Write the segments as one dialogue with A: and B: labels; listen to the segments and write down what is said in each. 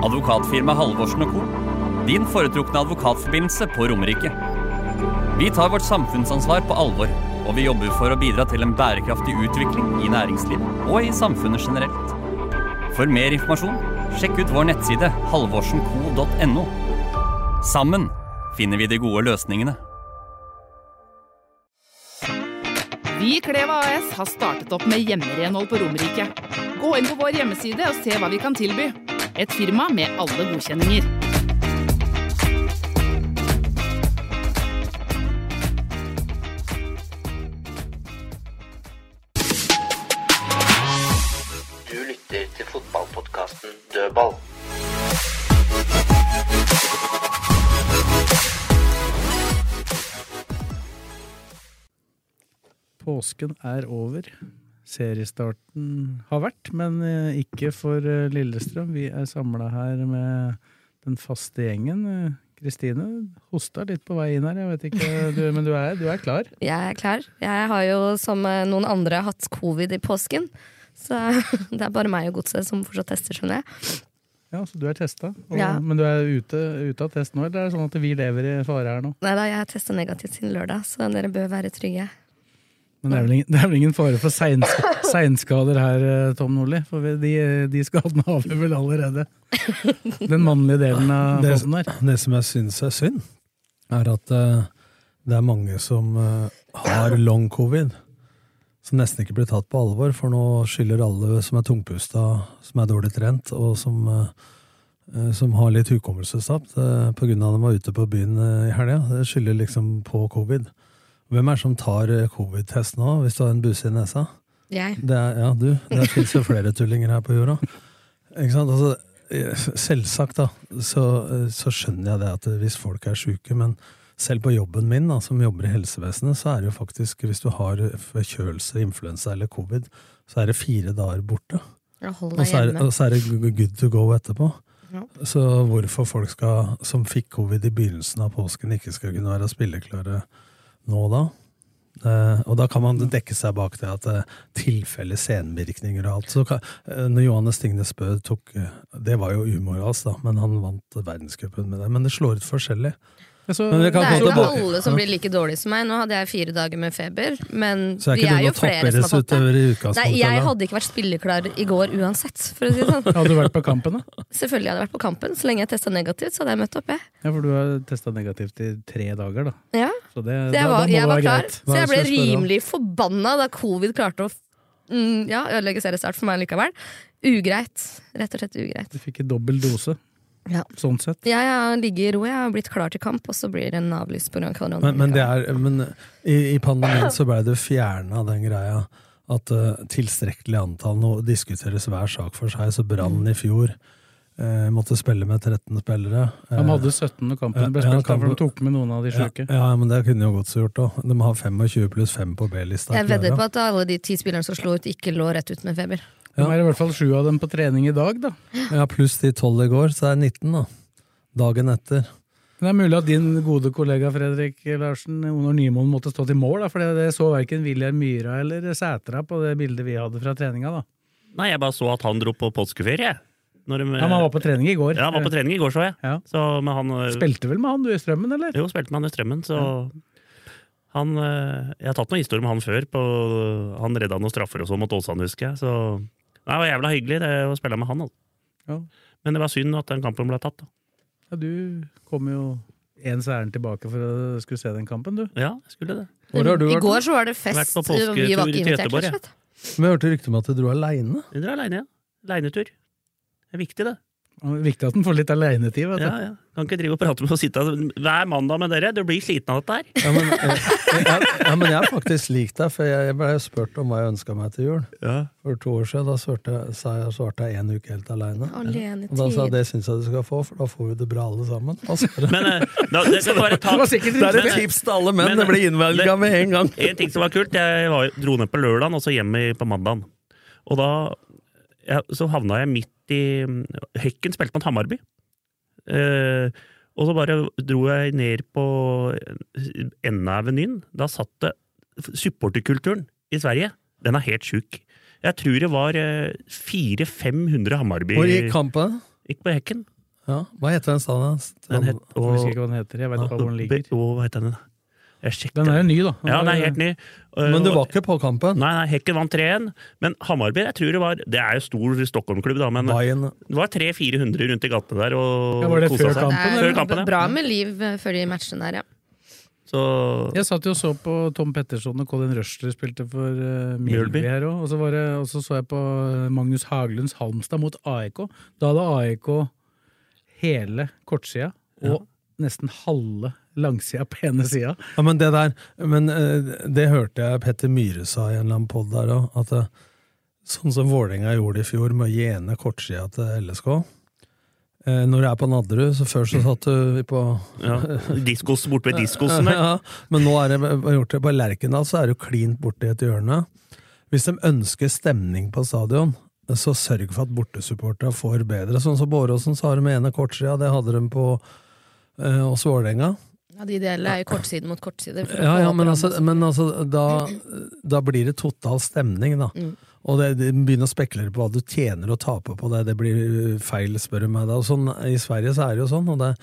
A: Advokatfirma Halvorsen og Co. Din foretrukne advokatforbindelse på Romerike. Vi tar vårt samfunnsansvar på alvor, og vi jobber for å bidra til en bærekraftig utvikling i næringslivet og i samfunnet generelt. For mer informasjon, sjekk ut vår nettside halvorsenco.no. Sammen finner vi de gode løsningene.
B: Vi i Kleva AS har startet opp med hjemmerenhold på Romerike. Gå inn på vår hjemmeside og se hva vi kan tilby. Et firma med alle godkjenninger.
C: Du lytter til fotballpodkasten Dødball.
D: Påsken er over. Seriestarten har vært, men eh, ikke for eh, Lillestrøm. Vi er samla her med den faste gjengen. Eh, Kristine hosta litt på vei inn her, jeg vet ikke, du, men du er, du er klar?
E: Jeg er klar. Jeg har jo, som eh, noen andre, hatt covid i påsken. Så det er bare meg og godset som fortsatt tester, skjønner jeg.
D: Ja, så du er testa. og-
E: Ja.
D: Men du er ute, ute av test nå, eller er det sånn at vi lever i fare her nå?
E: Nei da, jeg har testa negativt siden lørdag, så dere bør være trygge.
D: Men det er vel ingen, det er vel ingen fare for seinsk- seinskader her, eh, Tom Nordli? For vi- de, de skadene har vi vel allerede. Den mannlige delen av
F: Det-
D: båten her.
F: Det som jeg syns er synd, er at eh, det er mange som eh, har long covid, som nesten ikke blir tatt på alvor, for nå skylder alle som er tungpusta, som er dårlig trent, og som, eh, eh, som har litt hukommelsestap eh, på grunn av at de var ute på byen eh, i helga, det skylder liksom på covid. Hvem er det som tar eh, covid-test nå, hvis du har en buse i nesa?
E: Jeg.
F: Det er, ja, du. Det fins jo flere tullinger her på jorda. Ikke sant? Altså, eh, selvsagt, da, så, eh, så skjønner jeg det at hvis folk er sjuke, men selv på jobben min, da, som jobber i helsevesenet, så er det jo faktisk, hvis du har forkjølelse, influensa eller covid, så er det fire dager borte.
E: Hold
F: Og
E: deg
F: så er,
E: hjemme.
F: og så er det good to go etterpå.
E: Ja.
F: Så hvorfor folk skal, som fikk covid i begynnelsen av påsken, ikke skal kunne være spilleklare nå da? Eh, og da kan man
E: Mm.
F: dekke seg bak det at eh, tilfelle senvirkninger og alt. Så kan, eh, når Johannes Tingnes Bø tok eh, Det var jo umoralsk, da, men han vant verdenscupen med det. Men det slår ut forskjellig.
D: Ja, så-
F: Men vi kan
E: Det
F: komme
E: er jo ikke
F: tilbake.
E: alle som blir like dårlige som meg. Nå hadde jeg fire dager med feber, men
F: Så er
E: vi
F: ikke
E: er
F: du
E: jo
F: noe
E: flere som har fått det.
F: toppidrettsutøver i
E: Nei,
F: utgangspunktet?
E: jeg
F: eller?
E: hadde ikke vært spilleklar i går uansett, for å si det sånn.
D: Hadde du vært på kampen, da?
E: Selvfølgelig hadde jeg vært på kampen. Så lenge jeg testa negativt, så hadde jeg møtt opp, jeg.
D: Ja, for du har testa negativt i tre dager, da.
E: Ja.
D: Så det,
E: Så
D: da,
E: jeg
D: Eh, da må
E: var,
D: det
E: jeg var
D: være
E: klar,
D: greit.
E: så
F: Hva er
E: jeg
F: det som
E: ble
F: er spørre om?
E: rimelig forbanna da covid klarte å f- mm, ja, ødelegge seriestart for meg likevel. Ugreit. Rett og slett ugreit.
D: Du fikk en dobbel dose,
E: Ja.
D: sånn sett.
E: Jeg har ligget i ro, jeg har blitt klar til kamp, og så blir den avlyst pga. korona.
F: Men, men, det er, men i, i pandemien så ble det fjerna den greia at eh, tilstrekkelig antall Nå diskuteres hver sak for seg, så Brann
A: Mm.
F: i fjor eh, måtte spille med 13 spillere.
D: De hadde 17 når kampen ble
F: Ja,
D: spilt, da,
F: kampen-
D: for de tok med noen av de
F: ja,
D: sjuke.
F: ja, men det kunne jo godt så gjort òg. De har 25 pluss 5 på B-lista.
E: Jeg vedder på at alle de ti spillerne som slo ut, ikke lå rett ut med feber.
D: Nå er det i hvert fall sju av dem på trening i dag, da.
F: Ja, pluss de 12 i går, så er det 19, da. Dagen etter.
D: Men det er mulig at din gode kollega Fredrik Larsen Onor Nymoen måtte stå til mål, da, for det, det så verken Wilhelm Myhra eller Sætra på det bildet vi hadde fra treninga. da.
A: Nei, jeg bare så at han dro på påskeferie. Når de,
D: Ja, men Han var på trening i går.
A: han var på trening i går, så jeg.
D: Ja.
A: Så, men han eh,
D: Spilte vel med han du i Strømmen, eller?
A: Jo, spilte med han i Strømmen, så han, eh, Jeg har tatt noen historier med han før. På, han redda noen straffer og sånn mot Åsane, husker jeg. Så Nei, det var jævla hyggelig det, å spille med han. Altså.
D: Ja.
A: Men det var synd at den kampen ble tatt. Da.
D: Ja, du kom jo ens ærend tilbake for å skulle se den kampen, du.
A: Ja, jeg skulle det.
D: Hvor har du
E: I
D: vært?
E: går så var det
A: Vært
E: fest.
A: på påsketur
E: Vi var
A: til
E: ikke invitert,
A: Göteborg,
E: rett og slett.
F: Men jeg hørte rykte om at du dro aleine.
A: Dere er aleine, ja. Leinetur. Det er viktig, det.
D: Viktig at den får litt alenetid, vet du.
G: Ja, ja. Kan ikke drive og prate med å sitte hver mandag med dere. Du blir sliten av dette her.
F: Ja, men, eh, ja, ja, men jeg har faktisk likt deg, for jeg jeg ble jo spurt om hva jeg ønska meg til jul. For to år siden da svarte, sa jeg, svarte jeg en uke helt aleine.
E: Alenetid.
F: Og da sa jeg det syns jeg du skal få, for da får vi det bra alle sammen. Altså.
G: Men, eh, da, det, skal bare ta, eh,
F: Det var sikkert- Det er et tips til alle menn, det blir innvelget med en gang.
G: En ting som var kult, jeg var, dro ned på lørdagen, og så hjem i- på mandagen. Og da ja, så havna jeg midt i Hekken spilte mot Hamarby. Eh, og så bare dro jeg ned på enden av avenyen. Da satt det Supporterkulturen i Sverige, den er helt sjuk. Jeg tror det var eh, 400-500 Hamarby
F: Hvor gikk kampen?
G: Gikk på Hekken.
F: Ja, Hva heter den staden? hans?
G: Den het,
D: Jeg husker ikke hva den heter. Jeg vet ikke hvor den ligger.
G: Å, hva heter den? da? Jeg sjekker.
D: Den er jo ny, da.
G: Ja, den er helt ny.
D: Men du var
F: ikke på kampen?
G: Nei, nei Hekken vant 3-1. Men Hamarby, jeg tror det var Det er jo stor Stockholm-klubb, da, men det var 300-400 rundt i gatene der og
D: Ja, var det
G: kosa
D: før
G: seg.
D: kampen,
G: Før kampen,
E: Det er
G: ja.
E: bra med liv eh, før de matchene der, ja.
G: Så
D: Jeg satt jo og så på Tom Petterson og Colin Rushler spilte for uh,
G: Mjølby.
D: Mjølby her òg. Og så, var det, og så så jeg på eh, Magnus Haglunds Halmstad mot AIK. Da hadde AIK hele kortsida og nesten halve langsida på ene sida.
F: Ja, men det der men, eh, Det hørte jeg Petter Myhre sa i en eller annen podd der òg. At eh, sånn som Vålerenga gjorde i fjor med å gi ene kortsida til LSK eh, Når du er på Nadderud, så før så satt du på
G: ja. Diskos borte ved diskosen der.
F: Ja, men nå er det hva gjort det. På Lerkendal så er det jo klint borti et hjørne. Hvis de ønsker stemning på stadion, så sørg for at bortesupporterne får bedre. Sånn som Båråsen, så har de ene kortsida. Det hadde de på eh, oss Vålerenga.
E: ja de ideelle er jo kortside mot kortside. for å
F: Ja,
E: få
F: ja,
E: opp
F: men
E: rammen.
F: altså, men altså da, da blir det total stemning, da.
E: Mm.
F: Og det, det begynner å spekulere på hva du tjener og taper på det. Det blir feil, spør du meg. Da. Og Sånn, I Sverige så er det jo sånn. og det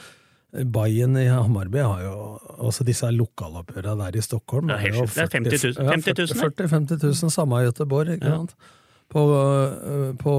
F: Bayern i Hamarby har jo altså disse lokaloppgjørene der i Stockholm.
G: Ja, helt
F: jo
G: sjukt. Det er 50 000.
F: ja,
G: 50 000,
F: 40 50 000, samme i Göteborg. Ikke
G: Ja.
F: sant? På, øh, på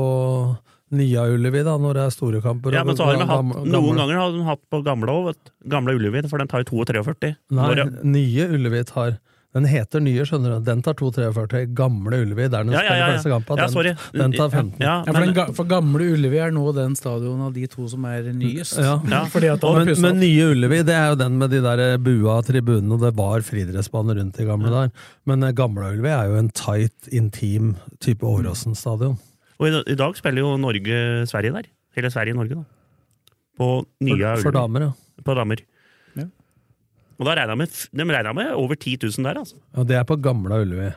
F: Nya Ullevi, da, når det er store kamper.
G: Ja,
F: og
G: men så har de hatt,
F: gamle-
G: Noen
F: gamle-
G: ganger har de hatt på gamle òg, vet du. Gamle Ullevi, for den tar jo 42.
F: Nei,
G: Når-
F: nye Ullevi tar Den heter nye, skjønner du. Den tar 2,43. Gamle Ullevi, der den
G: Ja, ja,
F: spiller
G: ja, ja.
F: første kampen.
G: Ja,
F: Den,
G: sorry.
F: den tar 15.
G: Ja,
D: Ja, for, den, ga- for gamle Ullevi er nå den stadion av de to som er nyest.
F: Ja.
D: Fordi at han har
F: men,
D: pusset
F: men
D: opp.
F: nye Ullevi, det er jo den med de der eh, bua tribunene, og det var friidrettsbane rundt i gamle der. Men eh, gamle Ullevi er jo en tight, intim type Åråsen-stadion.
G: Og i, i dag spiller jo Norge-Sverige der. Hele Sverige-Norge, da. På nye
F: For- for
G: Ullevi.
F: damer, ja.
G: På damer.
D: Ja.
G: Og da regna med, de regna med over 10 000 der, altså.
F: Og det er på gamle Ullevi.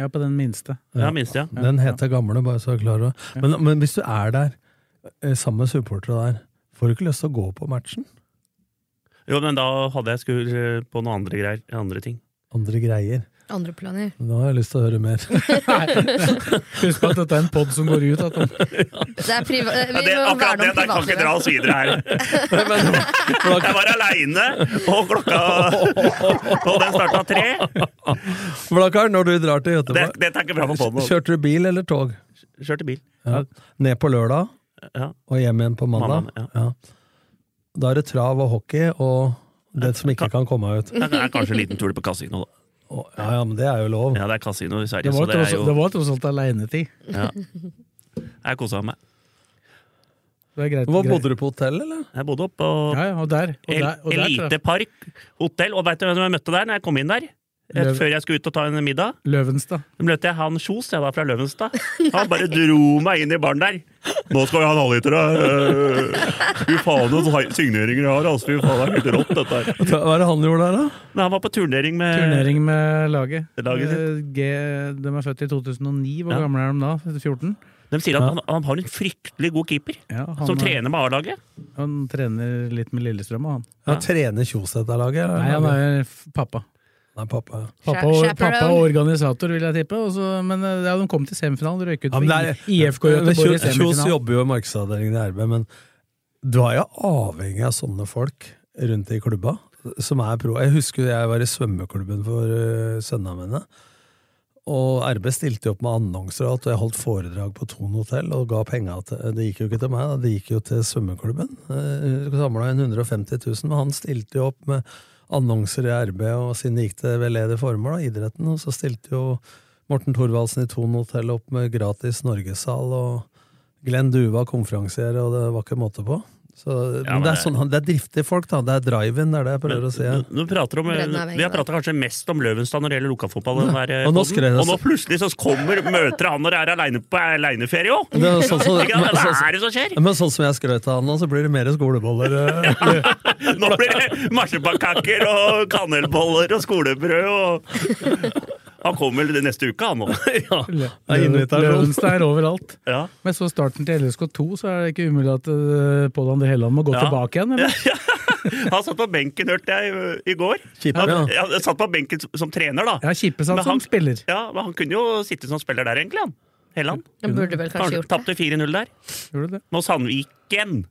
D: Ja, på den minste.
G: Ja, minst, ja.
F: Den heter Gamle, bare så du er klar over det. Men, men hvis du er der eh, sammen med supportere der, får du ikke lyst til å gå på matchen?
G: Jo, men da hadde jeg skulle eh, på noen andre greier. Andre ting.
F: Andre greier.
E: Andre planer.
F: Nå har jeg lyst til å høre mer.
D: Husk på at dette er en pod som går ut. da, Tom.
E: Det er priva eh, vi
G: Ja, det,
E: må
G: akkurat
E: verne
G: det
E: om
G: der kan ikke dra oss videre her. Jeg var aleine, og klokka Og den starta tre.
F: Blakkar, når du drar til Göteborg
G: Det- dette er ikke bra for podden.
F: Kjørte du bil eller tog?
G: Kjørte bil.
F: Ja. Ned på lørdag,
G: Ja.
F: og hjem igjen på mandag?
G: Mandag,
F: ja. Da er det trav og hockey og det som ikke kan komme ut.
G: Det er kanskje en liten tur på kasino, da.
F: Å, Ja, ja, men det er jo lov.
G: Ja, det er kasino i Sverige,
D: Det var
G: så det
D: tross,
G: er jo
D: det var tross alt aleinetid.
G: Ja. Jeg kosa meg.
D: Det er greit.
G: Hvor bodde
F: du på hotell, eller?
G: Jeg bodde oppe på
D: Ja, ja, og der. Og der, og der
G: Elite Park hotell. Og veit du hvem jeg møtte der når jeg kom inn der? Rett
D: Løv-
G: før jeg skulle ut og ta en middag?
D: Løvenstad.
G: Da møtte jeg han Kjos, jeg da, fra Løvenstad. Han bare dro meg inn i baren der. Nå skal vi ha en halvliter, da. Fy faen, noen signeringer jeg har. Altså, fy faen, det er helt rått, dette her.
F: Hva er det han gjorde der, da?
G: Nei, han var på turnering med
D: Turnering med laget.
G: Eh, Laget sitt.
D: Eh, G, de er født i 2009. Hvor
G: Ja.
D: gamle er de da? 14?
G: De sier at han, han har en fryktelig god keeper,
D: han
G: som
D: er-
G: trener med A-laget.
D: Han trener litt med Lillestrøm, han.
F: Ja, trener Kjos dette laget? eller?
D: Nei, han er f- pappa.
F: Nei, pappa. ja.
D: Pappa og, pappa og organisator, vil jeg tippe. og så- men eh, ja, de kom til semifinalen, de røyk ut
F: Ja, men
D: for
F: det er-
D: I- IFK Göteborg i
F: Kjos- Kjos
D: semifinalen.
F: jobber jo i markedsavdelingen i RB, men du er jo avhengig av sånne folk rundt i klubba, som er pro. Jeg husker jeg var i svømmeklubben for uh, sønnene mine, og RB stilte jo opp med annonser og alt, og jeg holdt foredrag på Thon hotell og ga penga til Det gikk jo ikke til meg, da, det gikk jo til svømmeklubben. Samla inn 150 000, men han stilte jo opp med annonser i RB, og siden det gikk til veldedig formål, da, idretten, og så stilte jo Morten Thorvaldsen i Thon hotell opp med gratis Norgessal og Glenn Due var konferansier, og det var ikke måte på. Så, men,
G: men
F: det er
G: det-
F: sånn, han- det er driftige folk, da. Det er drive-in, det er det jeg prøver å si.
G: Nå- nå prater om, eh,
F: Bredden er
G: vi har prata kanskje mest om Løvenstad når det gjelder lokalfotball.
F: Ja.
G: den her,
F: Og nå
G: podden.
F: skrev jeg
G: og nå
F: så-
G: plutselig så kommer, møter han når han er aleine på aleineferie òg!
F: Det er sånn som,
G: Hva
F: men, sånn,
G: er det som skjer?
F: men sånn som jeg skrøt av han nå, så blir det mer skoleboller. eh.
G: Nå blir det marsipakaker og kanelboller og skolebrød og Han kommer vel neste uke, han òg.
D: Det er invitasjon. Løvenstad er overalt.
G: Ja.
D: Men så starten til LSK2, så er det ikke umulig at eh, Pål André Helland må gå
G: Ja.
D: tilbake igjen, eller?
G: Han satt på benken, hørte jeg, i- i går.
D: Kippe,
G: han,
D: ja.
G: han satt på benken som- som trener, da.
D: Ja, Kippe satt
G: Men han-
D: som spiller.
G: Ja, men han kunne jo sitte som spiller der, egentlig, han. Helland.
E: Han burde vel kanskje gjort det.
G: Tapte 4-0 der.
D: Gjorde det?
G: Nå Sandviken!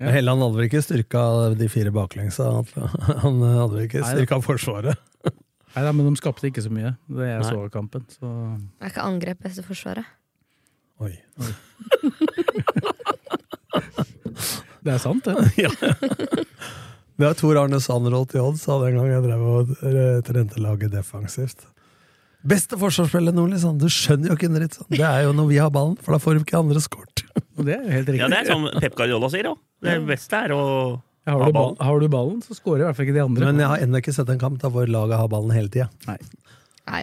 F: Men Helland hadde vel ikke styrka de fire baklengs? Han han hadde vel ikke
D: Nei,
F: styrka forsvaret?
D: Nei da, men de skapte ikke så mye. Det jeg
F: Nei.
D: så av kampen. Så
E: Er ikke angrep beste forsvaret?
F: Oi.
D: det er sant, det.
F: Vi har Tor Arne Sandrolt i odds, sa den gang jeg drev og eh, trente laget defensivt. Beste forsvarsspiller nå, liksom. Du skjønner jo ikke en dritt. sånn. Det er jo når vi har ballen, for da får vi ikke andre skåret.
D: Og det er jo helt riktig.
G: Ja, det er som Pep Guardiola sier òg. Det beste er å
D: har,
G: ha
D: du
G: ball.
D: ballen, har du ballen, så scorer i hvert fall ikke de andre.
F: Men eh, jeg har ennå ikke sett en kamp der hvor laget har ballen hele tida.
D: Nei.
E: Nei.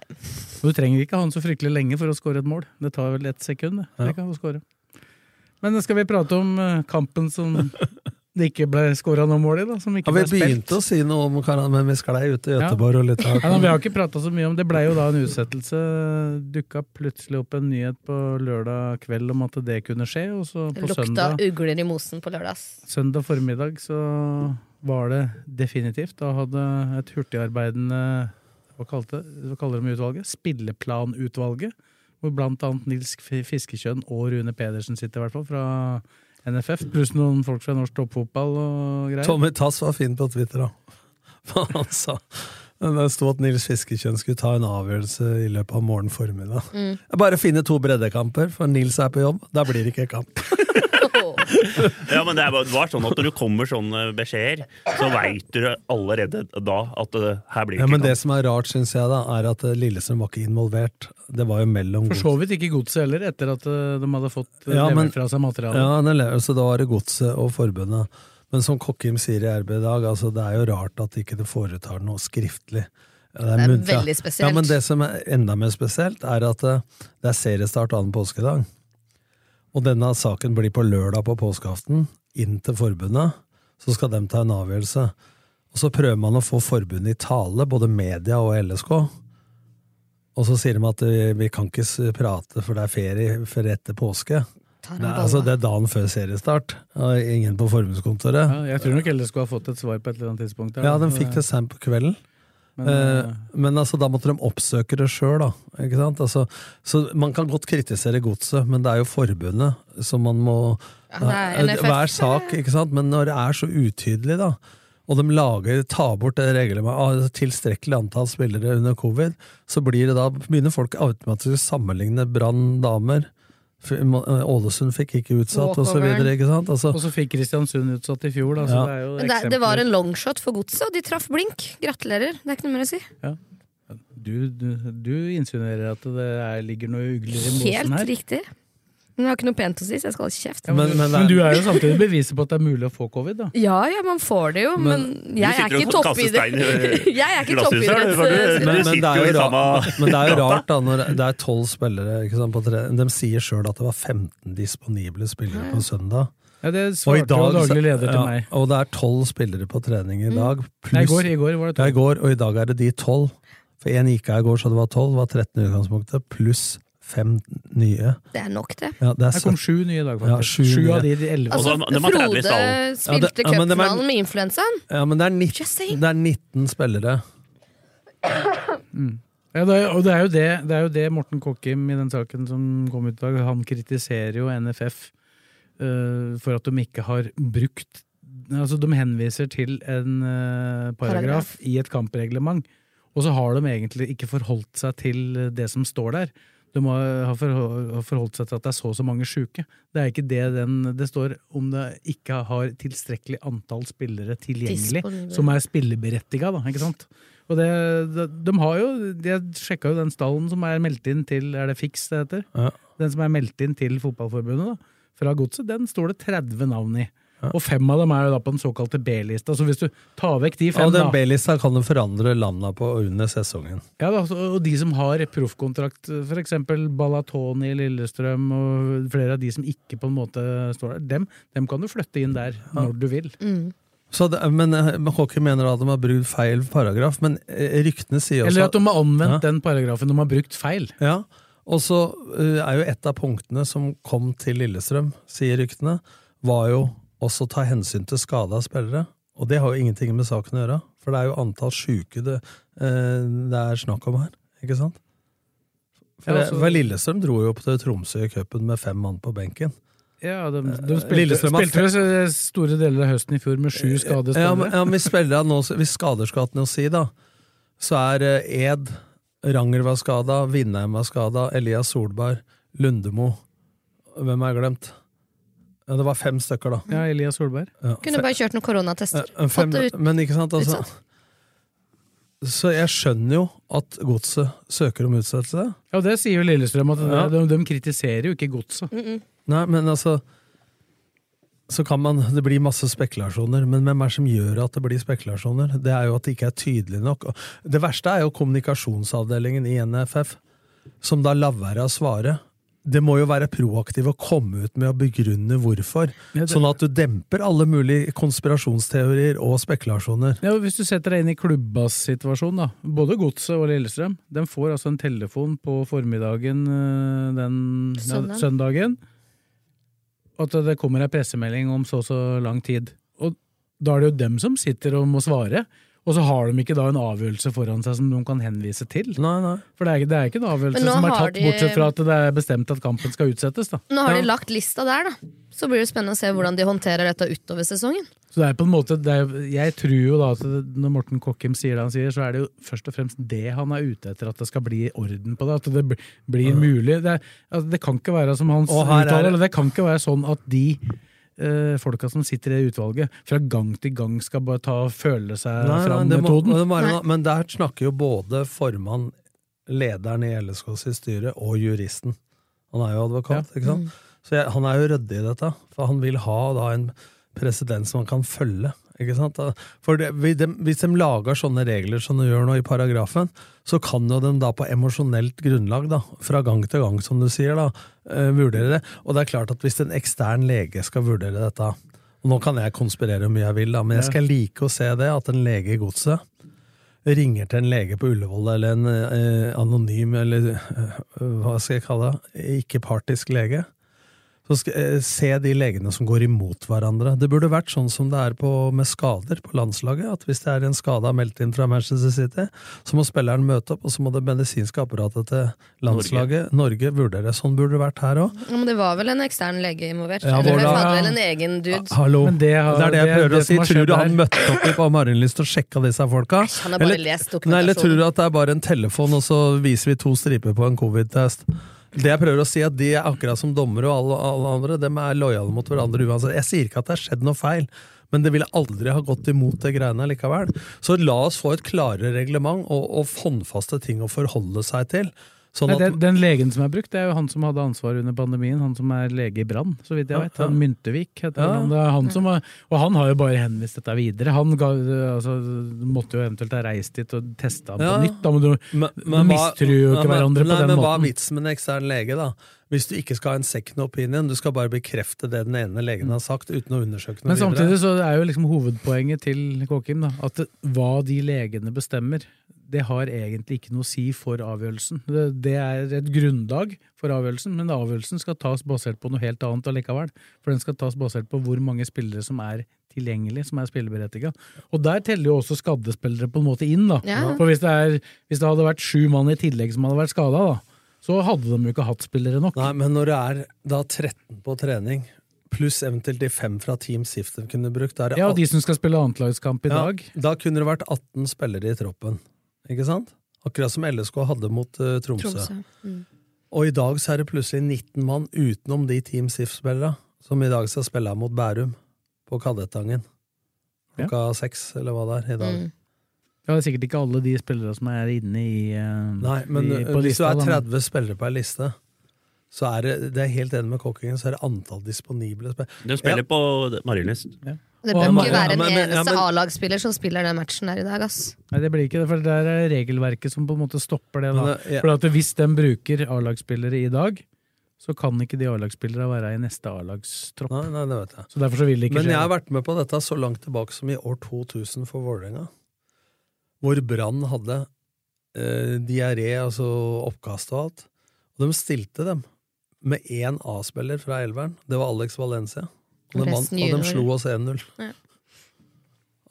D: Du trenger ikke ha den så fryktelig lenge for å score et mål. Det tar vel ett sekund. det.
F: Ja.
D: Det kan du score. Men skal vi prate om eh, kampen som det ikke ble scora noe mål i? da, som ikke
F: Ja, vi
D: ble spilt?
F: begynte å si noe om Karan, men vi sklei ut til
D: Ja.
F: Gøteborg og litt av
D: Ja, da, vi har ikke prata så mye om det. Det blei jo da en utsettelse. Dukka plutselig opp en nyhet på lørdag kveld om at det kunne skje, og så
E: Det
D: på
E: lukta
D: søndag
E: ugler i mosen på lørdags.
D: Søndag formiddag så var det definitivt. Da hadde et hurtigarbeidende hva, kalte, hva kaller de utvalget? Spilleplanutvalget. Hvor blant annet Nils F- Fiskekjønn og Rune Pedersen sitter, i hvert fall, fra NFF. Pluss noen folk fra norsk toppfotball og greier.
F: Tommy Tass var fin på Twitter, da. Hva han sa. Men Det sto at Nils Fiskekjønn skulle ta en avgjørelse i løpet av morgen formiddag.
E: Mm.
F: Jeg Bare finne to breddekamper, for Nils er på jobb. Da blir det ikke kamp.
G: Ja, men det er bare- det var sånn at når du kommer sånne beskjeder, så veit du allerede da at eh, her blir det
F: Ja,
G: ikke
F: men
G: kamp.
F: det som er rart, syns jeg, da, er at eh, Lillestrøm var ikke involvert. Det var jo mellom
D: For så vidt ikke godset heller, etter at eh, de hadde fått ja,
F: Ja, men-
D: levert fra seg materialet.
F: Ja, det lever, så da var det godset og forbundet. Men som Kokkim sier i RB i dag, altså, det er jo rart at ikke det foretar noe skriftlig. Det
E: Det er
F: muntlig.
E: veldig spesielt.
F: Ja, men det som er enda mer spesielt, er at eh, det er seriestart annen påskedag. Og denne saken blir på lørdag på påskeaften, inn til forbundet. Så skal de ta en avgjørelse. Og så prøver man å få forbundet i tale, både media og LSK. Og så sier de at eh, vi kan ikke s- prate, for det er ferie for etter påske.
E: Tar
D: en
F: Nei,
D: balla.
F: altså, det er dagen før seriestart. og Ingen på forbundskontoret.
D: Ja, jeg tror nok LSK har fått et svar på et eller annet tidspunkt. der,
F: Ja,
D: da.
F: de fikk det sent på kvelden.
D: Men,
F: Men, eh, men altså, da måtte de oppsøke det sjøl, da. Ikke sant? Altså, så man kan godt kritisere godset, men det er jo forbundet som man må
E: Ja, det er NFF.
F: Hver sak, ikke sant? Men når det er så utydelig, da, og de lager, tar bort det reglementet av tilstrekkelig antall spillere under covid, så blir det da, begynner folk automatisk å sammenligne Brann damer. F- Må- Ålesund fikk ikke utsatt, og så
E: Walkoveren.
F: videre. Ikke sant? Altså,
D: Og så fikk Kristiansund utsatt i fjor, da. Så
F: Ja.
D: det er jo
E: Men det, det var en longshot for godset, og de traff blink. Gratulerer. Det er ikke noe mer å si.
D: du, du, du insinuerer at det er, ligger noe ugler i mosen her.
E: Helt riktig. Men jeg har ikke noe pent å si, så jeg skal holde kjeft.
D: Ja, men, du- men du er jo samtidig beviset på at det er mulig å få covid, da.
E: Ja, ja, man får det jo, men,
D: Men-
E: jeg er
D: Du sitter
E: ikke
D: og kaster
E: toppidrett.
D: stein i-
E: Jeg er ikke
D: glasshuset,
E: toppidrett.
D: eller hva du-
E: så-
F: men, men, det
G: sitter
F: er
G: jo i
F: jo rart,
G: samme
F: men det er jo
G: gata.
F: rart da når det er tolv spillere ikke sant, på tre, De sier sjøl at det var 15 disponible spillere på søndag.
D: Ja, det
F: Og i
D: svarte jo
F: dag-
D: daglig leder til
F: ja,
D: meg. Mm.
F: Og det er tolv spillere på trening i dag.
D: Nei,
F: pluss-
D: i går, i går var det
F: Ja, i
D: tolv.
F: går, og i dag er det de tolv. For én gikk av i går, så det var tolv. Var 13 i utgangspunktet, pluss fem nye.
E: Det er nok, det.
F: Ja, det er
D: Her kom
F: søtt.
D: sju nye i dag,
F: Ja,
D: faktisk. sju,
F: nye.
D: av de, de elleve.
E: Altså, Frode
F: Ja,
E: spilte
F: det- ja, men det var-
E: cupfinalen med influensaen.
F: Ja, men det er, 19, det er 19 spillere.
D: Ja, det, er, og det er, jo det, det er jo det Morten Kokkim i den saken som kom ut i dag, han kritiserer jo NFF eh, for at de ikke har brukt Altså, de henviser til en eh, paragraf
E: Paragraf.
D: i et kampreglement, og så har de egentlig ikke forholdt seg til det som står der. De har har eh, forho- har forholdt seg til at det er så og så mange sjuke. Det er ikke det den, det står om det ikke har tilstrekkelig antall spillere tilgjengelig
E: Disponible.
D: som er spilleberettiga, da, ikke sant? Og det, de, de har jo De sjekka jo den stallen som er meldt inn til Er det Fiks det heter?
F: Ja.
D: Den som er meldt inn til Fotballforbundet, da. fra godset, den står det 30 navn i. Og fem av dem er jo da på den såkalte B-lista, så hvis du tar vekk de fem
F: Og den
D: da,
F: B-lista kan jo forandre landa på under sesongen.
D: ja, da, så- og de som har proffkontrakt, for eksempel Balatoni i Lillestrøm, og flere av de som ikke på en måte står der, dem, dem kan du flytte inn der når du vil.
F: Så det, men eh, Hockey mener at de har brukt feil paragraf, men eh, ryktene sier også
D: Eller at de har anvendt den paragrafen de har brukt feil.
F: Ja, og så eh, er jo et av punktene som kom til Lillestrøm, sier ryktene, var jo også ta hensyn til skade av spillere. Og det har jo ingenting med saken å gjøre, for det er jo antall sjuke det, eh, det er snakk om her, ikke sant? For,
D: Ja, altså-
F: for Lillestrøm dro jo opp til Tromsø i cupen med fem mann på benken.
D: Ja, de,
F: Eh,
D: de spilte,
F: Lillestrøm har
D: spilte jo store deler av høsten i fjor med sju skadede
F: Ja, men,
D: spillere.
F: ja, men hvis, spillere nå, hvis skader skal ha noe å si, da, så er eh, Ed, Ranger var skada, Vindheim var skada, Elias Solberg, Lundemo Hvem har jeg glemt? Ja, det var fem stykker, da.
D: Ja, Elias Solberg.
F: Ja,
E: Kunne bare kjørt noen koronatester.
F: Eh, en fem,
E: Fått det ut.
F: men ikke sant, altså.
E: utsatt.
F: Så jeg skjønner jo at godset søker om utsettelse.
D: Ja, og det sier jo Lillestrøm, at det-
F: Ja.
D: de, de kritiserer jo ikke godset.
F: Nei, men altså så kan man, Det blir masse spekulasjoner, men hvem er det som gjør at det blir spekulasjoner? Det er jo at det ikke er tydelig nok. Og Det verste er jo kommunikasjonsavdelingen i NFF, som da lar være å svare. Det må jo være proaktiv å komme ut med å begrunne hvorfor,
D: Ja, det-
F: sånn at du demper alle mulige konspirasjonsteorier og spekulasjoner.
D: Ja, og hvis du setter deg inn i klubbas situasjon, da. Både godset og Lillestrøm. De får altså en telefon på formiddagen øh, den ja,
E: Søndag.
D: søndagen. At det kommer ei pressemelding om så og så lang tid. Og da er det jo dem som sitter og må svare. Og så har de ikke da en avgjørelse foran seg som de kan henvise til. For det er, ikke- det er ikke en avgjørelse
E: Men nå
D: som er
E: har
D: tatt,
E: de-
D: bortsett fra at det er bestemt at kampen skal utsettes. da.
E: Nå har
D: Ja.
E: de lagt lista der, da. Så blir det spennende å se hvordan de håndterer dette utover sesongen.
D: Så det er på en måte, det er, Jeg tror jo da at det- når Morten Kokkim sier det han sier, så er det jo først og fremst det han er ute etter, at det skal bli orden på det. At det bl- blir mulig. Det, er, altså, det kan ikke være som han
F: Og her er
D: uttaler,
F: det-
D: eller det kan ikke være sånn at de eh, folka som sitter i det utvalget, fra gang til gang skal bare ta og føle seg
F: Nei, nei,
D: fram
F: det må-
D: metoden.
F: det må være noe- men der snakker jo både formann, lederen i LSKs styre og juristen. Han er jo advokat, ikke sant?
D: Mm.
F: Så jeg, han er jo ryddig i dette, for han vil ha da en president som han kan følge. Ikke sant? For det, vi- dem- Hvis de lager sånne regler som de gjør nå i paragrafen, så kan jo de da på emosjonelt grunnlag, da, fra gang til gang, som du sier, da, eh, vurdere det. Og det er klart at hvis en ekstern lege skal vurdere dette og Nå kan jeg konspirere hvor mye jeg vil, da, men jeg
D: Ja.
F: skal like å se det, at en lege i godset ringer til en lege på Ullevål, eller en eh, anonym, eller eh, hva skal jeg kalle det, ikke-partisk lege, så skal, eh, se de legene som går imot hverandre. Det burde vært sånn som det er på, med skader på landslaget, at hvis det er en skade er meldt inn fra Manchester City, så må spilleren møte opp, og så må det medisinske apparatet til landslaget, Norge, vurdere. Sånn burde det vært her òg.
E: Ja, men det var vel en ekstern lege involvert?
F: Ja,
E: Eller
F: hvor
E: vi
F: da- Ah,
E: hadde vel en egen dude?
F: Hallo.
D: Men det har-
F: det er det jeg
D: det-
F: prøver
D: det
F: å si.
D: som har
F: Tror du
D: skjedd
F: han
D: her-
F: møtte opp i- på Marienlyst og sjekka disse folka?
E: han har bare lest dokumentasjonen.
F: nei, eller tror du at det er bare en telefon, og så viser vi to striper på en covid-test? Det jeg prøver å si, at de er akkurat som dommere og alle, alle andre. De er lojale mot hverandre uansett. Jeg sier ikke at det har skjedd noe feil, men det ville aldri ha gått imot det greiene likevel. Så la oss få et klarere reglement og, og håndfaste ting å forholde seg til. Sånn
D: Nei,
F: at
D: den, den legen som er brukt, det er jo han som hadde ansvar under pandemien. Han som er lege i Brann, så vidt jeg
F: Ja,
D: vet.
F: ja.
D: Han Myntevik heter
F: Ja.
D: han. Det er han som var, og han har jo bare henvist dette videre. Han ga, altså, måtte jo eventuelt ha reist dit og testa han
F: Ja.
D: på nytt. Da, men du,
F: Men
D: du
F: hva-
D: mistror jo
F: Ja,
D: ikke
F: men-
D: hverandre
F: nei,
D: på den
F: men Hva er
D: måten.
F: vitsen med en ekstern lege, da? Hvis du ikke skal ha en second opinion, du skal bare bekrefte det den ene legen har sagt, uten å undersøke noe
D: Men samtidig
F: videre.
D: så er jo liksom hovedpoenget til Kåkim da, at det- hva de legene bestemmer, det har egentlig ikke noe å si for avgjørelsen. Det, det er et grunnlag for avgjørelsen, men avgjørelsen skal tas basert på noe helt annet allikevel. For den skal tas basert på hvor mange spillere som er tilgjengelig, som er spilleberettiga. Og der teller jo også skadde spillere på en måte inn, da.
E: Ja.
D: For hvis det, er, hvis det hadde vært sju mann i tillegg som hadde vært skada, da, så hadde de jo ikke hatt spillere nok.
F: Nei, men når det er da 13 på trening, pluss eventuelt de fem fra Team Sif de kunne brukt da er det
D: Ja, og de
F: alt-
D: som skal spille annetlagskamp i
F: Ja,
D: dag.
F: da kunne det vært 18 spillere i troppen, ikke sant? Akkurat som LSK hadde mot eh, Tromsø.
E: Mm.
F: Og i dag så er det plutselig 19 mann utenom de Team Sif-spillere, som i dag skal spille mot Bærum på Kadettangen. Klokka seks, eller hva det er, i dag.
E: Mm.
D: Ja, det er sikkert ikke alle de spillere som er inne i eh,
F: Nei, men
D: i,
F: eh,
D: på
F: hvis du
D: lista,
F: er
D: da, men-
F: 30 spillere på ei liste, så er det, det er helt enig med kokkingen, så er det antall disponible spill.
G: De spiller på Marienlyst.
E: Det bør ikke være en eneste A-lagsspiller som spiller den matchen der i dag. ass.
D: Nei, det blir ikke det, for der er regelverket som på en måte stopper det. da.
F: Men det- ja.
D: eh, For at Hvis de bruker A-lagsspillere i dag, så kan ikke de A-lagsspillerne være i neste A-lagstropp.
F: Nei, nei, det vet jeg.
D: Så derfor så vil det ikke
F: Men
D: skje.
F: jeg har vært med på dette så langt tilbake som i år 2000 for Vålerenga. Hvor Brann hadde eh, diaré, altså oppkast og alt. Og de stilte dem med én A-spiller fra Elveren. Det var Alex Valencia. Og de, vant,
E: Resten
F: og de
E: junior.
F: slo oss 1-0.
E: Ja.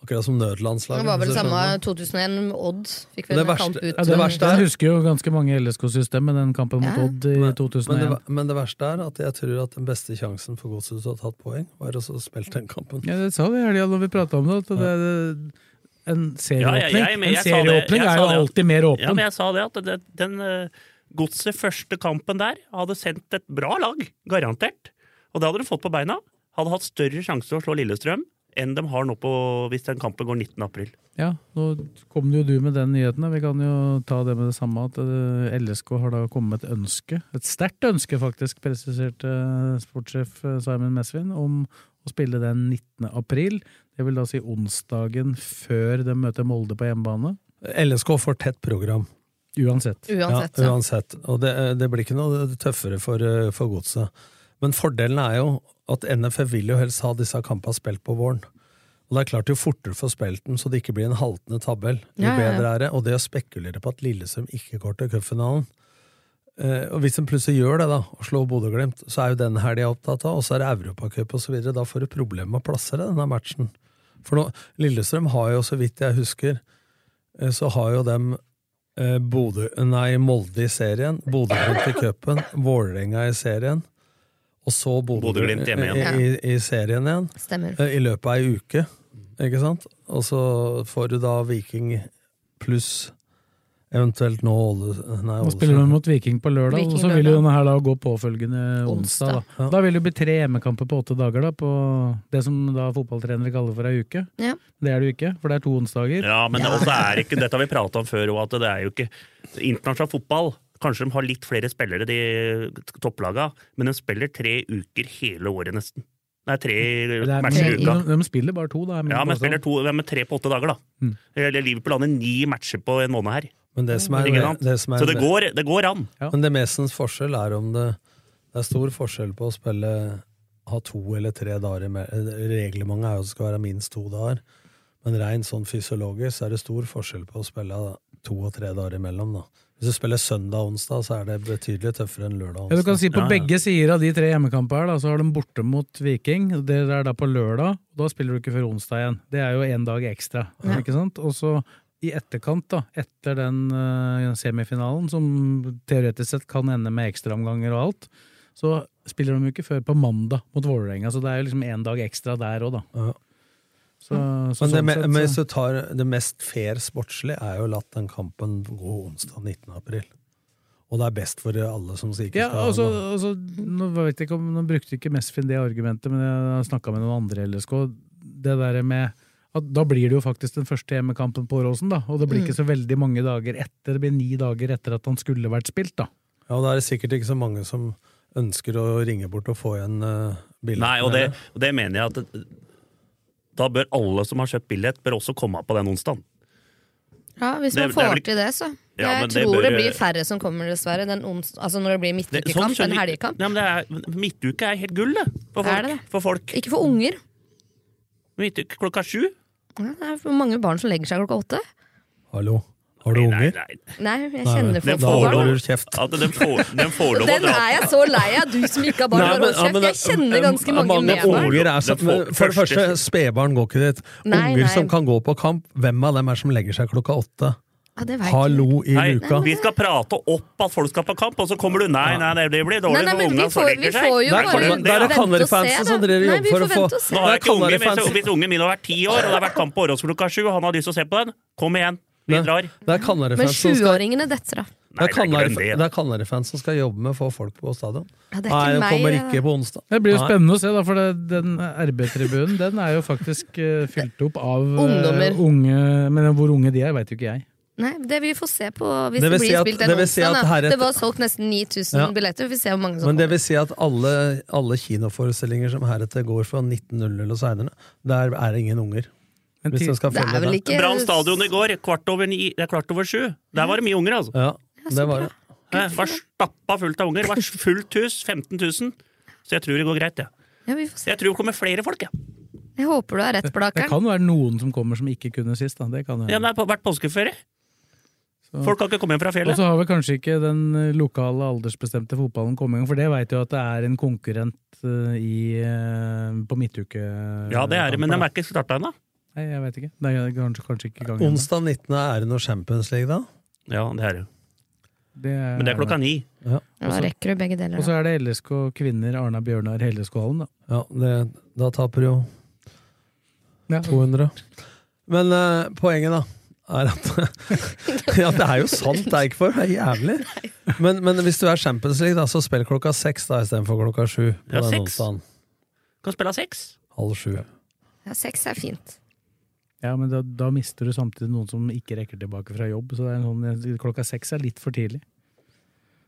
F: Akkurat som nødlandslaget.
E: Det var vel
F: hvis du
E: samme
F: skjønner.
E: 2001. Odd fikk
F: Det
E: vel en
F: verste-
E: kamp ut.
D: Ja, den,
F: Det verste er-
D: den husker jo ganske mange LSK-system med den kampen mot
E: Ja.
D: Odd i 2001.
F: Men det, ver- men det verste er at jeg tror at den beste sjansen for Godset til å ha tatt poeng, var å spille den kampen.
D: Ja, det sa vi i helga når vi prata om det. At det, det en
G: Ja,
D: serieåpning,
G: jeg- jeg- men
D: en
G: jeg sa det-
D: serieåpning
G: jeg
D: er
G: sa
D: jo
G: det at-
D: alltid mer åpen.
G: Ja, men jeg sa det at det, den eh, godset første kampen der hadde sendt et bra lag, garantert. Og det hadde de fått på beina. Hadde hatt større sjanse til å slå Lillestrøm enn de har nå på, hvis den kampen går 19. april.
D: Ja, nå kom jo du med den nyheten. da. Vi kan jo ta det med det samme at eh, LSK har da kommet med et ønske, et sterkt ønske faktisk, presiserte eh, sportssjef eh, Simon Mesvin, om å spille den 19. april. Det vil da si onsdagen før de møter Molde på hjemmebane.
F: LSK får tett program.
D: Uansett.
E: Uansett,
F: ja.
E: ja.
F: uansett. Og det, eh, det blir ikke noe tøffere for, eh, for godset. Men fordelen er jo at NFF vil jo helst ha disse kampene spilt på våren. Og det er klart Jo fortere du får spilt dem, så det ikke blir en haltende tabell, jo
H: Ja, ja, ja.
F: bedre er det. Og det å spekulere på at Lillestrøm ikke går til cupfinalen eh, Og Hvis de plutselig gjør det, da, og slår Bodø-Glimt, så er jo den helga opptatt av, og så er det Europacup osv. Da får du problemer med å plassere denne matchen. For nå, Lillestrøm har jo, så vidt jeg husker, eh, så har jo dem eh, Bodø, nei, Molde i serien, Bodø-Glimt i cupen, Vålerenga i serien, og så
G: Bodø-Glimt
F: Bodø-Glimt i,
G: hjemme igjen.
F: i, i serien igjen.
E: Stemmer.
F: eh, I løpet av ei uke, ikke sant? Og så får du da Viking pluss eventuelt nå Åle... Nei,
D: Nå spiller de
F: Ålesund.
D: mot Viking på lørdag,
F: Viking
D: og så vil jo
F: lørdag.
D: denne her da gå påfølgende onsdag. Da,
F: Ja.
D: da vil det jo bli tre hjemmekamper på åtte dager, da, på det som da fotballtrenere kaller for ei uke.
E: Ja.
D: Det er det jo ikke, for det er to onsdager.
G: Ja, men det, også er ikke, dette har vi prata om før òg, at det er jo ikke internasjonal fotball. Kanskje de har litt flere spillere, de topplaga, men de spiller tre uker hele året, nesten. Nei, tre
D: Det er-
G: matcher i uka.
D: de, de spiller bare to, da. er min
G: Ja, men
D: påstand.
G: spiller to, ja, men tre på åtte dager, da.
D: Mm.
G: Eller Liverpool hadde ni matcher på en måned her.
F: Men det som er-
G: Ikke sant?
F: det som er-
G: Så det går, det går an.
F: Men det mestens forskjell er om det Det er stor forskjell på å spille ha to eller tre dager i me- eh, Reglementet er jo at det skal være minst to dager. Men rein sånn fysiologisk er det stor forskjell på å spille to og tre dager imellom. da. Hvis du spiller søndag og onsdag, så er det betydelig tøffere enn lørdag og
D: Ja, du kan si På
F: Ja, ja.
D: begge sider av de tre hjemmekampene her, da, så har de borte mot Viking. Det er da på lørdag, og da spiller du ikke før onsdag igjen. Det er jo én dag ekstra.
F: Ja.
D: ikke sant? Og så i etterkant, da, etter den eh, semifinalen, som teoretisk sett kan ende med ekstraomganger og alt, så spiller de jo ikke før på mandag mot Vålerenga. Så det er jo liksom én dag ekstra der òg, da. Så, så
F: Men det,
D: sånn
F: me-
D: sett,
F: men
D: så-
F: hvis du tar det mest fair sportslig, er jo å la den kampen gå onsdag 19. april. Og det er best for alle som sier ikke
D: Ja,
F: skal
D: altså, altså, nå, vet jeg ikke om, nå brukte ikke Mesfin det argumentet, men jeg har snakka med noen andre i LSK. Det der med at Da blir det jo faktisk den første hjemmekampen på Åråsen, da. Og det blir ikke så veldig mange dager etter. Det blir ni dager etter at han skulle vært spilt, da.
F: Ja, og da er det sikkert ikke så mange som ønsker å ringe bort og få igjen uh, billetten.
G: Nei, og det,
F: eller?
G: og det mener jeg at eh, da bør alle som har kjøpt billett, bør også komme på den onsdagen.
E: Ja, Hvis
G: Det- det er
E: man får
G: vel ikke-
E: til det, så.
G: Ja, men
E: jeg
G: det
E: tror det,
G: bør-
E: blir færre som kommer, dessverre. Den ons altså når det blir
G: Det- sånn
E: midtukekamp,
G: skjønner
E: en
G: jeg-
E: helgekamp.
G: Nei, men det er, midtuke er helt gull, det. For folk.
E: Er det det?
G: For folk.
E: Ikke for unger.
G: Midtuke klokka sju.
E: Ja, det er for mange barn som legger seg klokka åtte.
F: Hallo, har du unger?
E: Nei, jeg
F: Nei,
E: kjenner
F: men- Da
E: folk som
F: holder
E: har barn.
F: du kjeft.
G: At den får, den får lov å
E: Den
G: dra
E: er jeg så lei av, du som ikke har barn.
F: Nei,
E: har
F: men- ja,
E: rådslett.
F: men-
E: jeg kjenner ganske mange, med barn.
F: unger er så,
G: Den får-
F: men For det første, spedbarn går ikke dit.
E: Nei,
F: unger
E: nei.
F: som kan gå på kamp, hvem av dem er som legger seg klokka åtte?
E: Ja, det vet jeg.
F: Hallo i
G: Nei,
F: luka.
G: vi skal prate opp at folk skal på kamp, og så kommer du Nei, nei, det blir dårlig
E: Nei, nei,
G: for
E: men vi
G: unga. så
E: får-
G: legger
E: vi
G: seg.
E: får
G: Der
E: jo bare
G: kommer den-
E: vente
G: der er
E: og se,
G: Canary-fansen
E: da.
G: som dere
E: Nei,
G: jobber
E: vi
G: for
E: får
G: å
E: vente
G: få-
E: og se.
G: Nå har jeg ikke
E: Det er
G: ungen min,
E: Canary-fans.
G: så Hvis ungen min har vært ti år, og det har vært kamp på Åråsen klokka sju, og han har lyst til å se på den, kom igjen, vi drar.
F: Det er
E: Men
F: Kanarifans som skal
E: sjuåringene detter av.
F: det er
G: Nei, det er ikke
F: Kanarif- det er Kanarifans som skal jobbe med å få folk på stadion.
E: Ja, det er ikke
F: Nei, de
E: meg,
F: kommer
E: det
F: ikke
E: da.
F: på onsdag.
D: Det blir jo
F: Nei.
D: spennende å se, da, for det, den RB-tribunen den er jo faktisk eh, fylt opp av eh,
E: Ungdommer.
D: unge Men hvor unge de er, veit jo ikke jeg.
E: Nei, det vil vi få se på
F: Det
E: hvis
F: vil
E: det,
F: si
E: blir
F: at-
E: spilt en
F: det vil si at
E: onsdag. da.
F: her et-
E: Det var solgt nesten 9000
F: Ja.
E: billetter. Vi får se hvor mange som
F: Men det
E: kommer.
F: vil si at alle, alle kinoforestillinger som heretter går fra 1900 eller seinere, der er det ingen unger. Hvis jeg skal følge det.
D: Eh,
G: Brann stadion i går, kvart over, ni, det er kvart over sju. Der var det mye unger, altså.
F: Ja, det var det.
G: Hæ, var stappa fullt av unger. Var fullt hus, 15 000. Så jeg tror det går greit, jeg.
E: Ja, vi får se.
G: Jeg tror det kommer flere folk, jeg.
E: Jeg håper du har rett,
D: Det
E: Blakeren.
D: kan være noen som kommer som ikke kunne sist. Da. Det kan
G: Ja,
D: hende.
G: det har på- vært påskeferie. Folk har ikke kommet hjem fra
D: Og
G: fjellet.
D: så har vel kanskje ikke den eh, lokale aldersbestemte fotballen kommet i gang, for det veit jo at det er en konkurrent eh, i, eh, på midtuke.
G: Ja, det er det, men de er ikke starta ennå.
D: Nei, jeg veit ikke. Det er kanskje, kanskje ikke i gang ennå.
F: Onsdag 19. er det noe Champions League, da?
G: Ja, det er det.
D: Det er,
G: Men det er klokka ni.
F: Ja.
E: Da rekker du begge deler.
D: Og
E: da.
D: så er det LSK kvinner Arna Bjørnar Helleskålen, da.
F: Ja, det, da taper jo 200. Men eh, poenget, da, er at Ja, det er jo sant, det er ikke for det er jævlig. Men, men hvis du er Champions League, da, så spill klokka seks da istedenfor klokka sju. på
G: Ja,
F: den
G: seks.
F: onsdagen.
G: Kan spille av seks.
F: Halv sju.
E: Ja, seks er fint.
D: Ja, men da, da mister du samtidig noen som ikke rekker tilbake fra jobb. Så det er en sånn, klokka seks er litt for tidlig.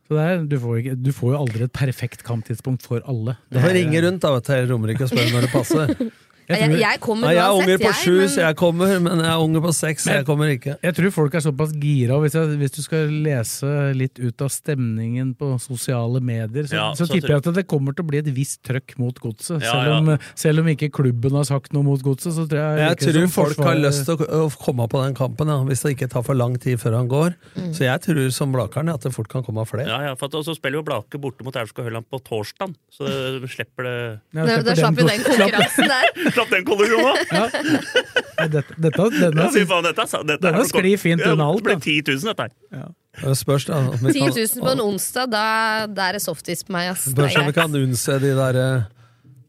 D: Så det er, du, får ikke, du får jo aldri et perfekt kamptidspunkt for alle.
F: Du får ringe rundt da, vet du, hele Romerike og spørre når det passer.
E: Jeg, jeg, kommer
F: Nei, jeg er
E: uansett,
F: unger på
E: jeg,
F: sju,
E: men-
F: så jeg kommer, men jeg er unger på seks, så jeg kommer ikke.
D: Jeg tror folk er såpass gira, og hvis, jeg, hvis du skal lese litt ut av stemningen på sosiale medier, så,
G: Ja,
D: så,
G: så
D: tipper
G: tror-
D: jeg at det kommer til å bli et visst trøkk mot godset.
G: Ja,
D: selv, om- selv om ikke klubben har sagt noe mot godset, så tror jeg
F: Jeg
D: virker det
F: tror
D: som
F: folk har
D: forsvaret-
F: lyst til å å komme på den kampen, ja, hvis det ikke tar for lang tid før han går.
G: Mm.
F: Så jeg tror som Blakeren at det fort kan komme flere.
G: Ja, ja, for at, og så spiller jo Blake borte mot Aurskog Høland på torsdag, så det slipper det
D: Ja, Da- da slipper slapp den vi den kon- konkurransen
G: der. slapp den kollisjonen òg!
D: Ja. Nei, Dette, dette, denne,
G: Ja, fy faen, dette, er sa- dette er
D: Denne
G: så kort.
D: sklir fint
G: Ja,
D: unna alt,
G: Det blir 10 000, dette her.
F: Det spørs da, om
E: 10
F: vi kan,
E: 000 på en onsdag, da, da er det softis på meg. Ass. Det
F: spørs
E: er
F: om vi
E: greit.
F: kan unnse de der eh,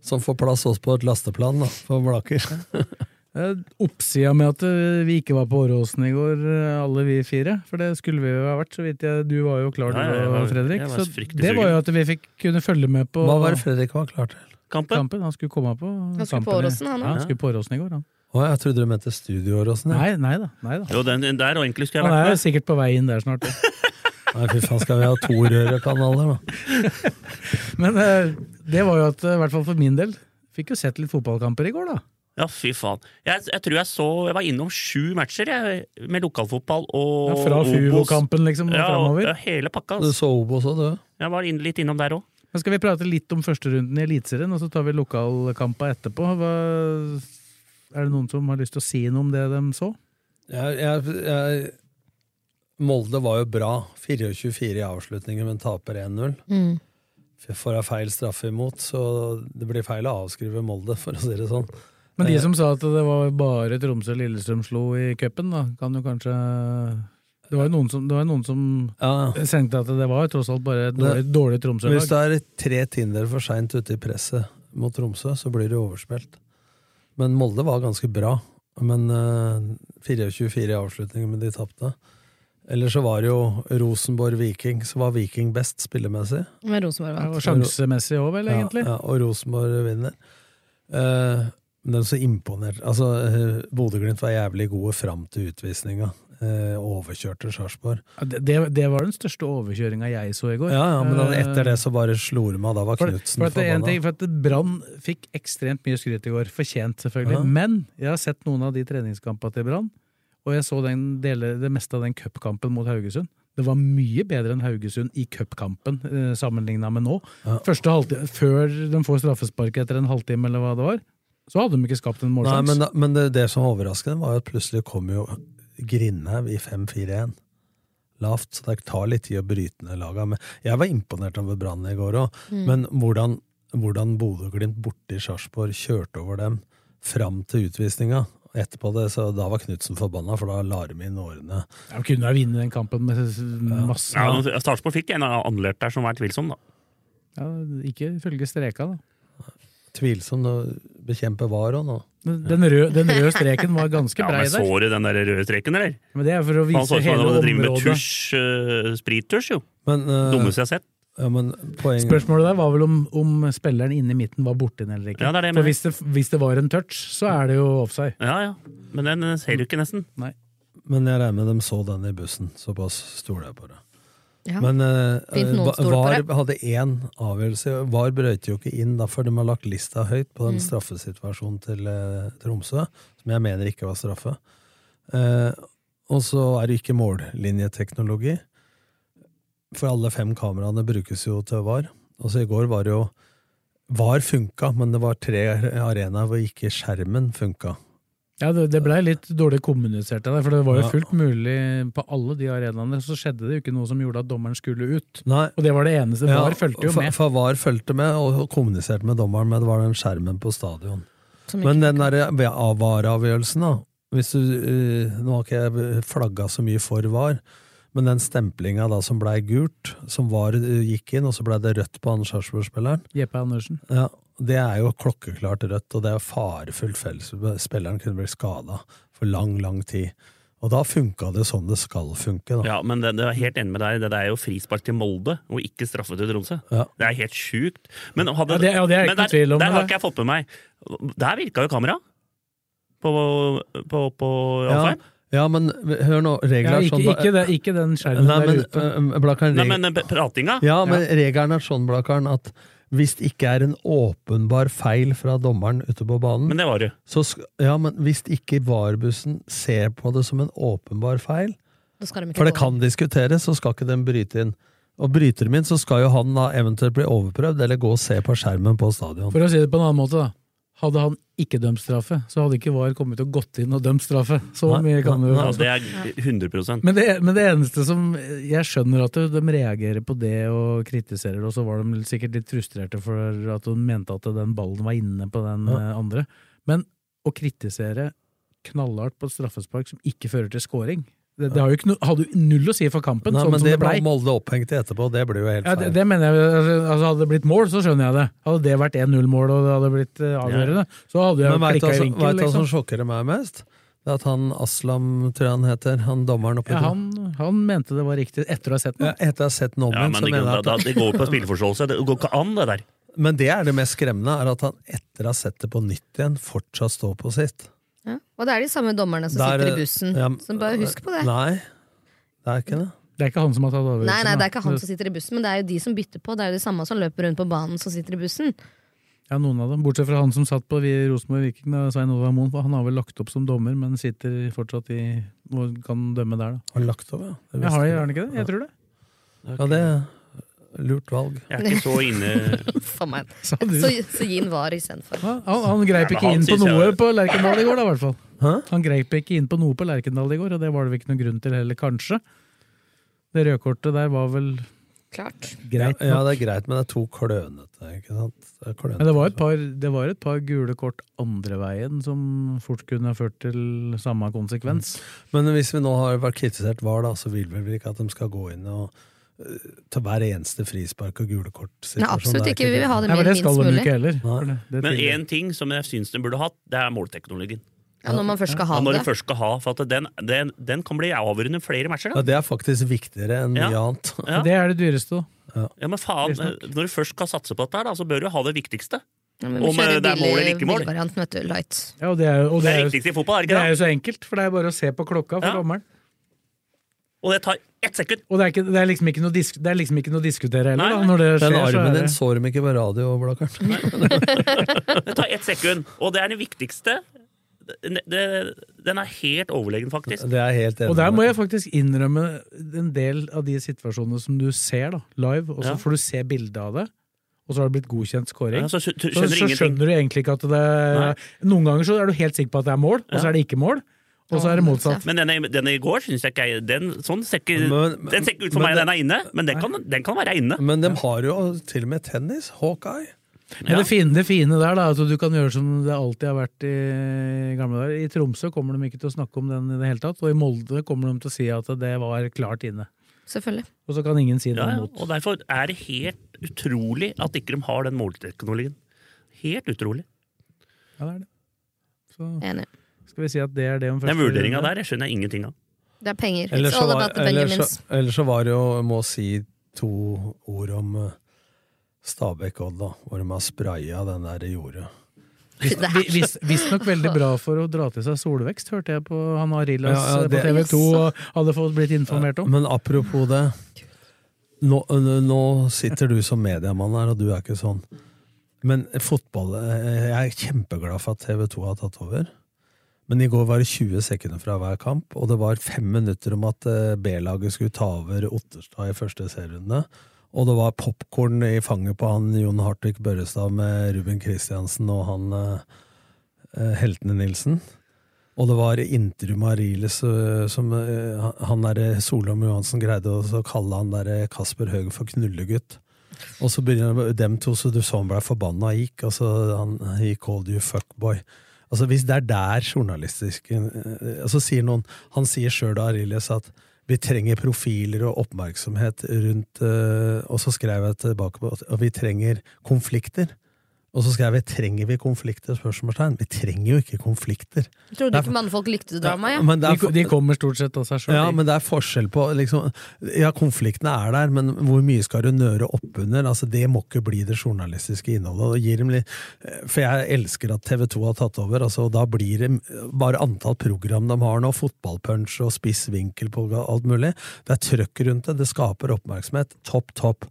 F: som får plass også på et lasteplan da, for Blaker.
D: Eh, Oppsida med at eh, vi ikke var på Åråsen i går, eh, alle vi fire. For det skulle vi jo ha vært, så vidt jeg Du var jo klar, du
G: Ja, ja, jeg var-
D: og Fredrik.
G: jeg var
D: Så
G: fryktelig
D: det var
G: sugen.
D: jo at vi fikk kunne følge med på
F: Hva var det Fredrik var klar til?
G: Kampen?
D: kampen. Han skulle komme på
E: Han skulle på
D: kampen i-
E: Åråsen, han
D: ja,
E: også.
D: han skulle på Åråsen i går, han.
F: Å, jeg trodde du mente studioår og sånn.
D: Nei, nei da. Nei, da.
G: Jo, den, den der og egentlig skulle jeg
D: Han
G: vært
D: er
G: med.
D: jo sikkert på vei inn der snart. ja.
F: Nei, fy faen, skal vi ha to rørekanaler da?
D: Men eh, det var jo at, eh, i hvert fall for min del, fikk jo sett litt fotballkamper i går, da.
G: Ja, fy faen. Jeg, jeg tror jeg så Jeg var innom sju matcher jeg, med lokalfotball og
D: Ja, fra
G: Obos.
D: Fuvo-kampen liksom og
G: ja, og-
D: fremover.
G: Ja, hele pakka.
F: Du
G: Altså.
F: så Obos også, du.
G: Jeg var inn, litt innom der òg.
D: Men skal vi prate litt om førsterunden i Eliteserien, og så tar vi lokalkampa etterpå? Hva, er det noen som har lyst til å si noe om det de så?
F: Jeg, jeg, jeg, Molde var jo bra. 24-4 i avslutningen, men taper 1-0.
E: Mm.
F: Får jeg feil straffe imot, så det blir feil å avskrive Molde, for å si det sånn.
D: Men de
F: Eh,
D: som sa at det var bare Tromsø og Lillestrøm slo i cupen, da, kan jo kanskje Det var jo noen som, det var jo noen som
F: ja,
D: tenkte at det var jo tross alt bare et dårlig,
F: Det-
D: dårlig
F: Hvis det
D: Tromsø-lag.
F: er tre tiendedeler for seint ute i presset mot Tromsø, så blir det overspilt. Men Molde var ganske bra. Men eh, 24-4 i avslutningen, men de tapte. Eller så var det jo Rosenborg-Viking, så var Viking best spillemessig.
E: Men Rosenborg
D: Ja,
E: vant.
D: Og sjansemessig òg, vel, egentlig.
F: Ja, ja, og Rosenborg vinner. Eh, men det er så imponert. Altså, eh, Bodø-Glimt var jævlig gode fram til utvisninga. Eh, overkjørte Sarpsborg.
D: Ja, Det, det, det var den største overkjøringa jeg så i går.
F: Ja, ja, men da,
D: Eh,
F: etter det så bare slo de av. Da var
D: For, det-
F: Knutsen
D: for, at det er en ting,
F: forbanna.
D: for at Brann fikk ekstremt mye skryt i går. Fortjent, selvfølgelig.
F: Ja.
D: Men jeg har sett noen av de treningskampene til Brann, og jeg så den dele, det meste av den cupkampen mot Haugesund. Det var mye bedre enn Haugesund i cupkampen eh, sammenligna med nå.
F: Ja.
D: Første halvtime, Før de får straffespark etter en halvtime, eller hva det var, så hadde de ikke skapt en
F: Nei,
D: målsjanse.
F: men, da- men det, det som overrasket dem, var jo at plutselig kom jo Grindhaug i 5-4-1. Lavt, så det tar litt tid å bryte ned laga. Men jeg var imponert over Brann i går òg.
E: Mm.
F: Men hvordan, hvordan Bodø-Glimt borte i Sarpsborg kjørte over dem fram til utvisninga. Etterpå det, så da var Knutsen forbanna, for da la de inn årene.
D: Ja, de kunne ha vunnet den kampen med s- masse
G: Ja, men Sarpsborg fikk en annullert der som var tvilsom, da.
D: ja, Ikke ifølge streka, da.
F: Tvilsomt å bekjempe VAR òg nå.
D: Men Den røde, den røde streken var ganske
G: Ja,
D: brei
G: men
D: der.
G: Så du den der røde streken, eller?
D: Men det er for å
G: Han så ut
D: vise
G: som
D: hele
G: han driver med
D: området.
G: tusj, eh, sprittusj, jo.
F: Men, eh,
G: Dummeste jeg har sett.
F: ja, men poenget
D: Spørsmålet der var vel om, om spilleren inne i midten var borti den eller ikke.
G: Ja, det er det jeg
D: For
G: mener.
D: hvis det, hvis det var en touch, så er det jo offside.
G: Ja, ja. Men den eh, ser du ikke, nesten.
D: Nei.
F: men jeg regner med de så den i bussen. Såpass stoler jeg på det.
E: Ja.
F: Men eh,
E: Fint noen
F: Va-
E: stoler på
F: VAR
E: det.
F: hadde én avgjørelse. VAR brøyte jo ikke inn, derfor de har lagt lista høyt på den
E: Mm.
F: straffesituasjonen til eh, Tromsø, som jeg mener ikke var straffe. Eh, og så er det ikke mållinjeteknologi, for alle fem kameraene brukes jo til VAR. Og så i går var det jo VAR funka, men det var tre arenaer hvor ikke skjermen funka.
D: Ja, det, det blei litt dårlig kommunisert, av deg, for det var jo
F: Ja.
D: fullt mulig på alle de arenaene. Så skjedde det jo ikke noe som gjorde at dommeren skulle ut.
F: Nei.
D: Og det var det eneste.
F: Ja,
D: VAR fulgte jo
F: for-
D: med.
F: For VAR fulgte med og kommuniserte med dommeren, men det var den skjermen på stadion.
D: Som ikke
F: Men eh, den der VAR-avgjørelsen, da hvis du, eh, Nå har ikke jeg flagga så mye for VAR, men den stemplinga da som blei gult, som VAR eh, gikk inn, og så blei det rødt på Anders Sarpsborg-spilleren
D: Jeppe Andersen.
F: ja, det er jo klokkeklart rødt, og det er farefullt felles. Spilleren kunne bli skada for lang, lang tid. Og da funka det sånn det skal funke. da.
G: Ja, men det, det er helt enig med deg. Det, det er jo frispark til Molde, og ikke straffe til Tromsø.
F: Ja.
G: Det er helt sjukt. Men, hadde,
D: Ja, det- ja, det er
G: men
D: ikke noe tvil om,
G: Der
D: men
G: har
D: det-
G: ikke jeg fått med meg. Der virka jo kamera. På, på, på
F: Ja,
G: Alfheim.
F: ja, men hør nå, regler
D: Ja,
F: er
D: ikke,
F: sånn da-
D: ikke, det, ikke den skjermen
F: Nei, men,
D: der ute.
F: eh, Blakkaren,
G: Nei,
F: reg-
G: men eh, pratinga
F: Ja, men regelen er sånn, Blakkaren, at hvis det ikke er en åpenbar feil fra dommeren ute på banen
G: Men det var det.
F: Så sk ja, men hvis ikke VAR-bussen ser på det som en åpenbar feil
E: Da skal de ikke
F: For det
E: gå.
F: kan diskuteres, så skal ikke den bryte inn. Og bryter de inn, så skal jo han da eventuelt bli overprøvd, eller gå og se på skjermen på stadion.
D: For å si det på en annen måte, da. Hadde han ikke dømt straffe, så hadde ikke VAR kommet og gått inn og dømt straffe. Så
G: Nei,
D: mye kan det jo
G: ja, Altså,
F: altså.
G: Det er 100
D: Men det, men det eneste som Jeg skjønner at de reagerer på det og kritiserer det, og så var de sikkert litt frustrerte for at hun mente at den ballen var inne på den
F: Ja.
D: eh, andre. Men å kritisere knallhardt på et straffespark som ikke fører til scoring det, det har jo ikke no, hadde jo null å si for kampen,
F: Nei,
D: sånn
F: men
D: som
F: det
D: det blei.
F: ble Molde opphengt i etterpå, det ble jo helt
D: Ja, det,
F: feil.
D: det mener jeg, altså, hadde det blitt mål, så skjønner jeg det. Hadde det vært 1-0-mål og det hadde blitt eh, avgjørende, så hadde jeg
F: Men veit du
D: klikka
F: hva
D: i
F: som- vet
D: vinkel.
F: du hva som
D: Liksom.
F: sjokkerer meg mest? Det er at han Aslam, tror jeg han heter, han dommeren oppe i
D: Ja, han, han mente det var riktig etter å ha sett
F: Ja,
D: den.
F: etter å ha sett den om
G: Ja,
F: igjen,
G: men
F: så
G: det,
F: mener
G: da,
F: jeg
G: da,
F: at
G: det går på spilleforståelse. Det går ikke an, det der.
F: Men det er det mest skremmende, er at han etter å ha sett det på nytt igjen, fortsatt står på sitt.
E: Ja. Og det er de samme dommerne som
F: Der, eh,
E: sitter i bussen,
F: ja, eh,
E: så bare husk på det.
F: Nei, det er ikke det.
D: Det er ikke han som har tatt avgjørelsen.
E: Nei, nei, det
D: da.
E: er ikke han som sitter i bussen, men det er jo de som bytter på. Det er jo de samme som løper rundt på banen som sitter i bussen.
D: Ja, noen av dem. Bortsett fra han som satt på vi- Rosenborg Viking, da, Svein Ovar Moen. for Han har vel lagt opp som dommer, men sitter fortsatt i og kan dømme der, da.
F: Har han lagt over, ja. Det
D: Ja,
F: visste
D: har de-
F: jeg.
D: har han ikke det? Jeg tror det.
F: Ja, det er lurt valg.
G: Jeg er ikke så inne
E: Faen meg.
D: Så,
E: så, så gi en var istedenfor.
D: Han, han
G: Ja,
D: greip
G: men
D: ikke
G: han
D: inn på
G: synes jeg-
D: noe på Lerkendal i går, da, i hvert fall. Han greip ikke inn på noe på Lerkendal i går, og det var det vel ikke noen grunn til heller, kanskje. Det røde kortet der var vel
E: Klart.
D: greit nok.
F: Ja, det er greit, men det er to klønete, ikke sant? Det er klønete.
D: Men det var, et par, det var et par gule kort andre veien som fort kunne ha ført til samme konsekvens.
F: Men hvis vi nå har vært kritisert VAR, da, så vil vi vel ikke at de skal gå inn og eh, ta hver eneste frispark og gule kort? sånn.
E: Nei, absolutt ikke. Vi vil ha det
D: Nei, men
E: mer
D: det skal
E: minst
D: de jo
E: mulig.
D: ikke heller. for det- det
G: Men
D: tviler jeg
G: én ting som jeg syns den burde hatt, det er målteknologien.
E: Ja, når man først skal ha
G: når
E: det.
G: den først skal ha, for at den, den, den kan bli avgjørende flere matcher.
F: Ja,
G: Da.
F: det er faktisk viktigere enn mye
G: Ja.
F: annet.
G: Ja.
D: Det er det dyreste, da.
G: Ja, men faen, eh,
D: Visstnok.
G: Når du først skal satse på dette, her, da, så bør du ha det viktigste.
E: Ja, men vi
G: Om eh,
E: kjører
G: det er mål eller
E: billig-
G: ikke mål.
E: billigvarianten, vet du. Light.
D: Ja, og det er, jo- og
G: Det
D: det
G: er
D: er, jo-
G: viktigst i fotball, er
D: det
G: det
D: er
G: ikke det?
D: jo så enkelt, for det er bare å se på klokka for
G: Ja.
D: dommeren.
G: Og det tar ett sekund!
D: Og det er, ikke, det, er liksom ikke noe disk, det er liksom ikke noe å diskutere heller,
G: Nei,
D: da,
G: nei.
D: når det
F: Den
D: skjer. Så
F: armen
D: er
F: din
D: det.
F: så dem ikke på radio, Blakkaren.
G: Det tar ett sekund, og det er den viktigste. Den, det- den er helt overlegen, faktisk.
F: Det er jeg helt enig
D: Og der
F: med.
D: må jeg faktisk innrømme en del av de situasjonene som du ser da, live, og så
G: Ja.
D: får du se bildet av det. Og så har det blitt godkjent scoring.
G: Ja, så Altså, skjø-
D: så,
G: skjønner du
D: så
G: ingenting.
D: skjønner du egentlig ikke at det Noen ganger så er du helt sikker på at det er mål, og så er det ikke mål. Og så er det motsatt.
G: Men denne, denne i går syns jeg ikke er den, sånn ser ikke,
F: Men-
G: den ser ikke ut for meg,
F: men det-
G: den er inne. Men den kan, den kan være inne.
F: Men de har jo til og med tennis. Hawkeye.
D: Men det fine, det fine der da, er at du kan gjøre som det alltid har vært i gamle dager. I Tromsø kommer de ikke til å snakke om den i det hele tatt, og i Molde kommer de til å si at det var klart inne.
E: Selvfølgelig.
D: Og så kan ingen si det
G: Ja, ja,
D: imot.
G: og derfor er det helt utrolig at ikke de har den målteknologien. Helt utrolig.
D: Ja, det er det. Så
E: Enig.
D: skal vi si at det er det om
G: Den
D: første
G: vurderinga der
D: runde.
G: jeg skjønner jeg ingenting av.
E: Det er penger.
F: Eller
E: It's
F: så,
E: all
F: var,
E: about the
F: eller,
E: Benjamins.
F: så, eller så var det jo, jeg må si to ord om eh, Stabæk Odd, da, hvor de har spraya den der jordet.
D: Visstnok vis, visstnok veldig bra for å dra til seg solvekst, hørte jeg på han Arilas
F: Ja, ja, det-
D: på TV 2 hadde fått blitt informert om.
F: Men apropos det. Nå, nå sitter du som mediemann her, og du er ikke sånn. Men fotball eh, Jeg er kjempeglad for at TV 2 har tatt over. Men i går var det 20 sekunder fra hver kamp, og det var fem minutter om at eh, B-laget skulle ta over Otterstad i første serierunde. Og det var popkorn i fanget på han Jon Hartvig Børrestad med Ruben Kristiansen og han eh, eh, Heltene Nilsen. Og det var intervju med Ariles, eh, som eh, han der Solom Johansen greide å så kalle han der eh, Kasper Høeg for knullegutt. Og så begynner de- dem to, så du så han ble forbanna og gikk. Altså, han he called you fuckboy. Altså, hvis det er der journalistisk eh, altså, sier noen, Han sier sjøl, Ariles, at vi trenger profiler og oppmerksomhet rundt eh, Og så skrev jeg tilbake på at og vi trenger konflikter. Og så skrev jeg 'trenger vi konflikter?' spørsmålstegn. Vi trenger jo ikke konflikter.
E: Trodde
F: Det er-
E: ikke mannfolk likte drama,
F: men det er for-
D: De kommer stort sett av seg sjøl.
F: ja, men det er forskjell på liksom, Ja, konfliktene er der, men hvor mye skal du nøre oppunder? Altså, det må ikke bli det journalistiske innholdet. Og gir dem litt, eh, for jeg elsker at TV 2 har tatt over, altså, og da blir det bare antall program de har nå, fotballpunch og spiss vinkel på alt mulig. Det er trøkk rundt det, det skaper oppmerksomhet. Topp, topp.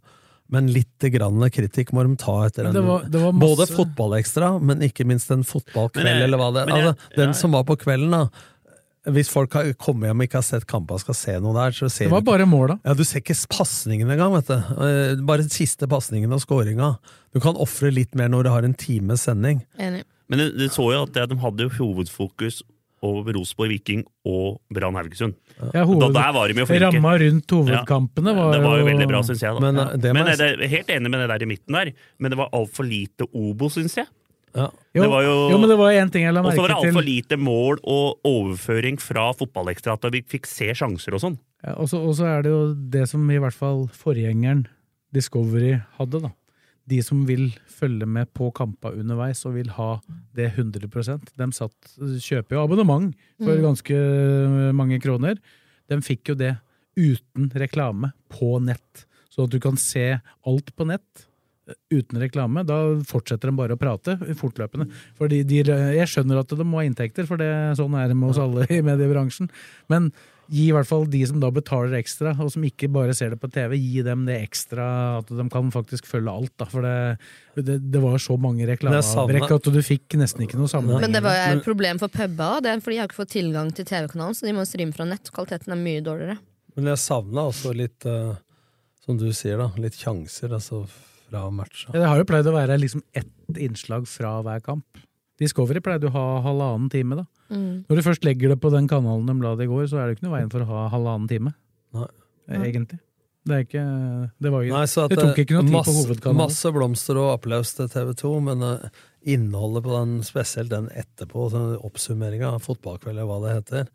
F: Men litt grann kritikk må de ta etter en
D: Men det var- det var masse-
F: Både fotballekstra, men ikke minst en fotballkveld,
D: Men jeg-
F: eller hva det
D: men jeg-
F: altså, Den
D: ja.
F: som var på kvelden, da. Hvis folk har- kommer hjem og ikke har sett kampen og skal se noe der, så ser
D: Det var
F: du ikke-
D: bare måla.
F: Ja, du ser ikke pasningen engang, vet du. Eh, Bare den siste pasningen og scoringa. Du kan ofre litt mer når du har en times sending.
E: Enig.
G: Men du, du så jo at det- de hadde jo hovedfokus over Rosenborg, Viking og Brann Haugesund.
D: Ja,
G: Da
D: hoved-
G: der var de jo flinke.
D: Ramma rundt hovedkampene
G: Ja,
D: var
G: det var jo
D: jo-
G: veldig bra, syns jeg. Da.
F: Men,
G: Men,
F: eh, det må
G: men
F: jeg-
G: jeg er helt enig med det der i midten der, men det var altfor lite obo, syns jeg.
F: Ja.
D: Jo,
G: det var jo,
D: jo, men det var en ting jeg la
G: Og så var det
D: merke til.
G: altfor lite mål og overføring fra fotballekstra, at vi fikk se sjanser og sånn.
D: Ja, og så og så er det jo det som i hvert fall forgjengeren Discovery hadde, da. De som vil følge med på kampa underveis og vil ha det 100 De satt, kjøper jo abonnement for
H: Mm.
D: ganske mange kroner. De fikk jo det uten reklame på nett. Så at du kan se alt på nett eh, uten reklame. Da fortsetter de bare å prate fortløpende. Fordi de, jeg skjønner at de må ha inntekter, for det, sånn er det med oss alle i mediebransjen. Men gi i hvert fall de som da betaler ekstra, og som ikke bare ser det på TV, gi dem det ekstra, at de kan faktisk følge alt. Da, for det, det, det var så mange reklameavbrekk at du fikk nesten ikke noe sammenheng.
E: Men det var jo et problem for puba, det er fordi de har ikke fått tilgang til TV-kanalen, så de må streame fra nett. Kvaliteten er mye dårligere.
F: Men jeg savna også litt, eh, som du sier, da, litt sjanser altså, fra matcha.
D: Ja, Det har jo pleid å være liksom ett innslag fra hver kamp. Discovery pleide å ha halvannen time, da.
E: Mm.
D: Når du først legger det på den kanalen de la det i går, så er det ikke noe veien for å ha halvannen time.
F: Nei.
D: Eh, Egentlig. Det, er ikke, det, var jo,
F: Nei, så at eh,
D: det tok ikke noe tid
F: masse,
D: på hovedkanalen.
F: Masse blomster og applaus til TV 2, men eh, innholdet på den, spesielt den etterpå, den oppsummeringa av fotballkveld eller hva det heter,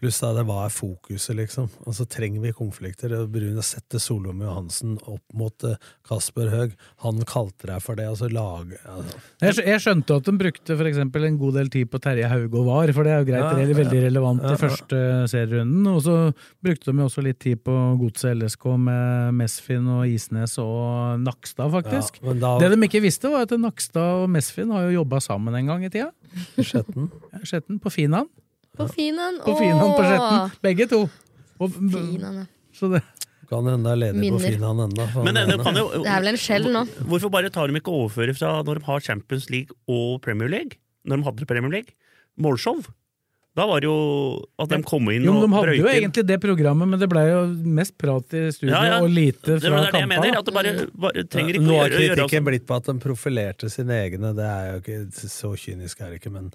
F: pluss da det hva er fokuset, liksom. Altså trenger vi konflikter? Og Brune setter Solom Johansen opp mot eh, Kasper Høeg. Han kalte deg for det, altså lag... Altså.
D: Jeg, skj- jeg skjønte at de brukte for eksempel en god del tid på Terje Hauge og VAR, for det er jo greit,
F: Ja,
D: det er veldig
F: ja.
D: relevant
F: Ja,
D: i
F: ja.
D: første eh, serierunden. Og så brukte de jo også litt tid på godset LSK med Mesfin og Isnes og Nakstad, faktisk.
F: Ja, men da-
D: Det de ikke visste, var at Nakstad og Mesfin har jo jobba sammen en gang i tida.
F: Skjetten.
D: Ja, Skjetten på Finan.
E: På Finan!
D: På Finan på Skjetten. Begge to. Og,
E: Finan, ja.
D: så det
F: Kan hende det er ledig på
E: Minner.
F: Finan ennå.
G: Men det- det kan jo-
E: Det er vel en skjell nå.
G: Hvorfor bare tar de ikke overfører fra når de har Champions League og Premier League? Når de hadde Premier League? Målshow? Da var det jo at de kom inn
D: Jo, men
G: og
D: De hadde jo
G: brøyte inn.
D: egentlig det programmet, men det blei jo mest prat i studio
G: Ja, ja.
D: og lite
G: Det
D: fra
G: var det jeg
D: kampa.
G: mener,
D: da.
G: at det bare- bare trenger ikke
F: Nå
G: å gjøre-
F: har
G: altså- gjøre
F: kritikken
G: oss-
F: blitt på at de profilerte sine egne, det er jo ikke så kynisk er det ikke, men,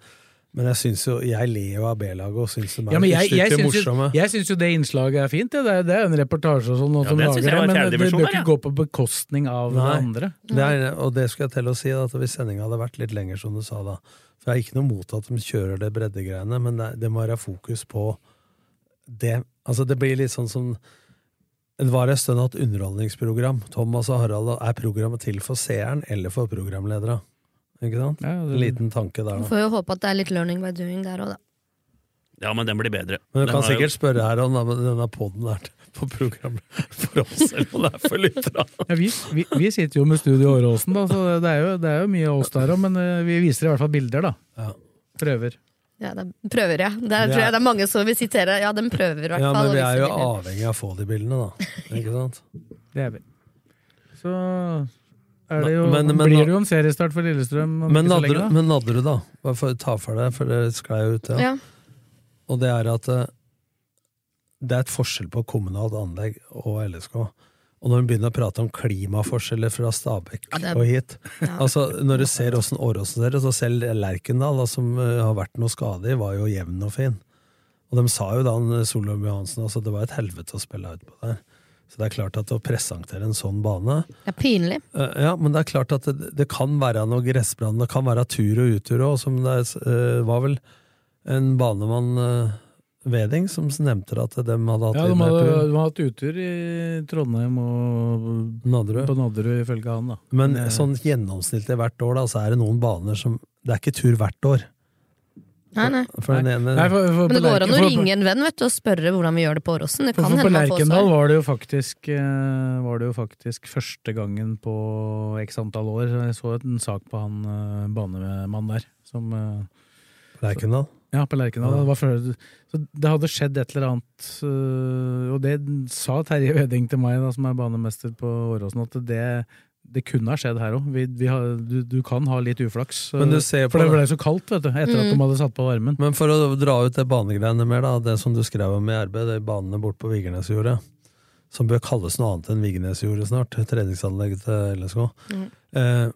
F: men jeg synes jo, jeg ler jo av B-laget og synes de er
D: Ja, men jeg, jeg,
F: stygt
D: syns jo,
F: morsomme.
D: jeg syns jo det innslaget er fint. Det, det, er, det er en reportasje og sånn, noen
F: Ja,
D: som
F: det
D: lager
F: syns jeg
D: det,
F: var
D: men
F: fjerde
D: det, det
F: divisjon, der,
D: bør ikke gå på bekostning av det andre.
F: Det er, og det skulle jeg til å si, at hvis sendinga hadde vært litt lenger, som du sa da For jeg har ikke noe mot at de kjører det breddegreiene, men det, det må være fokus på det Altså, det blir litt sånn som det var en stund at underholdningsprogram, Thomas og Harald, er programmet til for seeren eller for programledere? Ikke sant?
D: det-
F: Liten tanke der, da.
E: Får jo håpe at det er litt learning by doing der òg, da.
G: Ja, men den blir bedre.
F: Men du
G: Den har
F: kan
G: jo-
F: sikkert spørre her om denne- denne poden er på programmet for oss, eller om det er for lytterne.
D: Ja, vi, vi, vi sitter jo med Studio Åråsen, da, så det er, jo, det er jo mye av oss der òg, men eh, vi viser i hvert fall bilder, da. Prøver.
E: Ja, det er prøver, ja. Det er,
F: Det er-
E: tror jeg det er mange som vil sitere. Ja, den prøver i hvert
F: Ja,
E: fall.
F: men
E: å liksom
F: vi
E: vise
F: er jo
E: bilder.
F: avhengig av å få de bildene, da. Ikke sant?
D: Det er vi. Så er det jo,
F: Men- men-
D: blir det jo en seriestart for Lillestrøm om
F: Men
D: ikke så lenge, da.
F: Nadderud, men Nadderud, da. Bare for å ta for deg, for det sklei jo ut.
D: Ja.
F: Og det er at eh, det er et forskjell på kommunalt anlegg og LSK. Og når hun begynner å prate om klimaforskjeller fra Stabekk
H: Ja, det er-
F: og hit altså Når du ser åssen Åråsen ser ut, og selv Lerkendal, da, som eh, har vært noe skade i, var jo jevn og fin. Og de sa jo da, han Solveig Johansen, altså det var et helvete å spille ut på der. Så det er klart at å presentere en sånn bane
E: Det er pinlig.
F: Eh, Ja, men det er klart at det, det kan være noe gressbrann, det kan være tur og utur òg, som det er, eh, var vel en banemann eh, Veding som nevnte at de hadde hatt
D: Ja, de
F: litt mer
D: hadde,
F: tur.
D: de har hatt utur i Trondheim og på Nadderud, ifølge han. da.
F: Men
D: Eh,
F: sånn gjennomsnittlig hvert år, da, så er det noen baner som Det er ikke tur hvert år.
E: Nei, nei.
F: For den ene
D: Nei, for- for
E: Men det
D: på
E: går an
D: Lerken-
E: å
D: for-
E: ringe en venn vet du, og spørre hvordan vi gjør det på Åråsen. Det
D: For,
E: kan
D: for på
E: hende man får
D: Lerkendal
E: svar.
D: var det, jo faktisk, eh, var det jo faktisk første gangen på x antall år. Jeg så en sak på han eh, banemannen der. Som, eh,
F: Lerkendal?
D: Ja, på Lerkendal.
F: Ja.
D: Det, var før, så det hadde skjedd et eller annet eh, Og det sa Terje Veding til meg, da, som er banemester på Åråsen, at det, det kunne ha skjedd her òg. Vi, vi har- du, du kan ha litt uflaks. eh,
F: Men du ser på
D: for det
F: det.
D: ble så kaldt vet du, etter at de hadde satt på varmen.
F: Men for å dra ut det banegreiene mer, da, det som du skrev om i RB, det er banene bort på Vigernesjordet, som bør kalles noe annet enn Vigernesjordet snart, treningsanlegget til LSK.
H: Mhm.
F: Eh,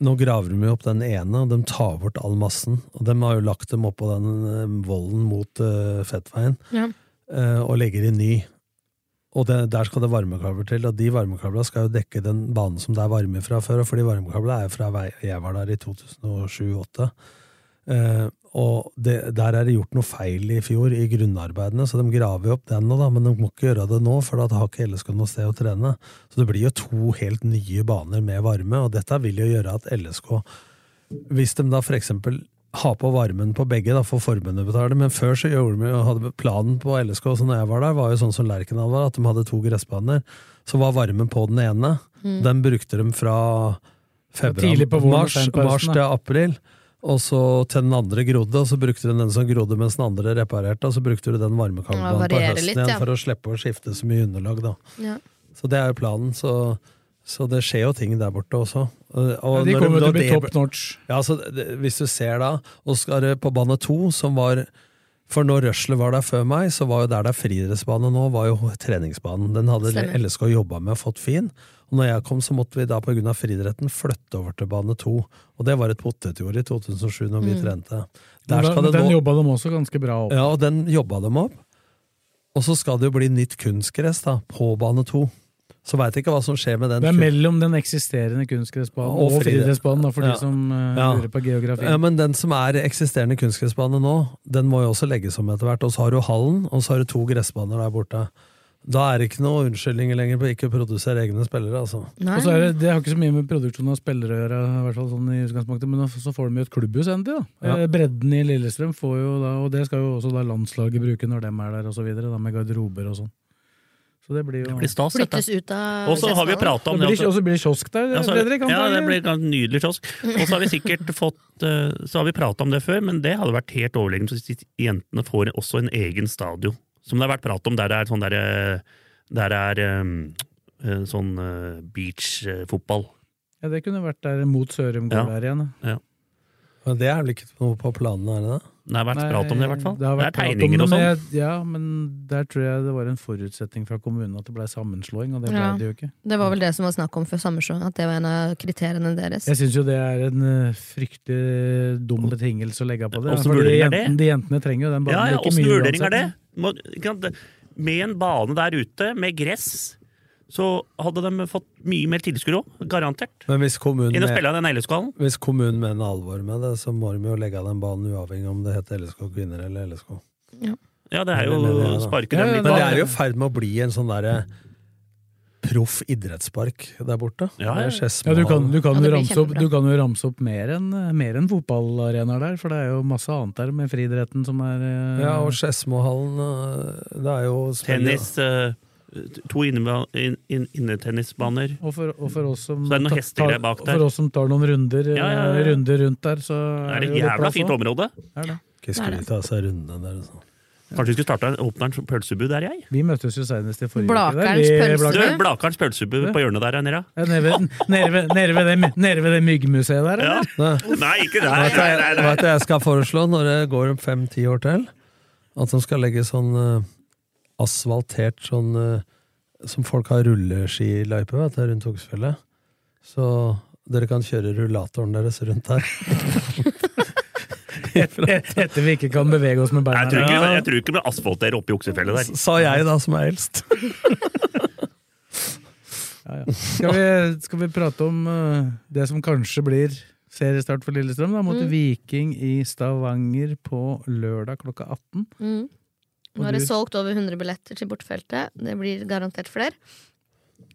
F: nå graver de jo opp den ene, og de tar bort all massen. Og de har jo lagt dem oppå den eh, volden mot eh, Fettveien,
H: Ja.
F: eh, og legger i ny. Og det, der skal det varmekabler til, og de varmekablene skal jo dekke den banen som det er varme fra før, og fordi varmekablene er jo fra vei- jeg var der i 2007-2008. Eh, og det, der er det gjort noe feil i fjor i grunnarbeidene, så de graver jo opp den nå, da, men de må ikke gjøre det nå, for da har ikke LSK noe sted å trene. Så det blir jo to helt nye baner med varme, og dette vil jo gjøre at LSK, hvis de da for eksempel har på varmen på begge, da får forbundet betale, men før så gjorde de jo, hadde planen på LSK, så når jeg var der, var jo sånn som Lerkendal var, at de hadde to gressbaner, så var varmen på den ene,
H: Mm.
F: den brukte de fra februar,
D: Tidlig på våren og
F: mars,
D: sent på høsten,
F: mars til
D: da.
F: april, og så til den andre grodde, og så brukte du den som grodde mens den andre reparerte, og så brukte du den varmekabelen
E: Ja,
F: på
E: varierer
F: høsten
E: litt,
F: igjen
E: ja.
F: for å slippe å skifte så mye underlag, da.
E: Ja.
F: Så det er jo planen, så, så det skjer jo ting der borte også. Og,
D: Ja, de
F: når
D: kommer til å
F: da
D: bli
F: det-
D: top notch.
F: Ja, så det, hvis du ser da, og skal det på bane to, som var for når Røsle var der før meg, så var jo der det er friidrettsbane nå, var jo treningsbanen. Den hadde
H: Stemmer.
F: LSK jobba med og fått fin. Og når jeg kom, så måtte vi da på grunn av friidretten flytte over til bane to. Og det var et potetjord i 2007, når vi
D: Mm.
F: trente.
D: Men
F: Der
D: da-
F: skal
D: men
F: det
D: den
F: nå
D: jobba de også ganske bra opp.
F: ja, og den jobba de opp. Og så skal det jo bli nytt kunstgress da, på bane to. Så veit jeg ikke hva som skjer med den.
D: Det er
F: kun-
D: mellom den eksisterende kunstgressbanen
F: Og
D: og,
F: friidrett.
D: friidrettsbanen, da, for
F: Ja.
D: de som eh,
F: Ja.
D: lurer på geografi.
F: Ja, Eh, men den som er eksisterende kunstgressbane nå, den må jo også legges om etter hvert. Og så har du hallen, og så har du to gressbaner der borte. Da er det ikke noe unnskyldninger lenger på ikke å produsere egne spillere, altså.
D: Og så er det, det har ikke så mye med produksjon av spillere å gjøre, i hvert fall sånn i utgangspunktet, men så får de jo et klubbhus endelig. da.
F: Ja.
D: Eh, Bredden i Lillestrøm får jo da, og det skal jo også da landslaget bruke når dem er der, og så videre, da, med garderober og sånn. Så det blir jo
G: blir stas, dette. Flyttes ut av
D: Og så har vi
G: Skedsmoen. pratet om det
D: det.
G: også.
D: blir- Og så blir det kiosk der,
G: altså- Ja, så,
D: Fredrik.
G: ja, det
D: antagelig.
G: blir en nydelig kiosk. Og så har vi sikkert fått eh, Så har vi prata om det før, men det hadde vært helt overlegent hvis de jentene får også en egen stadion. Som det har vært prat om der det er sånn der, eh, der det er eh, eh, sånn eh, beachfotball.
D: Ja, det kunne vært der mot Sørum gård der igjen. da.
F: Men det er vel ikke noe på planene, er det det?
G: Det har vært
D: Nei,
G: prat om det, i hvert fall.
D: har
G: Det,
D: vært
G: er
D: prat om
G: tegninger og
D: det, men
G: sånn.
D: jeg- Ja, men der tror jeg det var en forutsetning fra kommunen at det ble sammenslåing, og det ble
E: Ja.
D: det jo ikke.
E: Det var vel det som var snakk om før sammenslåing, at det var en av kriteriene deres.
D: Jeg syns jo det er en eh, fryktelig dum betingelse å legge på det.
G: Åssen
D: for
G: vurdering er det?
D: jentene, de jentene trenger jo den banen
G: Ja, ja,
D: like
G: åssen
D: mye
G: vurdering er det?
D: uansett.
G: Må, ikke sant? Med en bane der ute, med gress, så hadde de fått mye mer tilskuere òg, garantert.
F: Men hvis kommunen,
G: Inn og spille av den negleskallen.
F: hvis kommunen mener alvor med det, så må de jo legge av den banen uavhengig om det heter LSK kvinner eller LSK.
G: Ja, det er jo
F: mener jeg, da.
G: sparke dem litt
F: Men det
G: bak.
F: er jo i ferd med å bli en sånn derre proff idrettspark der borte. Det er Skedsmo.
D: Ja, du, kan, du, kan
F: Ja,
D: jo
F: det blir
D: ramse opp,
F: kjempebra.
D: du kan jo ramse opp mer enn eh, mer enn fotballarenaer der, for det er jo masse annet der med friidretten som er eh,
F: Ja, og Skedsmohallen eh, Det er jo
G: Tennis, eh, to inneba- inn- inn- innetennisbaner.
D: Og for, og for oss som
G: Så det er noen
D: ta-
G: hestegreier
D: tar-
G: bak der.
D: For oss som tar noen runder, eh,
G: Ja, ja, ja.
D: runder rundt der, så
G: Er det
D: jo litt
G: jævla
D: plass
G: fint
D: også.
G: område?
D: Er det.
F: Ikke skryt av seg rundene der. Altså.
G: Kanskje vi skulle starta åpneren som pølsebu der, jeg?
D: Vi møttes jo senest i forrige
G: Blakerens
D: uke. der. Vi-
G: pølsebu?
D: Blaker-
G: Blakerens pølsebu på hjørnet der, Nera.
D: Ja, Nede ved, nede ved, nede ved, det, nede ved det myggmuseet der, eller?
G: Nei, ikke der!
F: Vet
G: Nei, nei,
F: du hva-
G: nei.
F: vet du hva jeg skal foreslå når det går om fem-ti år til? At de skal legge sånn eh, asfaltert sånn eh, Som folk har rulleskiløype vet du, rundt Hogsfjellet. Så dere kan kjøre rullatoren deres rundt der.
D: Etter vi ikke kan bevege oss med beina.
G: Jeg tror ikke, jeg tror ikke det blir asfalter oppe i oksefellet der.
F: Sa jeg da, som er eldst.
D: Skal vi, skal vi prate om eh, det som kanskje blir seriestart for Lillestrøm? da, Mot
E: Mm.
D: Viking i Stavanger på lørdag klokka 18.
E: Mm.
D: Og
E: Nå har
D: du-
E: det solgt over 100 billetter til bortefeltet. Det blir garantert flere.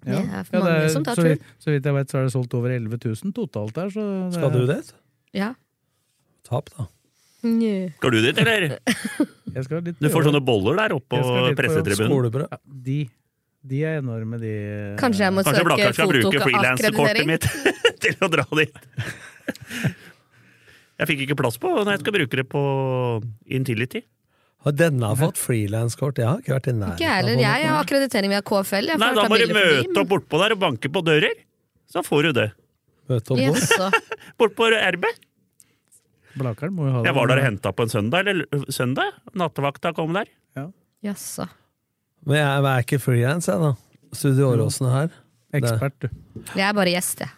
E: Det
D: Ja.
E: er
D: Ja,
E: mange
D: det er-
E: som tar
D: så,
E: tur.
D: vidt, så vidt jeg vet, så er det solgt over 11 000 totalt der. Så det
F: Skal du
D: er-
F: dit?
E: Ja.
F: Tap, da.
G: Skal du dit, eller?
D: Jeg skal litt
G: Du får
D: på jobb.
G: sånne boller der oppe på
D: Jeg skal litt på jobb.
G: pressetribunen. Skolebrød.
D: Ja, de, de er enorme, de. eh,
E: Kanskje jeg må
G: Kanskje
E: søke
G: Blakkar skal bruke frilanserkortet
E: fotoakkreditering?
G: mitt til å dra dit. Jeg fikk ikke plass på når jeg skal bruke det på Intility.
F: Har denne fått frilanskort? Jeg har ikke vært i nærheten.
E: Ikke jeg heller. Jeg har akkreditering via KFL. Jeg
G: Nei,
E: får
G: da
E: ta
G: må du
E: bilder for de,
G: møte opp bortpå der og banke på dører. Så får du det.
F: Møte
E: men- Jaså.
G: Bortpå RB.
D: Blakeren må jo ha
G: Jeg var der og henta på en søndag. Eller søndag? Nattevakta kom der.
E: Jaså.
F: Men jeg er ikke frilans, jeg, da. Studio Åråsen er her.
D: Ekspert, du.
E: Jeg er bare gjest, jeg.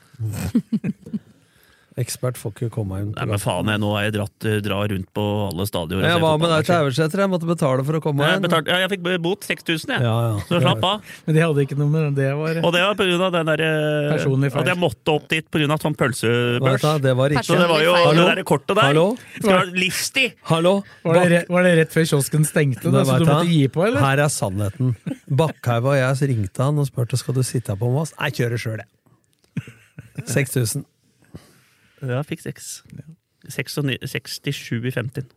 F: Ekspert får ikke komme inn.
G: Nei, men faen, jeg, nå har jeg dratt eh, drar rundt på alle stadioner. og
F: Jeg
G: ser
F: var med
G: fotball.
F: deg til Haugeseter, jeg måtte betale for å komme
G: Nei, jeg,
F: inn.
G: betalte- ja, jeg fikk bot 6000, jeg.
F: Ja, ja.
G: Så slapp av.
D: Men de hadde ikke noe med det å gjøre.
G: Og det var pga. den derre
D: Personlig feil.
G: At jeg måtte opp dit pga. sånn pølsebørs.
F: Vet du, det var riktig.
G: Så det var jo
F: Personlig feil.
G: det der kortet der.
F: Hallo?
G: Skal ha livstid!
F: Hallo?
D: Var det, rett, var det rett før kiosken stengte, da,
F: Men
D: så
F: vet
D: du måtte
F: han,
D: gi på, eller?
F: Her er sannheten. Bakkhaug og jeg så ringte han og spurte skal du sitte på med oss. Jeg kjører sjøl, jeg. 6000.
G: Ja, jeg fikk seks. 67 i 50.
D: Det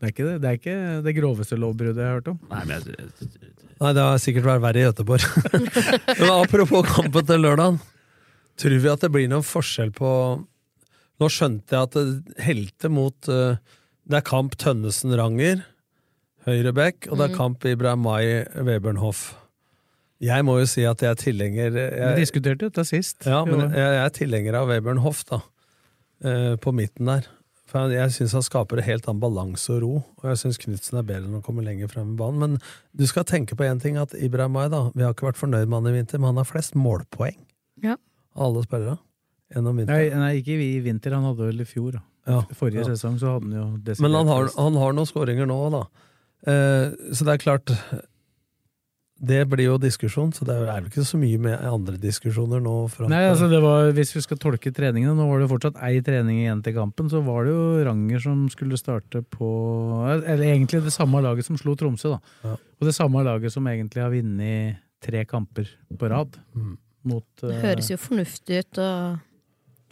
D: er ikke det, det, er ikke det groveste lovbruddet jeg har hørt om.
G: Nei, men jeg,
F: Nei, det har sikkert vært verre i Gøteborg. Men apropos kampen til lørdagen. Tror vi at det blir noen forskjell på Nå skjønte jeg at det helte mot eh, Det er kamp Tønnesen-Ranger, Høyrebekk, og det er
D: Mhm.
F: kamp Ibrahim Mai Webernhoff. Jeg må jo si at jeg er tilhenger jeg,
D: Vi diskuterte dette sist.
F: Ja, men
D: Jo.
F: jeg, jeg er tilhenger av Webern Hoff, da. Eh, på midten der. For jeg, jeg syns han skaper en helt annen balanse og ro. Og jeg syns Knutsen er bedre enn å komme lenger frem i banen. Men du skal tenke på én ting, at Ibrahimai, da. Vi har ikke vært fornøyd med han i vinter, men han har flest målpoeng.
E: Ja.
F: Alle spillere. Gjennom
D: Nei,
F: vinteren.
D: nei, ikke vi i vinter. Han hadde vel i fjor, da.
F: Ja,
D: Forrige
F: ja.
D: sesong så hadde han jo desidert
F: Men han har,
D: flest.
F: han har noen skåringer nå, da. Eh, så det er klart Det blir jo diskusjon, så det er vel ikke så mye med andre diskusjoner nå. fram
D: Nei,
F: til-
D: altså det var, Hvis vi skal tolke treningene, nå var det jo fortsatt ei trening igjen til kampen. Så var det jo Ranger som skulle starte på Eller egentlig det samme laget som slo Tromsø, da.
F: Ja.
D: Og det samme laget som egentlig har vunnet tre kamper på rad. Mot, eh,
E: Det høres jo fornuftig ut å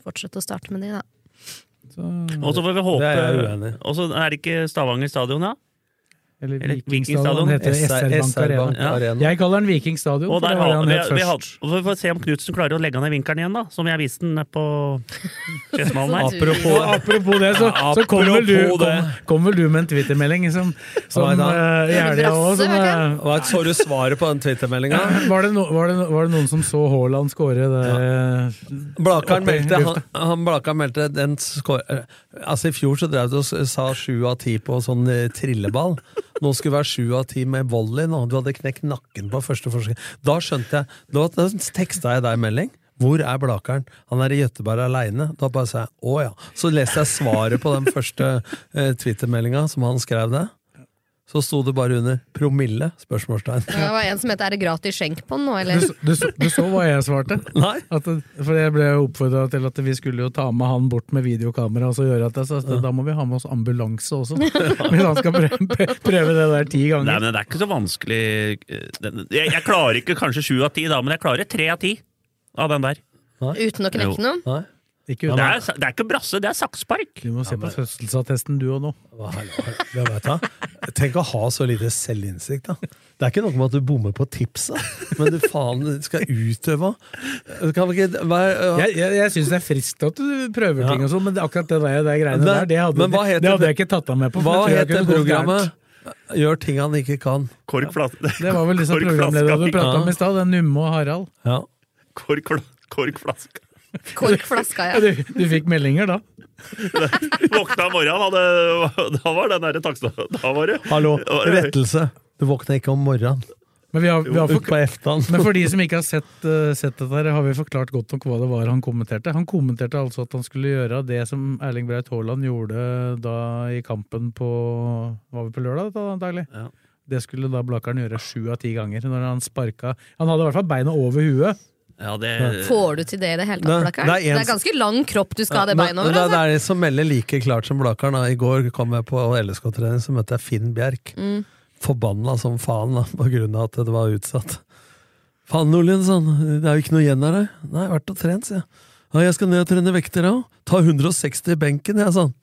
E: fortsette å starte med de, da.
G: Og så får vi håpe
F: Det er jeg uenig i.
G: Og så er det ikke Stavanger stadion, da?
D: Eller
G: Vikingstadion.
D: Vikingstadion. Heter det
F: SR
D: SR Bank Arena.
F: Bank Arena.
D: Jeg kaller den Vikingstadion,
G: Og
D: for
G: der
D: det var det
G: har,
D: han
G: vi,
D: het
G: vi
D: først.
G: hadde, og vi får se om Knutsen klarer å legge han i vinkelen igjen, da. Som jeg viste den nede på Skedsmalen her.
D: Og apropos det, så, så kom, vel du,
F: Apropos det.
D: kom, kom vel du med en Twitter-melding som, som
F: Hva er det da?
D: eh, i helga òg. Som, eh,
F: Hva er- så du svaret på den Twitter-meldinga?
D: var, det no, var, det, no- var det noen som så Haaland skåre det
F: Blakaren
D: oppe i
F: meldte, han,
D: lufta?
F: han Blakaren meldte den skår, eh, Altså I fjor så drev du og s- sa sju av ti på sånn eh, trilleball. Nå skulle det være sju av ti med volley. Nå. Du hadde knekt nakken på første forsøk. Da skjønte jeg Da, da teksta jeg deg en melding. Hvor er Blakeren? Han er i Gøteborg aleine. Da bare sa jeg å ja. Så leste jeg svaret på den første eh, Twitter-meldinga som han skrev det. så sto det bare under 'promille?' spørsmålstegn.
E: Det var en som het 'Er det gratis skjenk på den nå', eller?
D: Du, så- du, så- du så hva jeg svarte?
F: Nei.
D: At, det- for jeg ble oppfordra til at vi skulle jo ta med han bort med videokamera. og så gjøre at jeg sa, at Da må vi ha med oss ambulanse også, hvis han skal prøve, prøve det der ti ganger.
G: Nei, men Det er ikke så vanskelig eh, den- Jeg, jeg klarer ikke kanskje sju av ti, da, men jeg klarer tre av ti av den der.
E: Uten å knekke
G: Jo.
E: noe?
D: Ikke
G: Det
D: uten-
G: er, det er ikke brasse, det er sakspark!
D: Du må se på fødselsattesten du og nå.
F: Det vet jeg. Tenk å ha så lite selvinnsikt, da. Det er ikke noe med at du bommer på tipset, men du faen du skal utøve kan vi ikke, hva øh, er-
D: Jeg, jeg, jeg syns det er friskt at du prøver ting, og sånn, men det- akkurat det der, det greiene
F: Men-
D: der, det hadde,
F: men hva heter
D: det hadde jeg
F: det-
D: ikke tatt deg med på. for
F: Hva
D: jeg tror jeg
F: het det
D: kunne gått
F: programmet?
D: gærent.
F: Gjør ting han ikke kan.
D: Det var vel liksom programlederen du prata om i stad, den Numme og Harald.
F: Ja.
G: Korkflaska.
E: Korkflaska, ja.
D: Du, du fikk meldinger da?
G: Våkna om morgenen, hadde, da var den derre taksta... Da var det
F: Hallo,
G: da var det-
F: rettelse. Du våkner ikke om morgenen.
D: Men, vi har, vi har
F: Ut på eftan.
D: men for de som ikke har sett, eh, sett dette, her, har vi forklart godt nok hva det var han kommenterte. Han kommenterte altså at han skulle gjøre det som Erling Braut Haaland gjorde da i kampen på Var vi på lørdag, da, antagelig? Det skulle da Blakeren gjøre sju av ti ganger. Når Han sparka Han hadde i hvert fall beina over huet.
G: Ja, det
E: Får du til det i det hele tatt,
F: Nei,
E: Blakkaren?
F: det er en-
E: Det er ganske lang kropp du skal ha det
F: Men-
E: beinet
F: men
E: over.
F: Det,
E: Altså.
F: det er de som melder like klart som Blakeren. da. I går kom jeg på LSK-trening, så møtte jeg Finn Bjerk.
E: Mm.
F: Forbanna som faen da, på grunn av at det var utsatt. Faen, Nordlien, sa han. Det er jo ikke noe igjen av deg. Nei, jeg har vært og trent, sier jeg. Ja, jeg skal ned og trene vekter, jeg òg. Ta 160 i benken, jeg, sa han.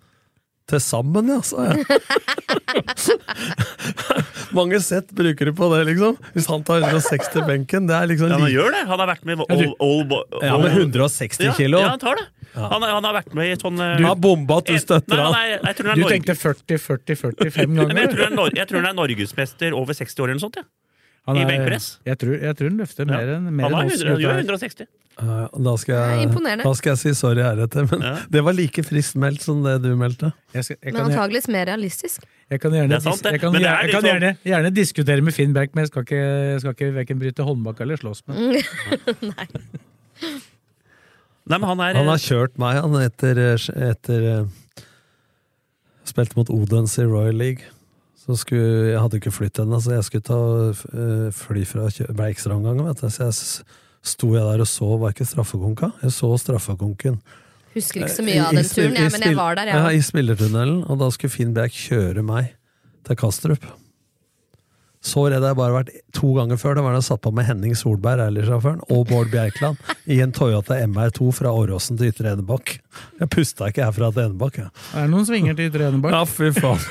F: Til sammen, ja, sa jeg. Mange sett brukere på det, liksom. Hvis han tar 160 i benken, det er liksom
G: Ja, men han
F: lite.
G: gjør det! Han har vært med i
F: Ja,
G: all,
F: du-
G: all, all,
F: Ja, med 160 kilo.
G: Ja, ja han tar det. Han, er- han har vært med i sånn eh,
F: Du har bomba at du støtter
G: Nei, nei,
F: han.
G: nei, jeg tror han
D: Du
G: er Norge.
D: tenkte 40-40-40 fem
G: Nei, men jeg,
D: ganger.
G: tror han er, Nor- jeg tror han er norgesmester over 60 år eller noe sånt. Ja.
D: Han
G: I
D: er-
G: benkpress.
D: Jeg tror, jeg tror han løfter mer enn mer
G: Han
D: enn
G: er
D: oss.
G: 100, han gjør 160.
D: gutter.
F: Ja, ja, Eh, Da skal,
E: Det er
F: jeg,
E: imponerende.
F: da skal jeg si sorry heretter, men det var like friskt meldt som det du meldte.
D: Jeg skal- jeg
E: Men
D: kan-
E: antageligvis mer realistisk.
D: Jeg kan gjerne,
G: Det er sant, det.
D: dis- jeg kan,
G: Men det er
D: gjerne, jeg
G: litt sånn-
D: kan gjerne, gjerne diskutere med Finn Berg, men jeg skal ikke, jeg skal ikke verken bryte håndbak eller slåss med ham.
G: Nei, men han er,
F: Han har kjørt meg, han, etter, etter eh, Spilte mot Odense i Royal League. Så skulle, jeg hadde ikke flytt ennå, så jeg skulle ta eh, fly fra Kjø- Bleikstrandgangen, vet du. Så jeg s- sto jeg der og så, var ikke straffekonka? Jeg så straffekonken.
E: Husker ikke så
F: I-
E: mye av
F: Eh, i
E: den
F: spill-
E: turen,
F: i
E: jeg, men jeg
F: spill-
E: var der,
F: Ja,
E: jeg.
F: I spillertunnelen, og da skulle Finn Bjerk kjøre meg til Kastrup. Så redd har jeg bare vært to ganger før. Da var det jeg satt på med Henning Solberg rallysjåføren, og Bård Bjerkland i en Toyota MR2 fra Åråsen til Ytre Enebakk. Jeg pusta ikke herfra til Enebakk. jeg.
D: Er det noen svinger til Ytre Enebakk?
F: Ja, fy faen.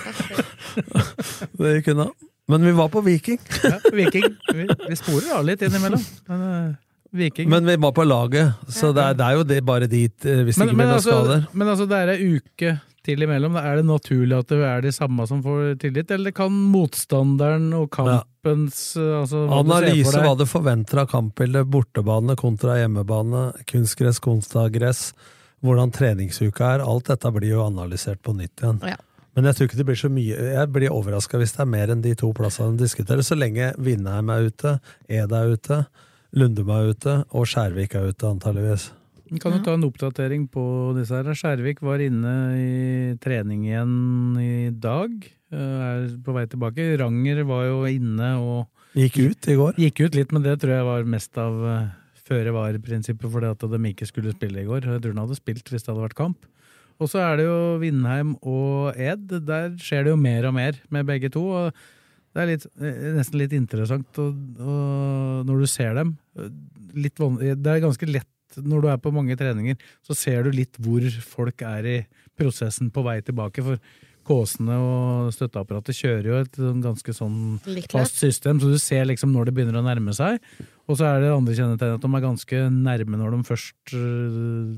F: Det gikk unna. Men vi var på Viking.
D: Ja, Viking. Vi, vi sporer av litt innimellom. Men, eh, Viking.
F: Men vi var på laget, så det er, det er jo det, bare dit eh, hvis det
D: men,
F: ikke blir
D: men,
F: noen
D: altså,
F: skader.
D: men altså, det er ei uke til imellom. Da Er det naturlig at det er de samme som får tillit, eller kan motstanderen og kampens eh, altså, hva du ser for
F: Analyse
D: deg-
F: hva du forventer av kampbildet. Bortebane kontra hjemmebane. Kunstgress kontra gress. Hvordan treningsuka er. Alt dette blir jo analysert på nytt igjen.
E: Ja.
F: Men jeg tror ikke det blir så mye Jeg blir overraska hvis det er mer enn de to plassene de diskuterer, så lenge Vindheim er ute, Ed er ute, Lundum er ute og Skjærvik er ute, antageligvis.
D: Vi Kan jo ta en oppdatering på disse her. Skjærvik var inne i trening igjen i dag. eh, Er på vei tilbake. Ranger var jo inne og
F: Gikk ut i går.
D: gikk ut litt, men det tror jeg var mest av eh, føre var-prinsippet, fordi at de ikke skulle spille i går. Jeg tror de hadde spilt hvis det hadde vært kamp. Og så er det jo Vindheim og Ed. Der skjer det jo mer og mer med begge to. og det er litt, eh, nesten litt interessant og, og når du ser dem. eh, Litt van, det er ganske lett når du er på mange treninger, så ser du litt hvor folk er i prosessen på vei tilbake. For Kåsene og støtteapparatet kjører jo et sånn ganske sånn
E: Likt løp.
D: fast system, så du ser liksom når det begynner å nærme seg. Og så er det andre kjennetegnet at de er ganske nærme når de først øh,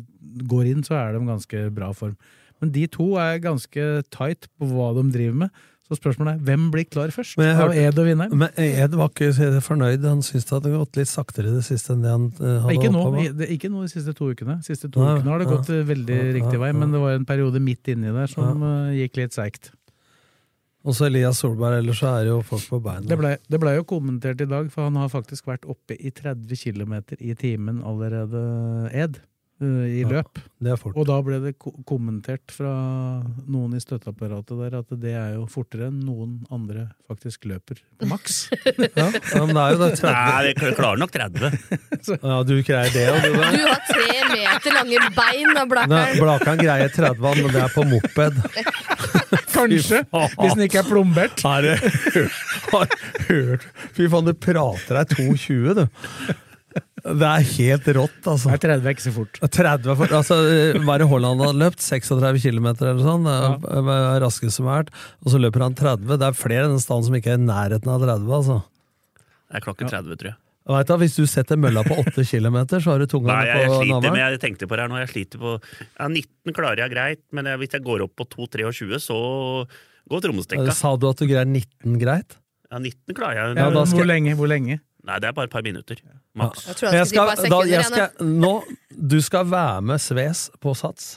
D: går inn, så er de ganske bra form. Men de to er ganske tight på hva de driver med. Så spørsmålet er hvem blir klar først?
F: Men jeg
D: Av
F: hørte-
D: Ed og Vindheim?
F: Men eh, Ed var ikke fornøyd. Han syntes det hadde gått litt saktere i det siste enn det han eh, hadde
D: Ikke nå,
F: håpet på.
D: i- det- ikke nå de siste to ukene. siste to
F: Nei,
D: ukene har det
F: ja.
D: gått eh, veldig
F: Ja,
D: riktig
F: ja,
D: vei,
F: ja.
D: men det var en periode midt inni der som eh, gikk litt seigt.
F: Og så Elias Solberg, ellers så er det jo folk på beina.
D: Det blei ble jo kommentert i dag, for han har faktisk vært oppe i 30 km i timen allerede, Ed. eh, i
F: Ja,
D: løp.
F: det er fort.
D: Og da ble det ko kommentert fra noen i støtteapparatet der at det er jo fortere enn noen andre faktisk løper på maks.
F: Ja, ja, men det er jo det 30.
G: Nei, jeg klarer nok 30.
F: Ja, du greier det, og du
E: Du
F: der.
E: har tre meter lange bein av
F: Nei,
E: Blakkern.
F: Blakan greier 30, men det er på moped.
D: Kanskje, hvis den ikke er plombert.
F: Har du har du hørt Fy faen, du prater deg 22, du. Det er helt rått, altså.
D: 30 er ikke så fort.
F: 30 er fort. Altså, hva er det Haaland har løpt? 36 km eller sånn? Det er Raskest som har vært. Og så løper han 30. Det er flere i den standen som ikke er i nærheten av 30, altså.
G: Det er klokken 30, tror jeg.
F: Og Vet du, hva, hvis du setter mølla på 8 km, så har du tunga
G: Nei, jeg, jeg
F: på
G: sliter med,
F: navlen.
G: jeg tenkte på det her nå. Jeg sliter på ja, 19 klarer jeg greit, men jeg, hvis jeg går opp på 2,23, så går trommestekka.
F: Eh, Sa du at du greier 19 greit?
G: Ja, 19 klarer jeg.
F: Ja, da skal-
D: Hvor lenge? Hvor lenge?
G: Nei, det er bare et par minutter. Maks.
E: Jeg tror jeg skal si et par sekunder
F: jeg
E: igjen,
F: skal, nå, du skal være med Sves på sats,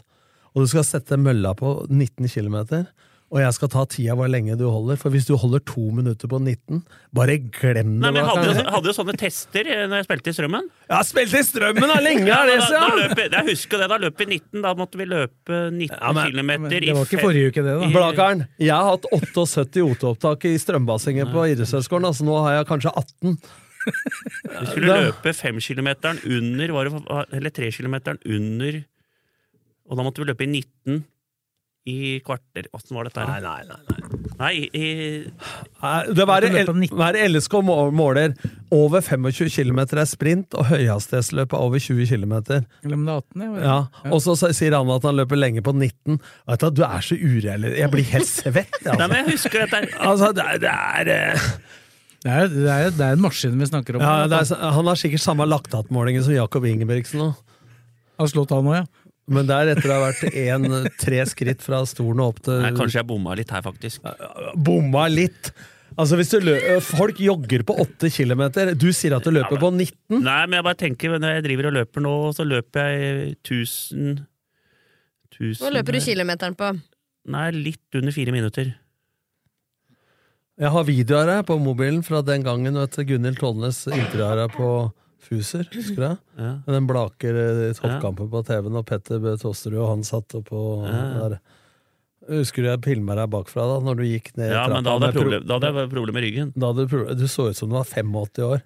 F: og du skal sette mølla på 19 km. Og jeg skal ta tida hvor lenge du holder, for hvis du holder to minutter på 19, bare glem det.
G: Nei, men jeg hadde, jo-
F: Blakan.
G: hadde jo sånne tester eh, når jeg spilte i Strømmen.
F: Jeg har spilt i Strømmen, da! Lenge er det
G: da, da
F: siden!
G: løp, jeg- jeg husker det, da løp vi 19. Da måtte vi løpe 19 km i fem- i-
F: Blakkaren, jeg har hatt 78 OT-opptak i strømbassenget på idrettshøyskolen, altså nå har jeg kanskje 18.
G: Vi skulle løpe 5 km under, var det, eller 3 km under, og da måtte vi løpe i 19 i kvarter. Åssen var dette her?
F: Nei, nei,
G: nei. Nei, i,
F: Nei, Det hver,
G: At du løper
F: hver LSK må- måler over 25 km er sprint, og høyhastighetsløp er over 20 km.
D: Eller om det er 18? jeg vet
F: Ja,
D: ikke. Ja.
F: og så s- sier han at han løper lenge på 19. Vet du, hva, du er så ureell. Jeg blir helt svett. jeg,
G: Nei,
F: Altså.
G: men jeg husker dette her.
F: Altså, det er, det er, eh,
D: Det er, det, er, det er en maskin vi snakker om.
F: ja, det er
D: han
F: så- han har sikkert samme laktatmålingen som Jakob Ingebrigtsen nå.
D: har slått han òg, ja.
F: Men der etter det har vært en, tre skritt fra stolen og opp til
G: Nei, kanskje jeg bomma litt her, faktisk.
F: bomma litt. Altså hvis du lø Folk jogger på 8 km. Du sier at du løper på 19.
G: Nei, men jeg bare tenker, når jeg driver og løper nå, så løper jeg 1000 1000
E: Hva løper du kilometeren på?
G: Nei, litt under fire minutter.
F: Jeg har videoer her på mobilen fra den gangen vet du, Gunhild Tollnes intervjuet her på Fuser. husker du det?
G: Ja.
F: Med Den blaker eh, toppkampen på TV-en, og Petter Bø Tosterud og han satt oppå
G: Ja.
F: der. Husker du jeg filma deg bakfra da når du gikk ned
G: Ja,
F: trappa
G: men da hadde
F: med
G: jeg
F: pro-
G: problem, da hadde jeg problem med ryggen.
F: da hadde du pro- Du så ut som du var 85 år.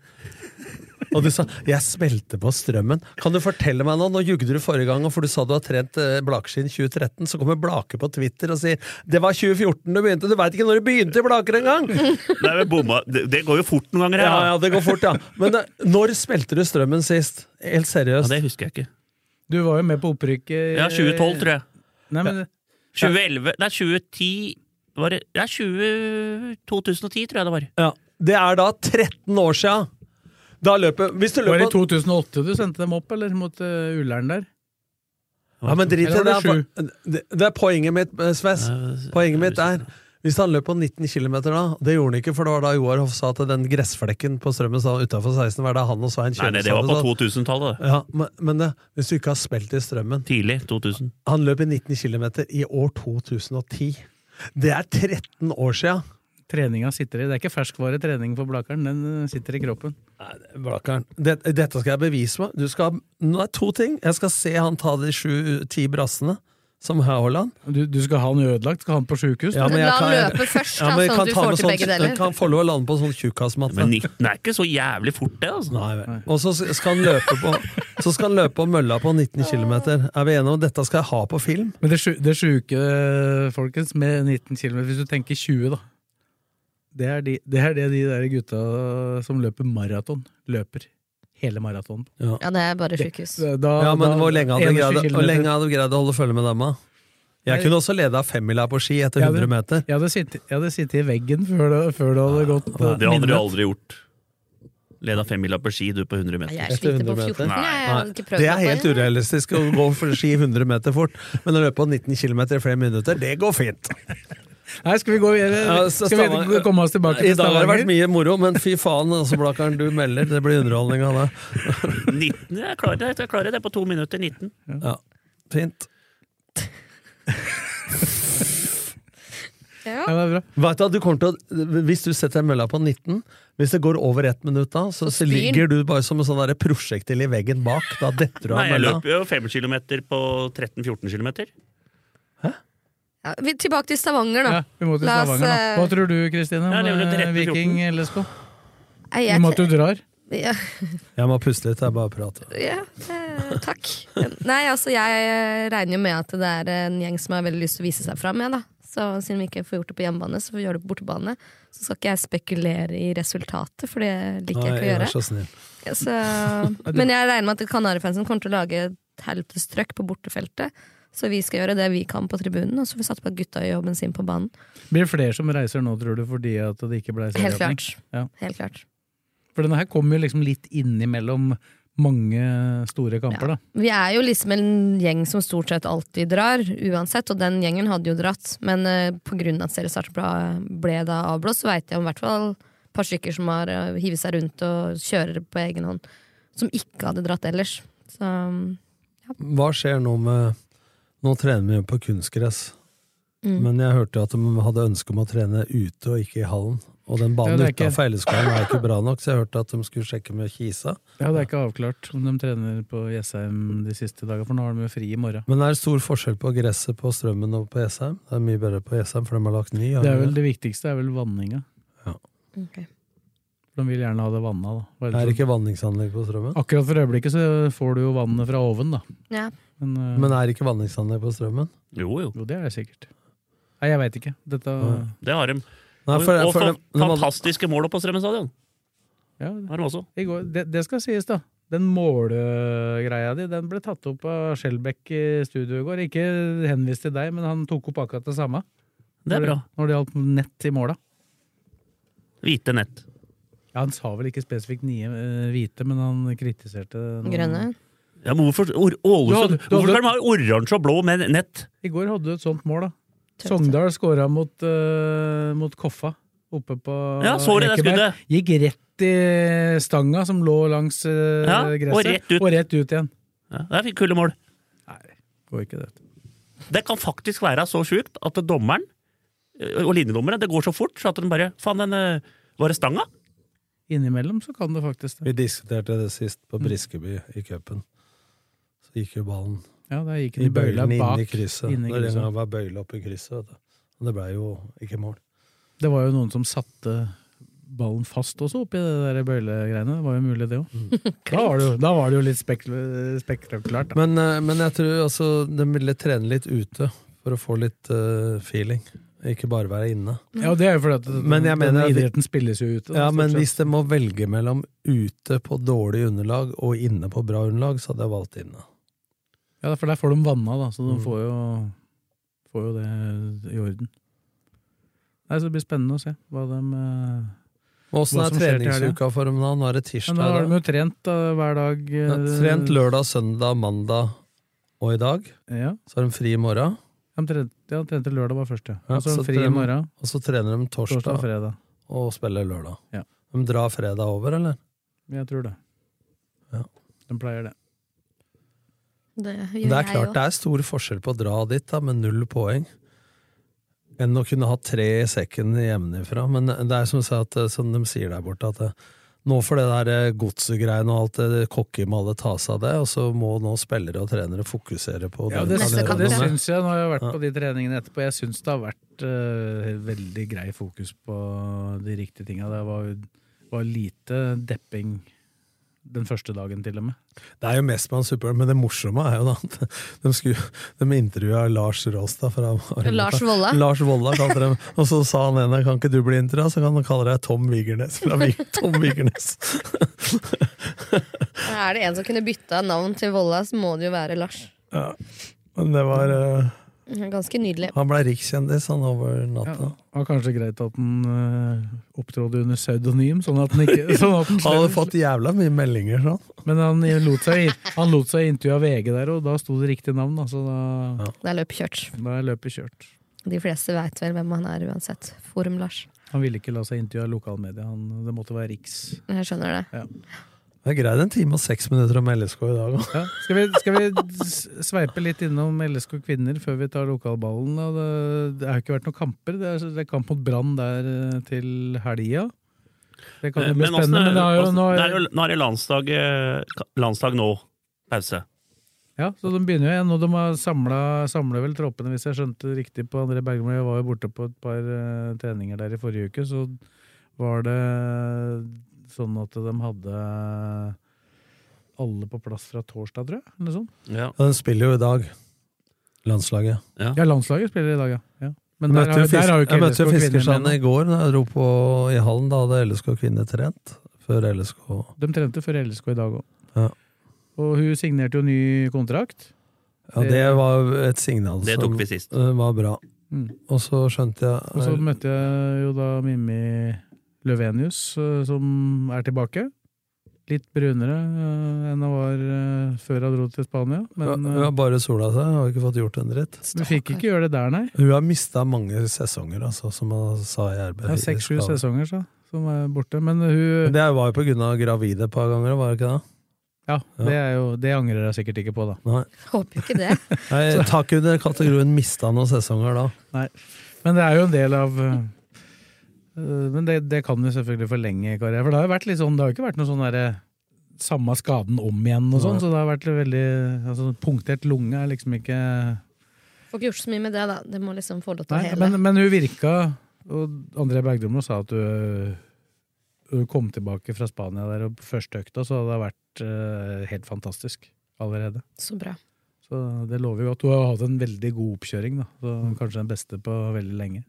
F: Og du sa 'jeg smelte på strømmen'. Kan du fortelle meg Nå Nå jugde du forrige gang, og for du sa du har trent eh, Blakeskinn 2013. Så kommer Blake på Twitter og sier 'det var 2014 du begynte'. Du veit ikke når du begynte i Blaker engang!
G: Nei, men bomma. Det, det går jo fort noen ganger. her,
F: Ja,
G: da.
F: ja, det går fort, ja. Men eh, når spilte du strømmen sist? Helt seriøst.
G: Ja, det husker jeg ikke.
D: Du var jo med på opprykket
G: Ja, 2012, tror jeg.
D: Nei, men,
G: 2011 Nei, 2010 var det, Ja, 20, 2010 tror jeg det var.
F: Ja. Det er da 13 år sia! Da løper Hvis du
D: Var det i
F: løper
D: 2008 du sendte dem opp, eller? Mot uh, Ullern der?
F: Ja, men drit i det.
D: Eller var det
F: Det er, det, det er poenget mitt, eh, Sves. Poenget mitt er hvis han løp på 19 km da, det gjorde han ikke, for det var da Joar Hoff sa at den gressflekken på strømmen utafor 16 var da han og Svein
G: Nei, nei,
F: Kjønes
G: det var på
F: hadde stått.
G: 2000-tallet. det.
F: Ja, men, men det, hvis du ikke har spilt i strømmen
G: Tidlig 2000.
F: Han løp i 19 km i år 2010. Det er 13 år sia!
D: Treninga sitter i. Det er ikke ferskvare trening for Blakeren, den eh, sitter i kroppen.
F: Blakkaren. Det, dette skal jeg bevise meg. Du skal, nå er det to ting. Jeg skal se han ta de sju-ti brassene, som Haaland.
D: Du, du skal ha den ødelagt, skal ha den på sjukehus.
F: Ja, men jeg
E: La han
F: kan-
E: løpe først,
F: Ja,
E: da,
F: men jeg
E: sånn
F: kan
E: at du
F: ta
E: får
F: med
E: til
F: sånn-
E: begge
F: jeg
E: deler.
F: Kan få lov å lande på sånn tjukkasmatte.
G: Men 19 er ikke så jævlig fort, det. altså.
F: Nei, vel. Og så skal han løpe på Så skal han løpe på mølla på 19 km. Er vi enige om dette skal jeg ha på film?
D: Men det, sju- det sjuke, eh, folkens, med 19 km, hvis du tenker 20, da. Det er, de, det er det de der gutta som løper maraton, løper. Hele maraton.
E: Ja, det er bare sjukehus.
D: Da-
F: Ja, men
D: da-
F: hvor lenge hadde du
D: 21
F: greid, hvor
D: kilometer.
F: lenge hadde du greid å holde følge med dem? da? Jeg kunne også leda femmila på ski etter
D: Jeg hadde-
F: 100 meter.
D: Jeg hadde sittet, jeg hadde sittet i veggen før det, før det hadde gått eh,
G: Det hadde du
D: minutt.
G: aldri gjort. Leda femmila på ski, du, på 100 meter.
E: Jeg sliter på
G: Nei.
E: 14, jeg. jeg hadde ikke prøvd
F: Det er
E: meg på
F: helt urealistisk å gå for ski 100 meter fort, men å løpe på 19 km i flere minutter, det går fint.
D: Nei, skal vi gå
F: Ja,
D: videre?
F: så
D: Skal vi
F: Stavanger-
D: komme oss tilbake
F: I
D: til
F: dag har det vært
D: Stavanger?
F: mye moro, men fy faen, altså, Blakkaren, du melder. Det blir underholdning av det.
G: 19, jeg klarer det, jeg klarer det på to minutter. 19.
F: Ja, fint.
E: Ja.
F: Vet du, at du kommer til å, hvis du setter mølla på 19, hvis det går over ett minutt da, så, så
G: spyr den.
F: ligger du bare som en sånn der prosjektil i veggen bak. Da detter du av
G: Nei, jeg
F: mølla.
G: løp jo 5 km på 13-14 km.
E: Ja, vi, tilbake til Stavanger, da.
D: Ja, vi må til
E: La oss,
D: Stavanger, da.
E: eh,
D: Hva tror du, Kristine,
E: Ja,
D: om
E: det er vel
D: eh,
E: 13-14.
D: Viking LSK?
E: nei,
D: I
E: jeg
D: og med at du
E: tre-
D: drar?
E: Ja,
F: Jeg må puste litt, jeg bare prater.
E: ja eh, takk. Nei, altså, jeg eh, regner jo med at det er en gjeng som har veldig lyst til å vise seg fram, jeg, da. Så siden vi ikke får gjort det på hjemmebane, så får vi gjøre det på bortebane. Så skal ikke jeg spekulere i resultatet, for det sånn. liker jeg ikke å
F: Nei,
E: gjøre.
F: vær så snill.
E: Ja, Så, men jeg regner med at Kanarifansen kommer til å lage et helvetes trøkk på bortefeltet. Så vi skal gjøre det vi kan på tribunen, og så får vi satse på at gutta gjør jobben sin på banen.
D: Blir det flere som reiser nå, tror du, fordi at det ikke ble
E: Helt
D: serieåpning?
E: klart.
D: Ja.
E: Helt klart.
D: For denne her kommer jo liksom litt innimellom mange store kamper, da.
E: Vi er jo liksom en gjeng som stort sett alltid drar, uansett, og den gjengen hadde jo dratt. Men eh, på grunn av at seriestarten ble, ble da avblåst, så veit jeg om i hvert fall et par stykker som har eh, hivet seg rundt og kjører på egen hånd, som ikke hadde dratt ellers. Så
F: Hva skjer nå med Nå trener vi jo på kunstgress,
E: Mm.
F: men jeg hørte jo at de hadde ønske om å trene ute og ikke i hallen. Og den
D: Ja,
F: banen
D: det er ikke-
F: utenfor Elleskolen er ikke bra nok, så jeg hørte at de skulle sjekke med Kisa.
D: Ja, Det er ikke avklart om de trener på Jessheim de siste dagene, for nå har de jo fri i morgen.
F: Men det er stor forskjell på gresset på Strømmen og på Jessheim. Det er mye bedre på Jessheim, for de har lagt ny. har
D: Det er
F: de
D: vel det viktigste er vel vanninga.
E: Ok.
D: For de vil gjerne ha det vanna. da. Bare
F: Er det
D: sånn-
F: ikke vanningsanlegg på Strømmen?
D: Akkurat for øyeblikket så får du jo vannet fra oven, da.
E: Ja.
D: Men, eh,
F: Men er det ikke vanningsanlegg på Strømmen?
G: Jo, jo.
D: det er det sikkert. Nei, jeg veit ikke. Dette
G: Det har de.
F: Nei, for-
G: og
F: for-
G: fa-
F: de hadde-
G: fantastiske mål oppe på Strømmen stadion.
D: ja,
G: Har de også.
D: i går, det, det skal sies, da. Den målegreia di den ble tatt opp av Skjelbæk i studio i går. Ikke henvist til deg, men han tok opp akkurat det samme.
G: Det er
D: Når
G: bra.
D: Når det gjaldt nett i måla.
G: Hvite nett.
D: Ja, han sa vel ikke spesifikt nye eh, hvite, men han kritiserte noen-
F: Mm.
G: Ja, men hvorfor Or-
D: Du
G: Ålesund
D: hadde- du
G: Hvorfor
D: hadde-
G: kan de ha oransje og blå med nett?
D: I går hadde du et sånt mål, da. Sogndal skåra mot, eh, mot Koffa oppe på
G: Ja, så du det skuddet?
D: Ekeberg. Gikk rett i stanga som lå langs eh,
G: Ja, og
D: gresset.
G: rett ut.
D: igjen.
G: Ja, det er kule mål.
D: Går ikke det.
G: Det kan faktisk være så sjukt at dommeren ø, og linjedommerne det går så fort så at den bare Faen, den ø, Var det stanga?
D: Innimellom så kan det faktisk det.
F: Vi diskuterte det sist
D: Mm.
F: på Briskeby i cupen. Så gikk jo ballen
D: Ja, der gikk den
F: i
D: i bøyla
F: bøylene inn
D: bak,
F: i krysset.
D: inn i
F: Når
D: krysset.
F: det var bøyle opp i krysset, vet du. Og det blei jo ikke mål.
D: Det var jo noen som satte ballen fast også oppi det der bøylegreiene. Det var jo mulig, det
F: Mm.
D: òg. Da, var det jo- da var det jo litt spekl- spektakulært, da.
F: Men, eh, men jeg tror altså de ville trene litt ute for å få litt eh, feeling. Ikke bare være inne.
D: Ja, og det er jo fordi at den-
F: Men jeg mener
D: denne
F: at vi-
D: idretten spilles jo ute. da,
F: Ja,
D: stort
F: men
D: sett.
F: hvis de må velge mellom ute på dårlig underlag og inne på bra underlag, så hadde jeg valgt inne.
D: Ja, for der får de vanna, da,
F: Mm.
D: så de får jo, får jo det i orden. Nei, så Det blir spennende å se hva de eh,
F: Åssen
D: hva
F: er
D: som skjer til helga.
F: treningsuka for dem da? Nå er det tirsdag.
D: Men da har
F: da.
D: de jo trent da, hver dag. eh,
F: Ja, Trent lørdag, søndag, mandag og i dag.
D: Ja.
F: Så har de fri i morgen.
D: De trente, ja, de trente lørdag var først, ja.
F: Ja,
D: Og så har de fri
F: trener
D: i
F: de-
D: morgen.
F: Og så trener de torsdag,
D: Torsdag og fredag.
F: og spiller lørdag.
D: Ja.
F: De drar fredag over, eller?
D: Jeg tror det.
F: Ja.
D: De pleier det.
E: Det,
F: Men det er klart det er stor forskjell på å dra dit da, med null poeng, enn å kunne ha tre i sekken hjemmefra. Men det er som, jeg sa, at, eh, som de sier der borte, at eh, nå får det der eh, godsegreiene og alt eh, det kokkemallet ta seg av det, og så må nå spillere og trenere fokusere på
D: Ja,
F: den
D: det,
F: karrieren
D: det
F: de har.
D: syns jeg. Nå har jeg vært på de treningene etterpå. Jeg syns det har vært eh, veldig grei fokus på de riktige tinga. Det var, var lite depping den første dagen, til og med.
F: Det er jo mest man supper, men det morsomme er jo da at de, skulle- de intervjua Lars Råstad fra
E: Lars Volla.
F: Lars Volla kalte dem, og så sa han ene kan ikke du bli intervjua, så kan han kalle deg Tom Vigernes fra Vi- Tom Vigernes.
E: Er det en som kunne bytta navn til Volla, så må det jo være Lars.
F: Ja. Men det var eh,
E: Ganske nydelig.
F: Han blei rikskjendis han over natta.
D: Det var kanskje greit at den eh, opptrådte under pseudonym, sånn at den ikke sånn at den
F: Han hadde fått jævla mye meldinger sånn.
D: Men han lot seg, han lot seg intervjue av VG der, og da sto det riktig navn. Da, så da,
E: Det er løpet kjørt.
D: da er løpet kjørt.
E: De fleste veit vel hvem han er uansett. Forum-Lars.
D: Han ville ikke la seg intervjue av lokalmedia. Han, det måtte være Riks.
E: Jeg skjønner det.
D: Ja.
F: Det er greit en time og seks minutter om LSK i dag òg.
D: Skal vi, skal vi s- sveipe litt innom LSK kvinner før vi tar lokalballen? da? Det, det har jo ikke vært noen kamper. Det er, det er kamp mot Brann der eh, til helga. Det kan jo
G: Eh,
D: bli
G: Men åssen er,
D: spennende. Men det er jo,
G: åssen-
D: nå,
G: det er jo nå er det landsdag, eh, landsdag nå. Pause.
D: ja, så de begynner jo igjen. Og de har samla, samler vel troppene, hvis jeg skjønte det riktig på André Bergmo. Jeg var jo borte på et par eh, treninger der i forrige uke, så var det sånn at de hadde alle på plass fra torsdag, tror jeg. Eller sånn.
G: Ja.
F: Den spiller jo i dag, landslaget.
G: Ja.
D: landslaget spiller i dag, ja. ja. Men
F: jeg
D: der
F: møtte
D: har,
F: jo
D: der har jo
F: Fisk-
D: ikke
F: jeg møtte jo
D: LSK kvinner
F: Fiskersand
D: med
F: i går da jeg dro på i hallen. Da hadde LSK kvinner trent. Før LSK
D: noe. De trente før LSK i dag òg.
F: Ja.
D: Og hun signerte jo ny kontrakt.
F: Ja, det var et signal
D: Det tok vi
G: sist.
F: som eh, var bra.
D: Mm.
F: Og så skjønte
D: Og så
F: jeg
D: møtte jeg jo da Mimmi Løvenius, eh, som er tilbake. Litt brunere eh, enn hun var eh, før hun dro til Spania. Men
F: Hun
D: eh,
F: har bare sola seg, har ikke fått gjort en dritt.
D: hun fikk ikke gjøre det der, nei.
F: Hun har mista mange sesonger, altså, som hun sa i RB.
D: Det er seks-sju
F: Skade.
D: sesonger så, som er borte. Men hun
F: Men Det var jo på grunn av gravide et par ganger, var det ikke det?
D: Ja,
F: Ja.
D: det, er jo, det angrer jeg sikkert ikke på, da.
F: Nei.
E: Håper jo ikke det.
F: Nei takk under kategorien mista noen sesonger da.
D: Nei. Men det er jo en del av øh, Men det, det kan jo selvfølgelig forlenge karrieren. For det har jo vært litt sånn, det har jo ikke vært noe sånn derre samme skaden om igjen og sånn,
E: Nei.
D: så det har vært veldig altså, Punktert lunge er liksom ikke
E: Får ikke gjort så mye med det, da. Det må liksom få lov til å
D: Nei,
E: hele.
D: men, men hun virka Og André Bergdumlo sa at hun, hun kom tilbake fra Spania der, og på første økta så hadde det vært øh, helt fantastisk allerede.
E: Så bra.
D: Så det lover jo godt. Hun har hatt en veldig god oppkjøring, da. Så
E: Mm.
D: kanskje den beste på veldig lenge.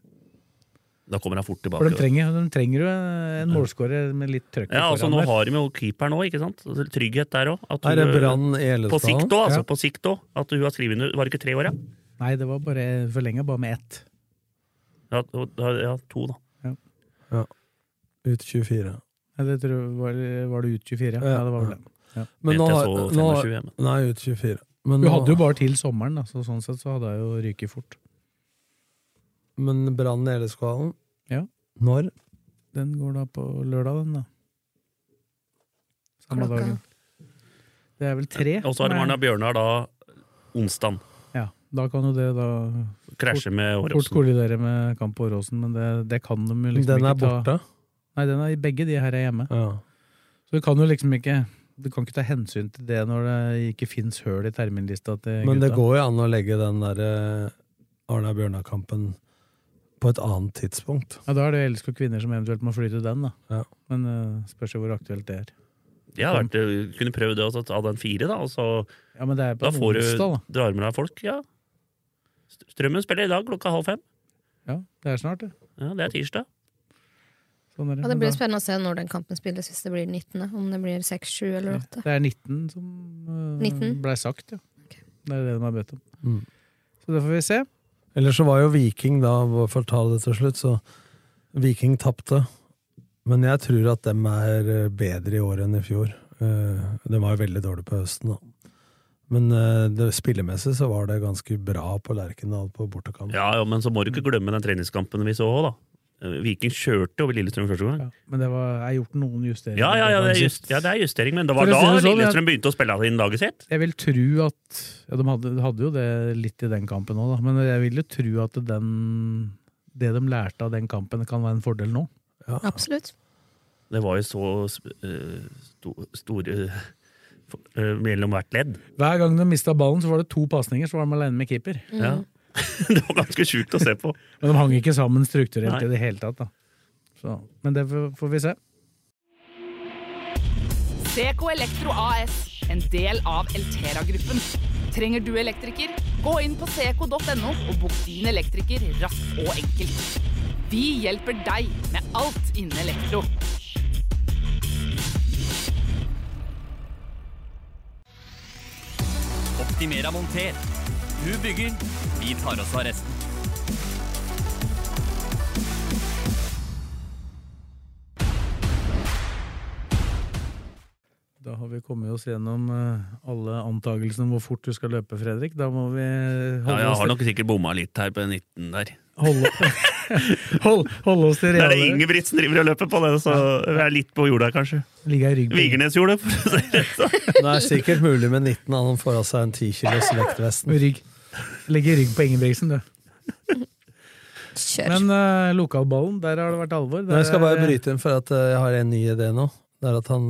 G: Da kommer han fort tilbake.
D: For de
G: da.
D: trenger, de trenger jo en målskårer med litt trøkk
G: Ja, altså Nå
D: foran der.
G: har de jo keeper nå, ikke sant? Altså, Trygghet der òg.
D: Er det Brann i Elestad?
G: På sikt òg, altså.
D: Ja.
G: På sikt også, At hun har skrevet under Var det ikke tre år, ja?
D: Nei, det var bare forlenga, bare med ett.
G: Ja, og- ja to, da.
F: Ja. Ut 24.
D: Eller jeg tror, var, var det ut 24? Ja, det var vel det. Ja.
F: Men nå, har- nå, har- nei, ut 24. Men
D: Hun
F: nå-
D: hadde jo bare til sommeren, da, så sånn sett så hadde jeg jo ryket fort.
F: Men Brann i Eleskvalen?
D: Ja.
F: Når?
D: Den går da på lørdag, den, da. Samme
G: Klokka?
D: dagen. Det er vel tre.
G: Og så har de
D: som er-
G: Arna Bjørnar da onsdag.
D: Ja, da kan jo det da
G: Krasje med Åråsen.
D: Fort kollidere med kamp på Åråsen, men det, det kan de jo liksom
F: Den er
D: ikke ta.
F: borte?
D: Nei, den er begge de her er hjemme. Så du kan jo liksom ikke Du kan ikke ta hensyn til det når det ikke fins høl i terminlista til
F: Men det
D: gutta.
F: går jo an å legge den der eh, Arna-Bjørnar-kampen på et annet tidspunkt.
D: Ja, Da er det jo LSK kvinner som eventuelt må flytte den, da. Men eh, spørs jo hvor aktuelt det er.
G: Ja, vært, eh, kunne prøvd det, og så ta den fire, da. Og så,
D: Ja, men det er på
G: da
D: en
G: får
D: onsdag, da.
G: du drar med deg folk. Ja. St- Strømmen spiller i dag klokka halv fem.
D: Ja, det er snart, det.
G: Ja, det er tirsdag.
D: Sånn er
E: Ja,
D: det.
E: det
D: Men
E: blir
D: da-
E: spennende å se når den kampen spilles, hvis det blir 19. Om det blir 6, 7 eller 8.
D: det er 19 som eh,
E: 19?
D: ble sagt, ja. Det er det de har bedt om.
F: Mm.
D: Så det får vi se.
F: Eller så var jo Viking, da, for å ta det til slutt, så Viking tapte. Men jeg tror at dem er eh, bedre i år enn i fjor. Eh, De var jo veldig dårlige på høsten, da. Men eh, det spillemessig så var det ganske bra på Lerkendal på bortekamp.
G: Ja, ja, men så må du ikke glemme den treningskampen vi så òg, da. Eh, Viking kjørte over Lillestrøm første gang.
D: Men det var, er gjort noen justeringer.
G: Ja, ja, ja, det er,
D: Kanskje.
G: just, ja det er justering, men det var
D: For å
G: da
D: si det sånn,
G: Lillestrøm begynte å spille inn laget sitt.
D: Jeg vil tro at ja, De hadde, hadde jo det litt i den kampen òg, da. Men jeg vil jo tro at den, det de lærte av den kampen, kan være en fordel nå.
E: Absolutt.
G: Det var jo så eh, sto, store eh, for- eh, mellom hvert ledd.
D: Hver gang de mista ballen, så var det to pasninger, så var de alene med keeper.
E: Mm.
G: Ja. det var ganske sjukt å se på.
D: Men de hang ikke sammen strukturelt
G: Nei.
D: i det hele tatt. da. Så, men det får får vi se.
B: CK Elektro AS, en del av Eltera-gruppen. Trenger du elektriker? Gå inn på ck.no og bok din elektriker raskt og enkelt. Vi hjelper deg med alt innen elektro.
A: Optimera monter. Du bygger, vi tar oss av resten.
D: Da har vi kommet oss gjennom eh, alle antakelsene om hvor fort du skal løpe, Fredrik. Da må vi
G: Ja,
D: holde,
G: jeg
D: oss,
G: har
D: til,
G: nok sikkert bomma litt her på 19 der.
D: holde, hold, holde oss til
G: Det er det
D: reale-
G: Ingebrigtsen driver og løper på, det, så jeg er litt på jorda, kanskje.
D: Ligger jeg i ryggen.
G: Vigernes gjorde det, for å si det
F: Det er sikkert mulig med 19 at han får av seg en 10 kilos vektvest.
D: Med rygg. Legger rygg på Ingebrigtsen, du. Men eh, lokalballen, der har det vært alvor. Der
F: Nei, jeg skal bare
D: er-
F: bryte inn, for at eh, jeg har en ny idé nå. Det er at han,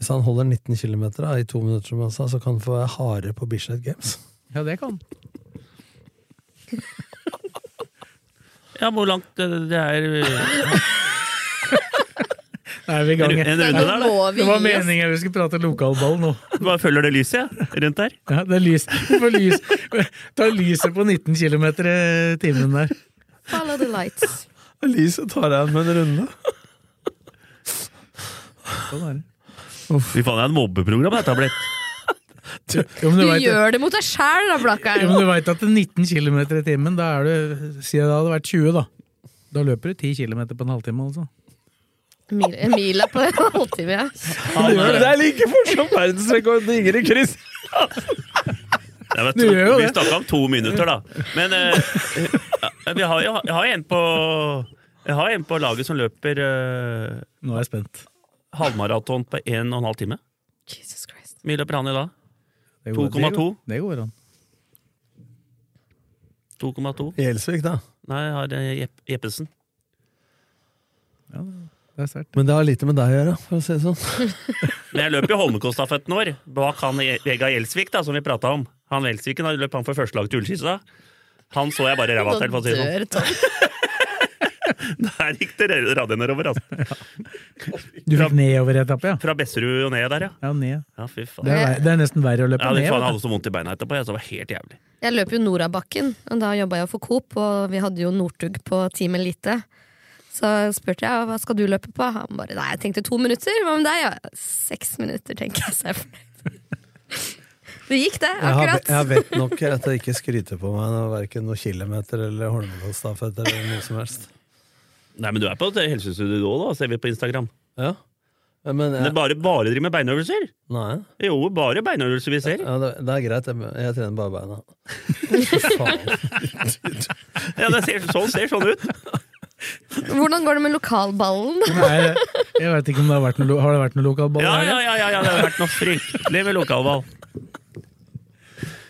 F: Hvis han holder 19 km i to minutter, som han sa, så kan han få være hare på Bislett Games.
D: Ja, det kan.
G: Ja, hvor langt det det er eh,
D: Da er vi i gang.
G: En runde der, da.
D: eh, det var meningen vi skulle prate lokalball nå.
G: Bare følger det lyset, ja, rundt der.
D: Ja, det er lys. Du får lys. Ta lyset på 19 km i timen der.
E: Follow the lights.
F: Lyset tar deg med en runde.
D: Sånn er det.
G: Fy faen, det er et mobbeprogram dette har blitt.
D: Jo, men
E: Du,
D: vet-
E: gjør det mot deg sjæl, da,
D: Jo, men du
E: Blakkern!
D: veit at 19 km i timen, da er du Si det hadde vært 20, da. Da løper du 10 km på en halvtime, altså.
E: Mil- En mil er på en halvtime, ja.
F: Det er like fort som verdensrekorden til Ingrid Kristiansen!
G: Jeg vet,
D: Du gjør jo
G: vi
D: det.
G: snakka om to minutter, da. Men eh, ja, vi har, jo- jeg har en på Jeg har en på laget som løper eh,
D: Nå er jeg spent.
G: halvmaraton på 1 12 time.
E: Jesus Christ.
G: Mila Prani da.
D: Det går-
G: 2,2.
D: Det går an.
G: 2,2.
F: Gjelsvik, da.
G: Nei, jeg har eh, Jepp, Jeppesen.
D: Det er sterkt.
F: Men det har lite med deg å gjøre, for å si det sånn.
G: Men jeg løper jo Holmenkollstafetten vår, bak han Je- Vegard Gjelsvik, da, som vi prata om. Han Gjelsviken har løpt han for førstelaget til Ullskisa. Han så jeg bare ræva
E: Nå
G: til, for å si det sånn.
E: dør Tom.
G: Der gikk det radioen nedover, altså.
D: Du fikk nedoveretappe, ja?
G: Fra Besserud og ned der, ja.
D: Ja, ned.
G: Ja, fy
D: Det er,
G: faen.
D: vei- det er nesten verre å løpe
G: Ja, de
D: ned.
G: faen jeg
D: vet
G: hadde så vondt i beina etterpå, jeg, så det var helt jævlig.
E: Jeg løp jo Norabakken, og da jobba jeg for Coop, og vi hadde jo Northug på Team Elite. Så spurte jeg hva skal du løpe på. Han bare nei, jeg tenkte to minutter. Hva med deg? Ja, Seks minutter, tenker jeg. Så jeg er fornøyd. Det gikk, det.
F: Jeg har,
E: Akkurat.
F: jeg vet nok at jeg ikke skryter på meg verken noen kilometer eller Holmenkollstafetter eller noe som helst.
G: Nei, men du er på et helsestudio nå, da, ser vi på Instagram.
F: Ja. Men
G: Men det er
F: jeg,
G: bare, bare driver med beinøvelser?
F: nei.
G: Jo, bare beinøvelser vi ser.
F: Ja, det, det er greit. Jeg, jeg trener bare beina. Fy faen.
G: Ja, det ser sånn, ser sånn ut.
E: Hvordan går det med lokalballen?
D: du. Nei, jeg vet ikke om det har vært noe, lo- har det vært noe lokalball
G: Ja,
D: her,
G: ja, ja, ja, ja det har vært noe fryktelig med lokalball.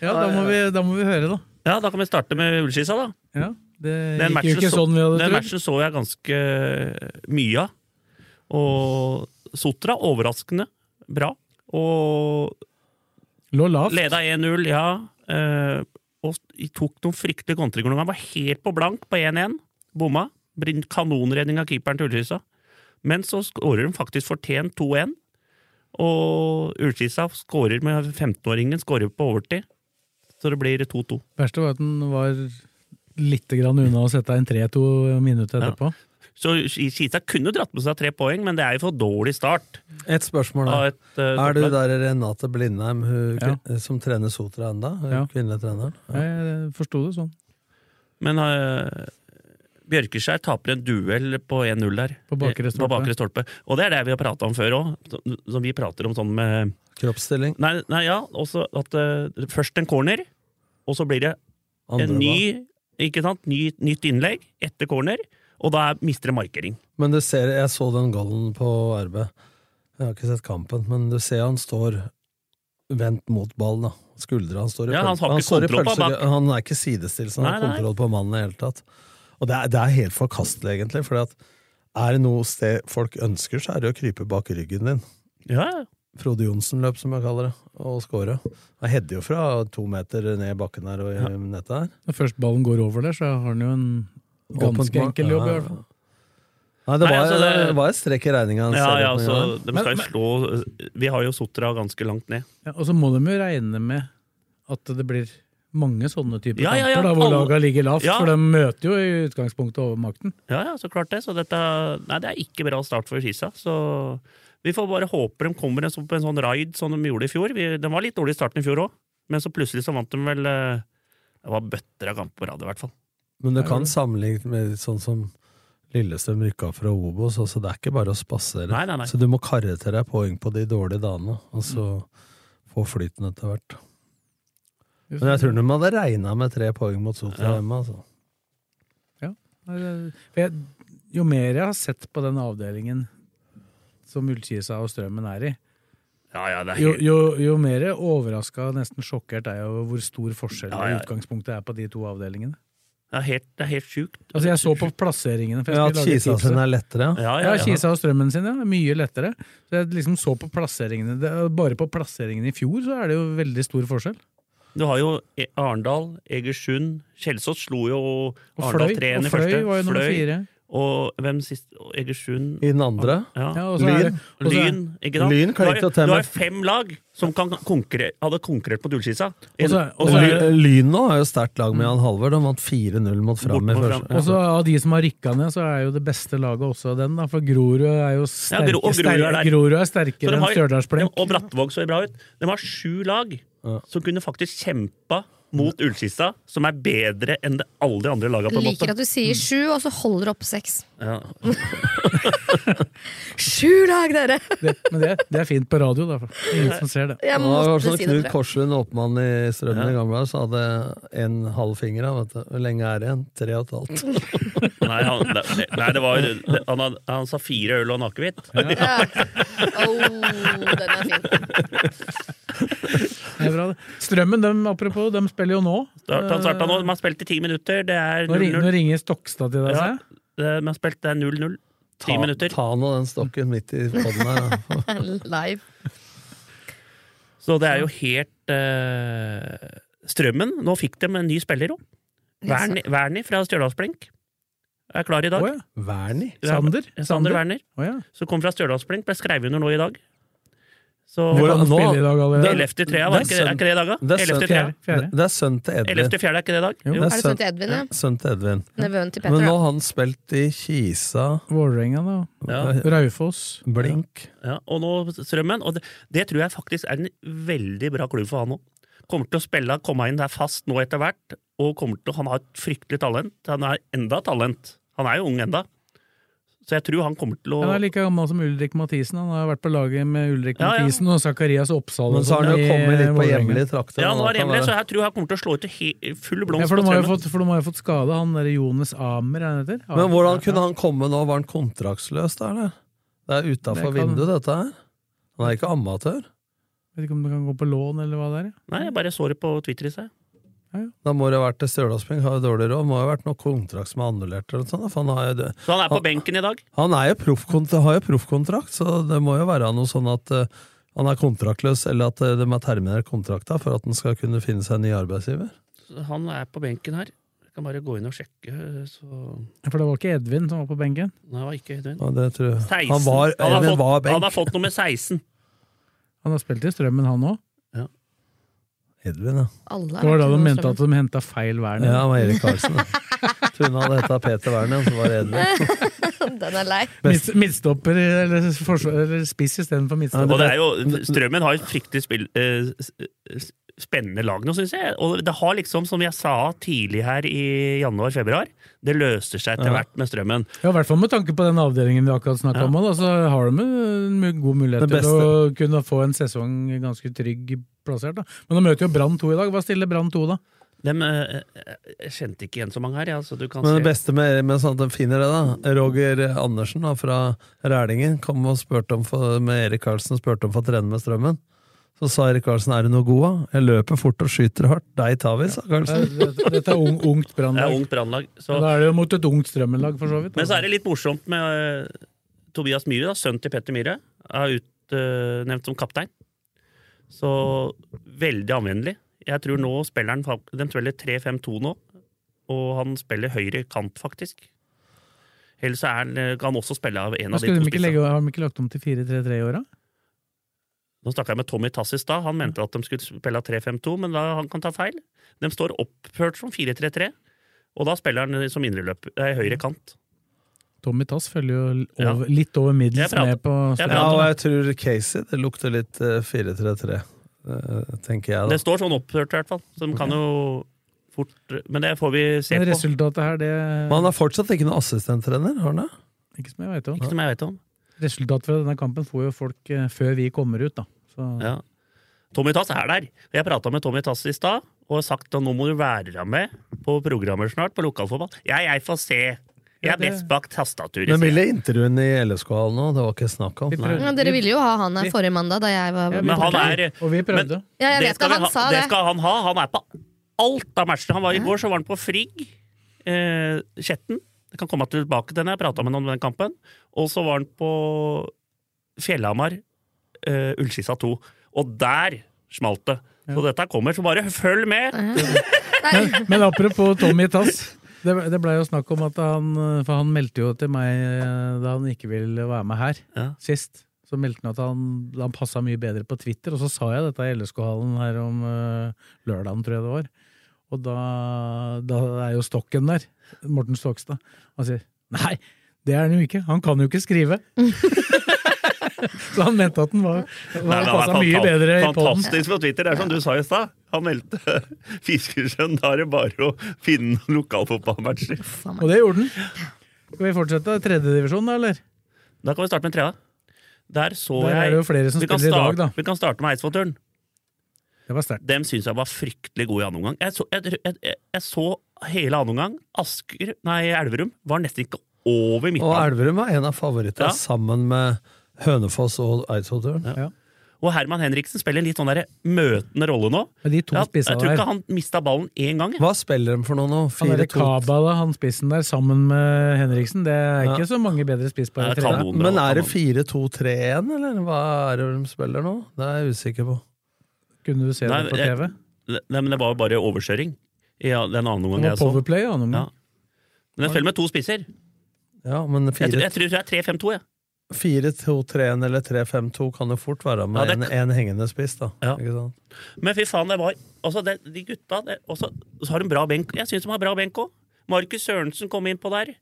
D: Ja, da må, vi, da må vi høre, da.
G: Ja, da kan vi starte med ullskissa, da.
D: Ja, det
G: Den
D: gikk jo
G: matchen,
D: ikke
G: så,
D: sånn vi hadde
G: den
D: trodd.
G: matchen så jeg ganske eh, mye av. Og Sotra, overraskende bra. Og
D: Lå lavt.
G: leda 1-0, ja. Eh, og de tok noen fryktelige kontringer. noen ganger. Var helt på blank på 1-1. Bomma. Brin- Kanonredning av keeperen til Ullskisa. Men så skårer de faktisk fortjent 2-1. Og Ullskisa skårer med 15-åringen, skårer på overtid. Så det blir 2-2.
D: Verste var at den var litt grann unna å sette en 3-2 minutter
G: Ja.
D: etterpå.
G: Så Skisa kunne dratt med seg tre poeng, men det er jo for dårlig start.
F: Et spørsmål, da.
G: av et, eh,
F: Er du
G: topplag.
F: der Renate Blindheim hun,
D: Ja.
F: kvin- som trener Sotra enda? Hun
D: Ja.
F: Kvinnelige treneren?
D: Jeg forsto det sånn.
G: Men eh, Bjørkeskjær taper en duell på 1-0 der.
D: På bakre
G: Eh,
D: stolpe.
G: bakre stolpe. Og det er det vi har prata om før òg, som vi prater om sånn med
F: Kroppsstilling?
G: Nei, nei ja, også at eh, først en corner, og så blir det
F: Andre
G: en ny, ikke sant? Ny, nytt innlegg etter corner, og da er, mister det markering.
F: Men du ser, jeg så den golden på RB. Jeg har ikke sett kampen, men du ser han står vendt mot ballen, da. Skuldra. Han står i,
G: Ja, han
F: pøl-
G: har ikke
F: står i
G: kontroll på
F: pølse-
G: bak-
F: Han er ikke sidestilt, så han
G: Nei,
F: har
G: nei.
F: kontroll på mannen i det hele tatt. Og det er, det er helt forkastelig, egentlig, for er det noe sted folk ønsker, så er det å krype bak ryggen din.
G: Ja,
F: Frode Johnsen-løp, som jeg kaller det, og score. Han header jo fra to meter ned bakken her og i nettet her.
D: Når først ballen går over der, så har han jo en
F: Åpent
D: ganske
F: mål.
D: enkel jobb. i
F: Ja.
D: hvert fall.
F: Nei, det
G: Nei,
F: var,
G: altså,
F: det...
G: det-
F: var et strekk i regninga.
G: ja, ja altså, så de
D: Men-
G: skal jo
D: men-
G: slå eh, Vi har jo Sotra ganske langt ned.
D: Ja, og så må de jo regne med at det blir mange sånne typer
G: Ja, ja, ja,
D: kamper, da, hvor
G: alle-
D: laga ligger lavt.
G: Ja.
D: For de møter jo i utgangspunktet overmakten.
G: Ja, ja, så klart det. Så dette, nei, det er ikke bra start for Kisa. Så vi får bare håpe de kommer en sånn- på en sånn raid som de gjorde i fjor. Vi, den var litt dårlig i starten i fjor òg, men så plutselig så vant de vel eh, Det var bøtter av kamper på rad, i hvert fall.
F: Men du kan sammenligne med sånn som Lillestrøm rykka fra Obos, altså det er ikke bare å spasere.
G: Nei, nei, nei.
F: Så du må karre til deg poeng på de dårlige dagene, og så få flyten etter hvert. Men jeg tror de hadde regna med tre poeng mot Sotra
G: Ja.
F: hjemme, altså.
D: Nei, det- for jeg, jo mer jeg har sett på den avdelingen som Ullkisa og Strømmen er i,
G: Ja, ja, det er
D: jo,
G: helt-
D: jo, jo mer overraska, nesten sjokkert, er jo hvor stor forskjell
G: Ja, ja.
D: i utgangspunktet er på de to avdelingene.
G: det er helt, det er helt sjukt.
D: Altså Jeg så på plasseringene. for jeg
F: Ja,
D: skulle
F: at
D: lage et
F: Kisa
D: tips.
F: sin er lettere, ja.
D: Ja,
F: Ja, ja, ja.
D: Kisa og strømmen sin, ja. Mye lettere. Så jeg liksom så på plasseringene. Det, bare på plasseringene i fjor så er det jo veldig stor forskjell.
G: Du har jo E- Arendal, Egersund Kjelsås slo jo
D: Og
G: Arendal
D: Fløy-
G: 3
D: og
G: i
D: Fløy
G: første.
D: var jo nummer fire.
G: Og hvem sist? og Egersund
F: I den andre?
G: Ja.
F: Ja, og så er det- Lyn. og så er-
G: Lyn, ikke sant?
F: Lyn klarte
G: Du har-
F: å temme.
G: Du har fem lag som kan konkurre, hadde konkurrert på Dulskisa.
F: Og så- og så er- Lyn nå er jo sterkt lag med Jan Halvor. De vant 4-0 mot Fram i
G: mot
F: første.
D: Og så Av de som har rykka ned, så er jo det beste laget også den. da, For Grorud er jo sterke,
G: Gro- og Grorud
D: sterke,
G: er der.
D: Grorud er sterkere enn Stjørdalsblink.
G: Og Brattvåg så bra ut. De har sju lag som kunne faktisk kjempa mot Ullskisa, som er bedre enn det alle de andre lagene. på en måte.
E: Liker at du sier sju, og så holder du oppe seks.
G: Ja.
E: Sju lag, dere!
D: Det, men det, det er fint på radio, da. for Ingen som ser det.
E: Jeg
F: Ja, det var
E: måtte
F: sånn
E: si det,
F: Knut
E: tror jeg.
F: Korslund, åpmann i Strømmen i gamle dager, så hadde en halv finger av. vet du. Hvor lenge er det igjen? Tre og et halvt.
G: Nei, han, det- nei, det var, det- han, had- han sa fire øl og en akevitt.
E: den er
D: Det er bra, det. Strømmen, dem, apropos, de spiller jo nå.
G: Start, han starta nå. De har spilt i ti minutter. Det er
D: Eh, Nå, ring, nå
G: 0-0.
D: ringer Stokstad til deg, sa
G: Ja,
D: jeg.
G: det- de har spilt det er 0-0. Ti
F: Ta-
G: minutter.
F: Ta nå den stokken midt i podden her. da.
E: Live.
G: Så det er jo helt eh, Strømmen Nå fikk de en ny spiller òg. Wernie Wernie fra Stjørdalsblink er klar i dag.
D: Å,
F: Wernie?
D: Sander?
G: Sander,
D: Sander?
G: Werner. Som kom fra Stjørdalsblink. Ble skrevet under nå i dag. Så
F: Hvor- nå- det-
G: 11. trea, var ikke- er ikke det i dag, da?
F: Det er sønn-
G: 11. trea.
F: det- det er sønn til Edvin.
G: 11. fjerde, er ikke det i dag? Jo.
E: Er det sønn til Edvin, ja?
F: Sønn til Edvin.
E: Nevøen til Petter,
F: Men nå
E: ja.
F: har han spilt i Kisa
D: Vålerenga, da.
G: Ja.
D: Raufoss.
F: Blink.
G: Ja, og nå Strømmen. Og det, det tror jeg faktisk er en veldig bra klubb for han òg. Kommer til å spille, komme inn der fast nå etter hvert. Og kommer til, å- han har et fryktelig talent. Han er enda talent. Han er jo ung enda. Så jeg tror han kommer til å
D: Han er like gammel som Ulrik Mathisen. Han har vært på laget med Ulrik
G: Ja, ja.
D: Mathisen og Zakarias Oppsal. og
F: Men så har han
D: sånn
F: jo
D: i
F: kommet litt på
D: Vålerenga.
F: hjemlige trakter.
G: Ja,
F: nå,
G: han var
F: kan
G: hjemme,
F: være-
G: så jeg tror han kommer til å slå ut i he- full
D: Ja,
G: blomst
D: for, de
G: på
D: har jo
G: Strømmen.
D: fått, for de har jo fått skade han der Jones Amer, er han heter?
F: Men
D: Amer.
F: hvordan kunne
D: Ja.
F: han komme nå? Var han kontraktsløs da, eller? Det er utafor
D: Det kan-
F: vinduet, dette her. Han er ikke amatør.
D: Vet ikke om det kan gå på lån, eller hva det er. ja.
G: Nei, jeg bare så det på Twitter i seg.
F: Da må det ha vært til Stjørdalsblink, har jo dårlig råd. Må jo ha vært noe kontrakt som er annullert eller noe sånt. da, For han, har jo det.
G: Så han er på benken i dag.
F: han er jo proffkont- har jo proffkontrakt, så det må jo være noe sånn at eh, han er kontraktløs, eller at eh, de har terminert kontrakta for at han skal kunne finne seg en ny arbeidsgiver.
G: Så Han er på benken her. Jeg kan bare gå inn og sjekke. Så Nei,
D: For det var ikke Edvin som var på benken?
G: det var ikke Edvin.
F: Ja, det tror jeg.
G: 16.
F: Han var,
G: han, har
F: Edvin var
G: fått,
F: benk.
G: han har fått nummer 16.
D: Han har spilt i Strømmen, han òg.
F: Edvin, ja.
E: Alle
D: Det var da
E: er
D: de
E: ikke noe
D: mente
E: strømmen.
D: at de henta feil Werner.
F: Ja, han var Erik Karlsen. da. Trodde han hadde hetta Peter Werner, så var det Edvin.
E: Den er lei.
D: Midt, midtstopper eller, forsvar, eller spiss istedenfor midtstopper.
G: Og det er jo, Strømmen har et fryktelig spill, eh, s- s- spennende lag nå, syns jeg. Og det har liksom, som jeg sa tidlig her i januar-februar, det løser seg etter
D: Ja.
G: hvert med Strømmen.
D: Ja, I hvert fall med tanke på den avdelingen vi akkurat snakka
G: Ja.
D: om. Da, så har de en mu- god mulighet
F: Den
D: til å kunne få en sesong ganske trygg plassert. Da. Men de møter jo Brann 2 i dag. Hva stiller Brann 2 da?
G: Dem, eh, jeg kjente ikke igjen så mange her, ja, så du kan
F: Men det
G: se.
F: beste med, med sånn at de finner det, da Roger Andersen da, fra Rælingen kom og spurte om for, med Erik Karlsen og spurte om for å trene med strømmen. Så sa Erik Karlsen er du noe god av? Jeg løper fort og skyter hardt. Deg tar vi, sa Karlsen.
D: Dette, dette er ung, ungt
G: Det er
D: Brann-lag.
G: ungt brannlag.
D: Og Da er det jo mot et ungt Strømmen-lag, for så vidt.
G: Men så er det litt morsomt med eh, Tobias Myhre, da, sønn til Petter Myhre, er utnevnt som kaptein. Så veldig anvendelig. Jeg tror nå spiller han fak- De spiller 3-5-2 nå, og han spiller høyre kant, faktisk. Eller så er han, eh, kan han også spille av en
D: Men
G: av de
D: skulle
G: to
D: de ikke legge,
G: spissene.
D: har de ikke lagt om til 4-3-3 i åra?
G: Nå snakka jeg med Tommy Tass i stad. Han mente at de skulle spille av 3-5-2, men da, han kan ta feil. De står oppført som 4-3-3, og da spiller han som indreløp, eh, høyre kant.
D: Tommy Tass følger jo
G: Ja.
D: over, litt over
G: Jeg
D: middels
G: prater-
D: med på
G: jeg
F: Ja, og
D: Strømmen.
F: jeg tror Casey det lukter litt eh, 4-3-3, eh, tenker jeg
G: Det
F: da.
G: står sånn oppført i hvert fall, så de kan jo fort Men det får vi se
D: Men
G: på.
D: resultatet her, det
F: Men han er fortsatt ikke noen assistenttrener, har han det?
D: Ikke som jeg vet om.
G: Ikke som jeg vet om.
D: Resultatet fra denne kampen får jo folk eh, før vi kommer ut, da. Så
G: Ja. Tommy Tass er der. Jeg prata med Tommy Tass i stad og har sagt at nå må du være med på programmer snart, på lokalfotball. Ja, jeg får se. Jeg er best bak tastaturet.
F: Den ville
G: sier jeg.
F: intervjue i LSK-hallen nå, det var ikke snakk om.
E: Ja, dere ville jo ha han her forrige mandag da jeg var
G: Men han er
D: Og vi prøvde.
E: Ja, jeg vet
G: skal
E: det, han
G: vi ha,
E: sa
G: det
E: det.
G: skal han ha. Han er på alt av matchene. Han var I går så var han på Frigg, eh, Skjetten. Jeg kan komme tilbake til den, jeg prata med ham om den kampen. Og så var han på Fjellhamar, eh, Ullskissa 2. Og der smalt det. Så dette kommer, så bare følg med!
D: Men, men apropos Tommy Tass. Det, det blei jo snakk om at han For han meldte jo til meg eh, da han ikke ville være med her sist. Så meldte han at han, han passa mye bedre på Twitter, og så sa jeg dette i LSK-hallen her om uh, lørdagen, tror jeg det var. Og da, da er jo Stokken der. Morten Stokstad. Han sier nei, det er han jo ikke. Han kan jo ikke skrive. så han mente at den var,
G: Nei,
D: var
G: men han
D: passa
G: er
D: mye
G: fanta-
D: bedre i podden.
G: Fantastisk på Twitter. Det er som du sa i stad. Han meldte Fiskersønn. Da er det bare å finne noen lokalfotballmatcher.
D: Og det gjorde den. Skal vi fortsette? Tredjedivisjon, da, eller?
G: Da kan vi starte med trea. Der så
D: Der er
G: jeg
D: det jo flere som
G: vi kan
D: spiller i dag,
G: starte-
D: da.
G: Vi kan starte med Eidsvollturen.
D: Det var sterkt.
G: Dem syns jeg var fryktelig gode i annen omgang. Jeg så, jeg, jeg, jeg, jeg så hele annen omgang. Asker, nei, Elverum var nesten ikke over
F: Og
G: midtbanen.
F: Elverum var en av favorittene,
G: Ja.
F: sammen med Hønefoss og Eidsvollturen.
G: Og Herman Henriksen spiller en litt sånn der møtende rolle nå.
D: De to
G: Ja, jeg
D: spissa
G: tror
D: der.
G: ikke han mista ballen én gang. jeg.
F: Hva spiller de for noe nå?
D: Han derre
F: 4-2?
D: Kaba, da, han spissen der, sammen med Henriksen. Det er ikke så mange bedre spissbare
F: Ja,
D: trenere.
F: Men er det 4-2-3-1, eller hva er det de spiller nå? Det er jeg usikker på.
D: Kunne du se det på TV?
G: Jeg, nei, men det var jo bare overkjøring. I ja, den annen
D: Det
G: omgangen
D: var
G: jeg så.
D: Powerplay, ja.
G: Ja. Men jeg spiller med to spisser.
F: Ja, men
G: Jeg, tror-
F: 4-2
G: jeg tror det er 3-5-2, jeg.
F: 4-2-3-1 eller 3-5-2 kan det fort være med
G: Ja, det-
F: en, en hengende spiss, da. Ikke sant?
G: Men fy faen, det var altså, det, De gutta det, også, Så har de bra benk. Jeg syns de har bra benk òg. Markus Sørensen kom inn på der.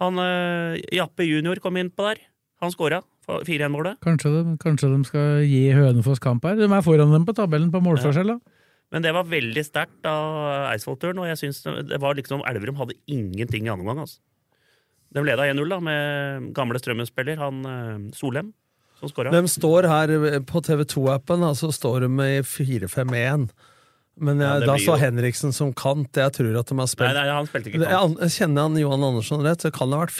G: Han eh, Jappe junior kom inn på der. Han skåra 4-1-målet.
D: Kanskje de, kanskje de skal gi Hønefoss kamp her? De er foran dem på tabellen på målforskjell, da.
G: Men det var veldig sterkt av Eidsvollturen, og jeg synes det det var liksom Elverum hadde ingenting i andre omgang. Altså. De leda 1-0 da, med gamle Strømmen-spiller, han eh, Solheim, som skåra.
F: De står her på TV2-appen, og så altså står de i 4-5-1. Men
G: Ja,
F: jeg,
G: det
F: da
G: blir
F: så
G: jo-
F: Henriksen som kant. Jeg tror at de har
G: Nei,
F: spilt
G: nei, han spilte ikke
F: Det-
G: kamp.
F: jeg an- Kjenner han Johan Andersson rett, så kan det ha vært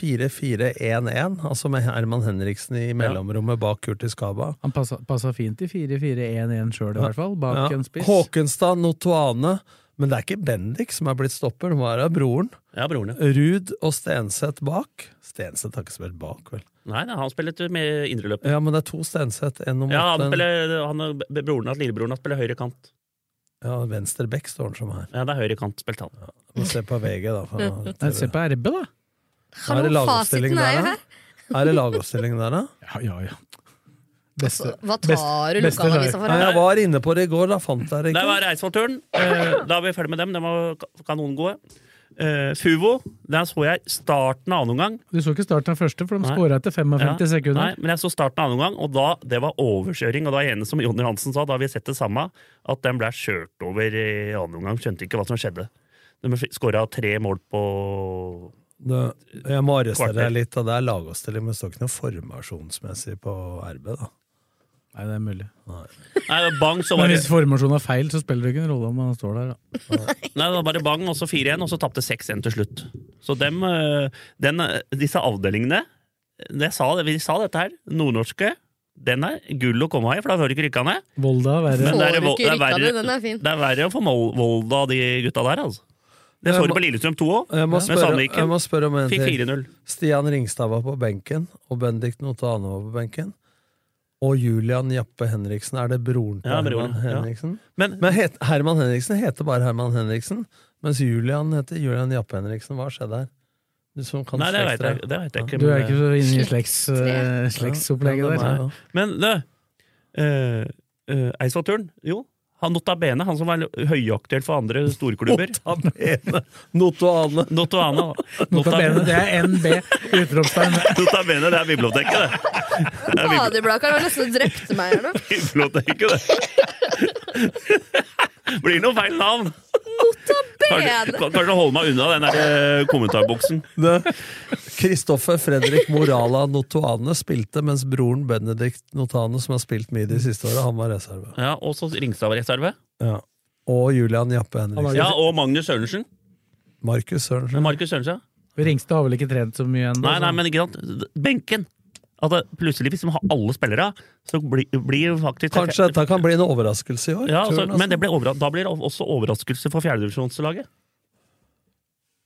F: 4-4-1-1. Altså med Herman Henriksen i mellomrommet bak Kurtis Kaba.
D: Han passa, passa fint i 4-4-1-1 sjøl, i hvert fall. Bak
F: Ja.
D: en spiss.
F: Håkenstad, Notoane. Men det er ikke Bendik som er blitt stopper, det må være broren.
G: Ja, broren, ja.
F: Ruud og Stenseth bak. Stenseth har ikke spilt bak, vel?
G: Nei, nei, han spilte med indreløp.
F: Ja, men det er to Stenseth. En om
G: Ja, han
F: åtte, en-
G: spiller, han, broren hans, lillebroren hans, spiller høyre kant.
F: ja, venstre back står han som her.
G: Ja, det er høyre kant spilte han.
F: Vi ser på VG, da. for nå-
D: Nei, se på RB, da!
F: Er det
E: Hallo,
F: lagoppstilling
E: fasiten er jo
F: der, da? Er det lagoppstilling der, da?
D: Ja, ja, ja. Beste,
E: Altså,
F: Altså-
E: Hva tar du lokalavisa for?
F: Nei, jeg
E: her?
F: var inne på det i går, da fant jeg det
G: Det
F: ikke.
G: var Eidsvollturen. Eh, Da er vi ferdig med dem. De var ka- kanongode. Eh, Fuvo, der så jeg starten av annen omgang.
D: Du så ikke starten av første, for de
G: Nei.
D: skåra etter 55
G: Ja,
D: sekunder.
G: Nei, men jeg så starten av annen omgang, og da, det var overkjøring. Og da er jeg enig som Jonny Hansen sa, da har vi sett det samme, at den ble kjørt over i annen omgang. Skjønte ikke hva som skjedde. De skåra tre mål på
F: Det- Jeg må arrestere
G: Kvarter.
F: deg litt, og det er lagoppstilling, men det står ikke noe formasjonsmessig på RB, da.
D: Nei, det er mulig.
G: Nei, det var bang, så var
D: Men
G: det
D: hvis formasjonen er feil, så spiller det ikke en rolle om han står der, da.
G: Nei, det var bare bang, og så 4-1, og så tapte 6-1 til slutt. Så dem, øh, den, øh, disse avdelingene det sa, det- Vi sa dette her. Nordnorske. Den er gull å komme i, for da får du ikke rykka ned.
D: Volda er verre.
G: Men det er,
E: Får du
G: vo-
E: ikke
G: det, er
E: rykka ned,
G: verre,
E: den er fin.
G: det er verre å få Mol- Volda, de gutta der, altså. Det så
F: Jeg
G: du
F: må-
G: på Lillestrøm 2 òg,
F: Jeg må
G: med
F: spørre, jeg
G: Sandviken.
F: må spørre om en
G: Fikk
F: ting.
G: 4-0.
F: Stian Ringstad var på benken, og Bendik Notane var på benken. Og Julian Jappe Henriksen. Er det broren til
G: Ja, broren,
F: Herman
G: ja.
F: Henriksen?
G: Men-
F: Men het, Herman Henriksen heter bare Herman Henriksen, mens Julian heter Julian Jappe Henriksen. Hva skjedde her? Du som kan
G: Nei, det vet jeg,
F: slektsdrag.
G: det vet jeg ikke.
D: Du er
G: men-
D: ikke så inne i slekts, eh, slektsopplegget
F: Ja,
D: der.
F: ja,
G: eh, Men du, uh, Eidsvollturen, jo. Han notabene, han som var høyaktuell for andre storklubber.
F: Notabene. Notoane.
G: Notoane.
D: Notabene, det er NB! Utropstegn.
G: Notabene, det er biblioteket, det. Det er bibli-
E: Faderblakkeren var nesten og drepte meg her nå.
G: biblioteket, det. Blir noe feil navn. Kanskje,
E: Notabene!
G: kanskje holde meg unna den der eh, kommentarboksen.
F: Det- Kristoffer Fredrik Morala Notoane spilte, mens broren Benedikt Notane, som har spilt mye de siste åra, han var reserve.
G: Ja, og så Ringstad var reserve.
F: Ja. Og Julian Jappe Henriksen.
G: Ja, og Magnus Sørensen.
F: Markus Sørensen.
G: Markus Sørensen.
D: Ringstad har vel ikke trent så mye ennå?
G: Nei, nei,
D: så-
G: men ikke sant. Benken. At det, plutselig, hvis de har alle spillere, så blir, blir jo faktisk
F: Kanskje dette kan bli en overraskelse i år?
G: ja,
F: tror
G: altså,
F: jeg
G: Men
F: nesten.
G: det ble overra- da blir det også overraskelse for fjerdedivisjonslaget.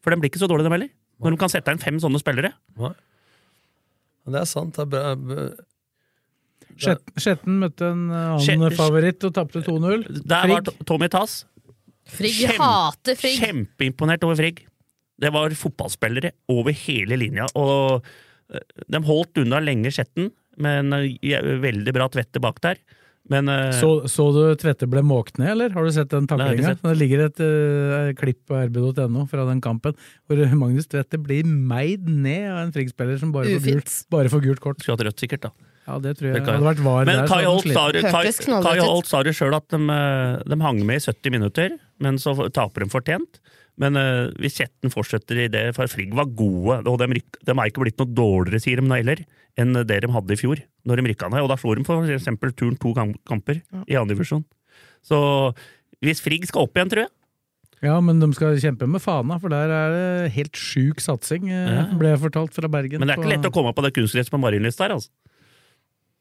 G: For de blir ikke så dårlige, dem heller. Når de kan sette inn fem sånne spillere.
F: Men det er sant. Det er bra. b-
D: Skjet- Skjetten møtte en eh, annen
G: Skjet-
D: favoritt og tapte 2-0.
G: Der var
D: Frigg.
G: T- Tommy Tass.
E: Frigg
G: Kjem-
E: hater Frigg.
G: Kjempeimponert over Frigg. Det var fotballspillere over hele linja, og eh, de holdt unna lenge Skjetten, men eh, je- veldig bra tvette bak der. Men eh,
D: Så, så du Tvette ble måkt ned, eller? Har du sett den
G: Nei, jeg har
D: taklinga?
G: ikke
D: Det ligger et eh, klipp på rb.no fra den kampen hvor Magnus Tvette blir meid ned av en Frigg-spiller som bare får,
E: Ufint.
D: gult, bare får gult kort.
G: Skulle hatt rødt, sikkert. da
D: Ja, det tror jeg.
G: Det kan-
D: Hadde vært var
G: Men
D: der, så
G: Kai
D: hadde han
G: Holt
D: slitt.
G: sa, Kai,
E: Hørtes knallrødt
G: Kai
E: ut.
G: Holt sa det sjøl at de, eh, de hang med i 70 minutter, men så taper de fortjent. Men eh, hvis Kjetten fortsetter i det, for Frigg var gode, og de, ryk- de er ikke blitt noe dårligere, sier de da heller, enn det de hadde i fjor, når de rykka ned. Og da slo de for eksempel turn to kam- kamper i andre divisjon. Så hvis Frigg skal opp igjen, tror jeg
D: Ja, men de skal kjempe med Fana, for der er det helt sjuk satsing, eh,
G: Ja.
D: ble jeg fortalt fra Bergen.
G: Men det er ikke lett å komme på det kunstgresset på Marienlyst der, altså.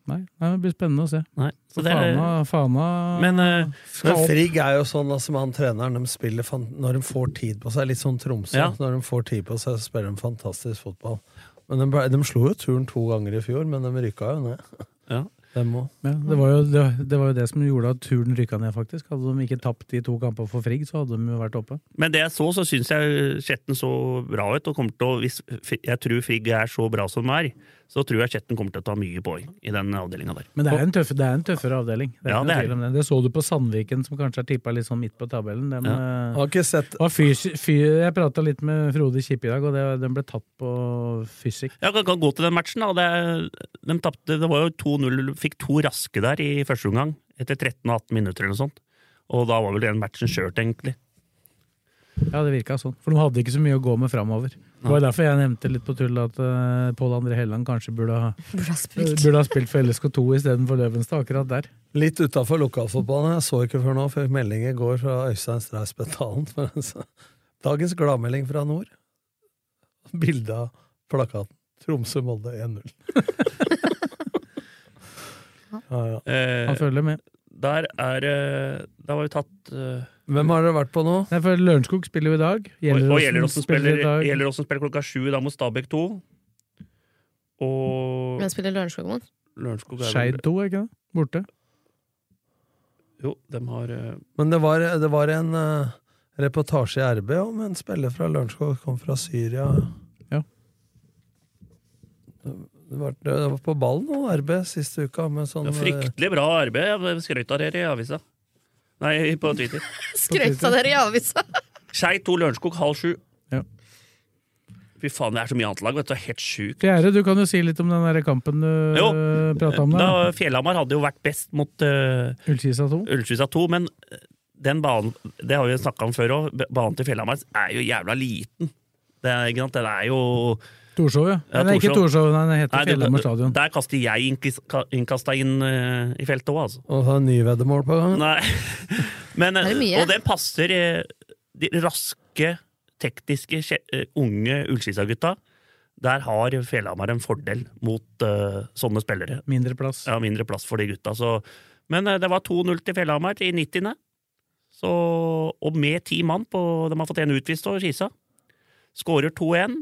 D: Nei, nei, det blir spennende å se.
G: Nei. Så
D: For
G: det er,
D: Fana, Fana
G: men eh,
D: skal
F: Men
D: opp.
F: Frigg er jo sånn altså, med han treneren. De spiller fan når de får tid på seg. Litt sånn Tromsø.
G: Ja.
F: Når de får tid på seg, så spiller de fantastisk fotball. Men de, ble- de slo jo turen to ganger i fjor, men de rykka jo ned.
G: ja.
F: Dem òg.
D: Ja, det, var jo, det, det var jo det som gjorde at turen rykka ned, faktisk. Hadde de ikke tapt de to kampene for Frigg, så hadde de jo vært oppe.
G: Men det jeg så, så syns jeg Skjetten så bra ut. og kommer til å, Hvis Fri- jeg tror Frigg er så bra som de er, så tror jeg Skjetten kommer til å ta mye poeng i den avdelinga der.
D: Men det er en, tøff, det er en tøffere avdeling. Det, er
G: Ja,
D: ikke
G: det
D: noe
G: er
D: tvil om det. det så du på Sandviken, som kanskje er tippa litt sånn midt på tabellen. Dem, eh,
F: Har ikke sett
D: var fysi- fy, jeg prata litt med Frode Kippe i dag, og det, den ble tatt på fysikk.
G: Jeg kan, kan gå til den matchen. da. Det, er- de tapte, det var jo 2-0, fikk to raske der i første omgang. Etter 13 og 18 minutter eller noe sånt. Og da var vel den matchen skjørt, egentlig.
D: Ja, det virka sånn. For de hadde ikke så mye å gå med framover. Det var derfor jeg nevnte litt på tull at uh, Pål André Helland kanskje burde ha,
E: Burde ha spilt.
F: Eh,
D: burde ha spilt for LSK2 istedenfor Løvenstad, akkurat der.
F: Litt utafor lokalfotballen. Jeg så ikke før nå, fikk melding i går fra Øystein Streis Betalen. men altså, Dagens gladmelding fra nord. Bilde av plakaten. Tromsø-Molde 1-0. ja, ja.
D: Han
G: Eh,
D: følger med.
G: der er eh, Da var jo tatt eh,
F: Hvem har dere vært på nå?
D: Nei, for Lørenskog spiller jo i dag.
G: Og og
D: Gjelleråsen
G: Gjelleråsen spiller,
D: i dag.
G: Gjelleråsen spiller klokka sju da mot Stabæk 2. Og
E: Hvem spiller Lørenskog mot?
G: Lørenskog er vel-
D: Skeid 2, er ikke det? Borte.
G: Jo, de har eh,
F: Men det var, det var en eh, reportasje i RB om en spiller fra Lørenskog kom fra Syria.
D: Ja.
F: Det var, det var på ballen nå, RB, siste uka. Med sånn,
G: ja,
D: eh,
G: Fryktelig bra arbeid. Jeg skrøt av dere i avisa. Nei, på Twitter.
E: Skrøt av dere i avisa!
G: Skei 2 Lørenskog halv sju.
D: Ja.
G: Fy faen, det er så mye annet lag. Vet du, det er helt sjukt.
D: Fjerde, du kan jo si litt om den der kampen du
G: Jo.
D: prata om.
G: Da
D: der.
G: Fjellhamar hadde jo vært best mot eh,
D: Ullkisa 2.
G: Ullkisa 2, men eh, den banen Det har vi snakka om før òg. Banen til Fjellhamar er jo jævla liten. Det er, ikke sant? Den er jo
D: Torshov, ja.
G: Ja,
D: Nei, ikke
G: Torshov.
D: Torshov, nei, den heter
G: Nei, det-
D: Fjellhammer stadion.
G: Der kaster jeg innkis- innkasta inn eh, i feltet òg, altså.
F: Og så er det nyveddemål på gang.
G: Nei. Men,
E: Er det mye?
G: og den passer eh, de raske, tekniske, kje- eh, unge Ullskisa-gutta. Der har Fjellhamar en fordel mot eh, sånne spillere.
D: Mindre plass.
G: Ja, mindre plass for de gutta. Så. Men eh, det var 2-0 til Fjellhamar i 90. Så, og med ti mann på De har fått én utvist og Skisa. Skårer 2-1.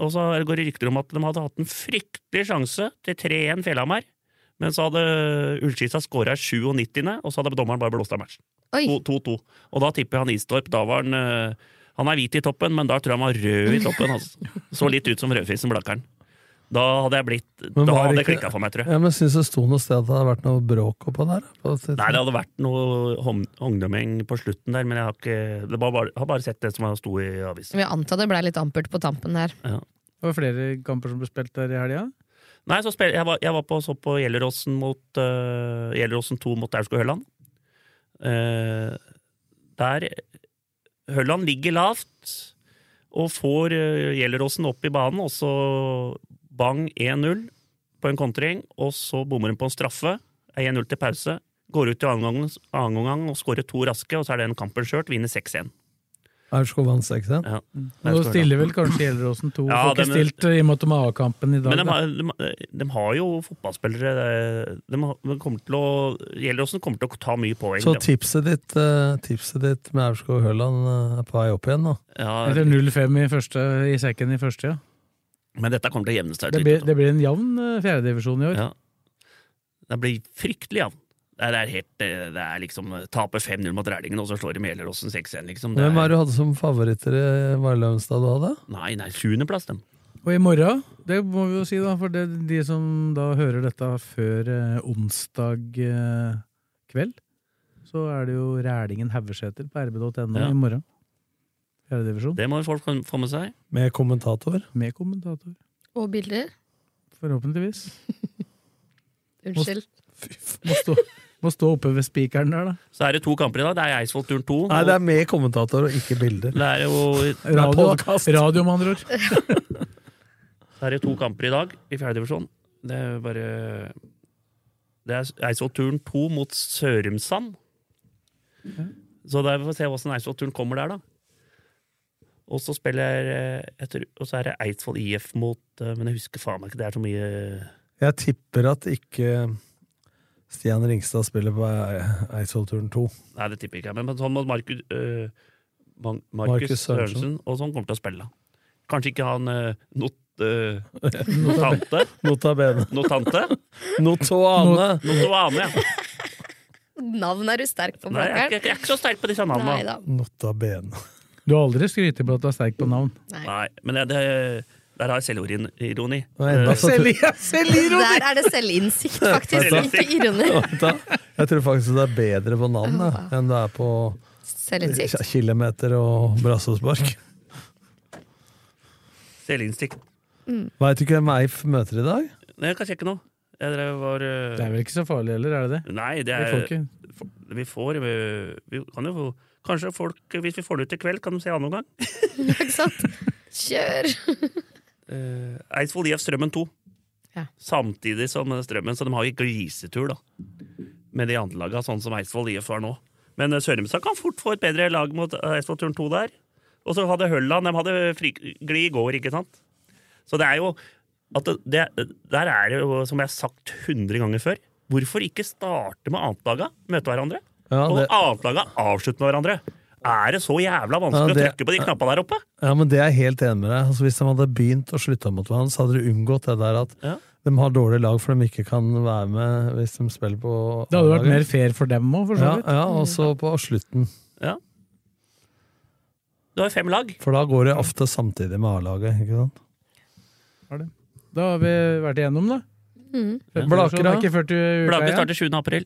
G: Og så går det rykter om at de hadde hatt en fryktelig sjanse til 3-1 Fjellhamar. Men så hadde Ullskisa skåra 97., og så hadde dommeren bare blåst av matchen.
E: Oi!
G: 2-2. Og da tipper jeg han Istorp. Da var han eh, Han er hvit i toppen, men da tror jeg han var rød i toppen. Altså. Så litt ut som rødfisen Blakkaren. Da hadde jeg blitt
F: Men
G: Da
F: var
G: hadde det
F: ikke-
G: klikka for meg, tror jeg.
F: Ja, men Syns det sto noe sted at det hadde vært noe bråk oppå der? På et-
G: Nei, det hadde vært noe hom- hognemeng på slutten der, men jeg har, ikke, det var bare, har bare sett det som sto i avisen.
E: Vi antar det blei litt ampert på tampen her.
D: Det var flere kamper som ble spilt der i helga.
G: Nei, så spil, jeg, var, jeg var på så på Gjelleråsen mot øh, Gjelleråsen 2 mot Aurskog Høland. Eh, der Høland ligger lavt og får øh, Gjelleråsen opp i banen, og så bang 1-0 på en kontring, og så bommer hun på en straffe. Er 1-0 til pause. Går ut i annen omgang- annen omgang og skårer to raske, og så er den kampen skjørt. Vinner 6-1.
F: Aurskog vant 6-1.
G: Ja.
D: Nå stiller vel kanskje Gjelleråsen 2,
G: Ja,
D: får ikke
G: dem-
D: stilt eh, i og med at de har A-kampen i dag.
G: Men de
D: da.
G: har, de, de har jo fotballspillere eh, De, har, de kommer til å Gjelleråsen kommer til å ta mye poeng.
F: Så
G: da.
F: tipset ditt, eh, tipset ditt med Aurskog Høland eh, er på vei opp igjen nå?
D: Eller 0-5 i, første- i sekken i første, ja.
G: Men dette kommer til å altså. jevne seg
D: Det
G: ut.
D: blir, det blir en jevn eh, fjerdedivisjon i år.
G: Ja. Det blir fryktelig jevn. Det er- Det er helt eh, Det er liksom eh, Taper 5-0 mot Rælingen, og så slår de Gjelleråsen 6-1, liksom. Det
F: Hvem
G: er,
F: var det du hadde som favoritter i Varlaugstad du hadde?
G: nei, nei, sjuendeplass, dem.
D: Og i morgen, det må vi jo si, da, for det, de som da hører dette før eh, onsdag eh, kveld, så er det jo Rælingen Haugeseter på rb.no
G: Ja.
D: i morgen. Fjerdedivisjon.
G: Det må folk få med seg.
F: Med kommentator?
D: Med kommentator,
E: Og bilder.
D: forhåpentligvis.
E: Unnskyld.
D: Må stå, må stå oppe ved spikeren der, da.
G: Så er det to kamper i dag. Det er Eidsvoll-turen to.
F: Nei, det er med kommentator og ikke bilder.
G: Det er jo
D: Radio, radio med andre ord.
G: Så er det to kamper i dag i fjerdedivisjon. Det er jo bare Det er Eidsvoll-turen to mot Sørumsand. Så der får vi se åssen Eidsvoll-turen kommer der, da. Og så spiller eh, jeg tror- Og så er det Eidsvoll IF mot eh, Men jeg husker faen meg ikke, det er så mye
F: Jeg tipper at ikke Stian Ringstad spiller på E- Eidsvollturen 2.
G: Nei, det tipper jeg ikke. jeg, Men sånn mot Markus, eh, Mag-
F: Markus
G: Markus
F: Sørensen.
G: Sørensen, og sånn kommer til å spille. Kanskje ikke han eh, not, eh,
F: Notab-
G: Notante?
F: Nota bene.
G: Notante?
F: Notoane.
G: Notoane, ja.
E: Navn er du sterk på,
G: Nei, jeg, er
E: Blakkaren.
G: ikke- jeg er ikke så sterk på disse navnene.
E: Nei da.
F: Nota bene.
D: Du har aldri skrytt på at du er sterk på navn.
G: Nei, men det, det, der har jeg selvironi.
F: enda
G: Eh,
F: så- Selv-
E: Der er det selvinnsikt, faktisk. Ikke ironi.
F: Vet du hva? Jeg tror faktisk det er bedre på navn jeg, enn det er på
E: Selvinnsikt.
F: kilometer og brassespark.
G: Selvinnsikt.
F: Veit du ikke hvem Eif møter i dag?
G: Nei, jeg kan sjekke noe. Jeg drev var eh,
D: Det er vel ikke så farlig heller, er det det?
G: Nei, det
D: Vi
G: er
D: får ikke.
G: f- Vi får eh, Vi kan jo få Kanskje folk, eh, hvis vi får det ut i kveld, kan de se annen gang.
E: Ikke sant? Kjør!
G: Eh, Eidsvoll IF Strømmen 2.
E: Ja.
G: Samtidig som eh, Strømmen, så de har jo grisetur, da. Med de andre laga, sånn som Eidsvoll IF var nå. Men eh, Sørumsand kan fort få et bedre lag mot eh, Eidsvoll Turn 2 der. Og så hadde Hølland De hadde fri, gli i går, ikke sant? Så det er jo at det, det, Der er det jo, som jeg har sagt 100 ganger før, hvorfor ikke starte med annetlaga? Møte hverandre?
F: Ja,
G: Og
F: det-
G: annetlaga avslutte med hverandre? Er det så jævla vanskelig
F: Ja, det-
G: å trykke på de knappene der oppe?
F: Ja, men Det er jeg helt enig med deg. Altså, hvis de hadde begynt å slutte mot hverandre, så hadde de unngått det der at
G: Ja.
F: de har dårlig lag for de ikke kan være med hvis de spiller på
D: Det hadde vært
F: A-laget.
D: mer fair for dem òg, for så
F: Ja,
D: vidt.
F: ja og så på slutten.
G: Ja. Du har jo fem lag.
F: For da går det ofte samtidig med A-laget. ikke sant?
D: Da har vi vært igjennom, da.
E: Mm.
F: Blaker, da?
D: da? Ikke 40 uker
G: Blaker
D: igjen.
G: starter 7. april.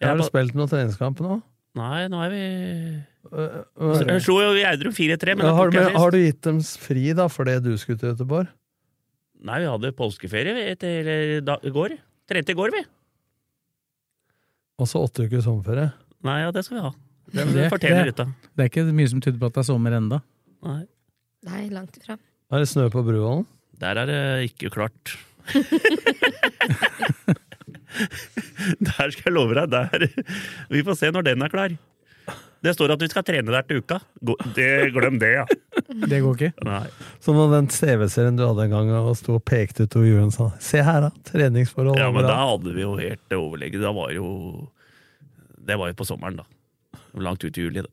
G: Jeg
F: Har
G: er
F: du
G: på-
F: spilt noen treningskamp nå?
G: Nei, nå er vi
F: Øh,
G: Jeg slo jo Gjerdrum 4-3, Altså, men
F: Ja,
G: det
F: har,
G: tok
F: du,
G: jeg
F: men,
G: sist.
F: har du gitt dem fri da, fordi du skulle til Göteborg?
G: Nei, vi hadde påskeferie vi, til eller da, i går. Trente i går, vi.
F: Og så åtte uker sommerferie?
G: Nei, ja, det skal vi ha. Det,
D: Det-
G: forteller
D: det-
G: gutta.
D: Det er ikke mye som tyder på at det er sommer enda.
G: Nei.
E: Nei, langt ifra.
F: Er det snø på Bruvollen?
G: Der er det ikke klart. der skal jeg love deg. Der. Vi får se når den er klar. Det står at vi skal trene der til uka. Gå- Det, glem det, ja.
D: Det går ikke.
G: Nei.
F: Som når den TV-serien du hadde en gang og sto og pekte ut over jorden og sa 'se her, da', treningsforhold.
G: Ja, men
F: bra».
G: da hadde vi jo helt overlegget. Da var jo Det var jo på sommeren, da. Langt ut i juli. Da,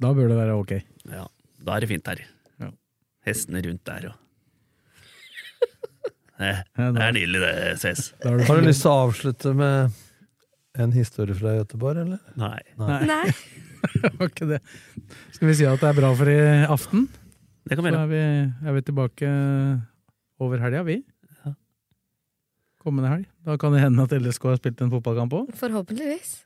D: Da bør det være ok.
G: ja, da er det fint her.
D: Ja.
G: Hestene rundt der og Eh,
D: Ja,
G: Det
D: da-
G: er nydelig, det, Ses.
D: da er det
F: Har du
D: fint.
F: lyst til å avslutte med en historie fra Göteborg, eller?
G: Nei.
E: Nei.
D: Det var ikke det. Skal vi si at det er bra for i aften?
G: Det kan
D: Så
G: være.
D: er vi, er vi tilbake over helga, vi.
G: Ja.
D: Kommende helg. Da kan det hende at LSK har spilt en fotballkamp òg.
E: Forhåpentligvis.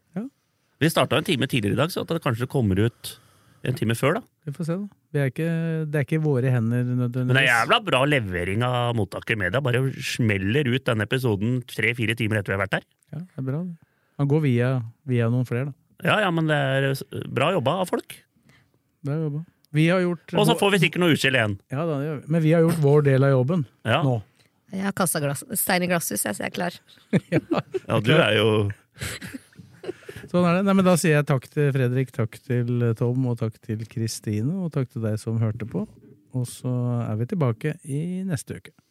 G: Vi starta en time tidligere i dag, så at det kanskje kommer ut en time før, da.
D: Vi får se, da. Vi er ikke, det er ikke i våre hender nødvendigvis.
G: Men det er jævla bra levering av mottaker media. Bare smeller ut denne episoden tre-fire timer etter vi har vært her.
D: Ja, det er bra. det. Han går via, via noen flere, da.
G: Ja, ja, men det er eh, bra jobba av folk.
D: Det er jo bra. Vi har gjort
G: Og så får vi sikkert noe utskjell igjen.
D: Ja, da, det gjør vi. Men vi har gjort vår del av jobben
G: Ja.
D: nå.
E: Jeg har kasta glass, stein i glasshus, jeg, så jeg er klar.
G: Ja, du er jo
D: Sånn er det. Nei, men da sier jeg takk til Fredrik, takk til Tom, og takk til Kristine, og takk til deg som hørte på. Og så er vi tilbake i neste uke.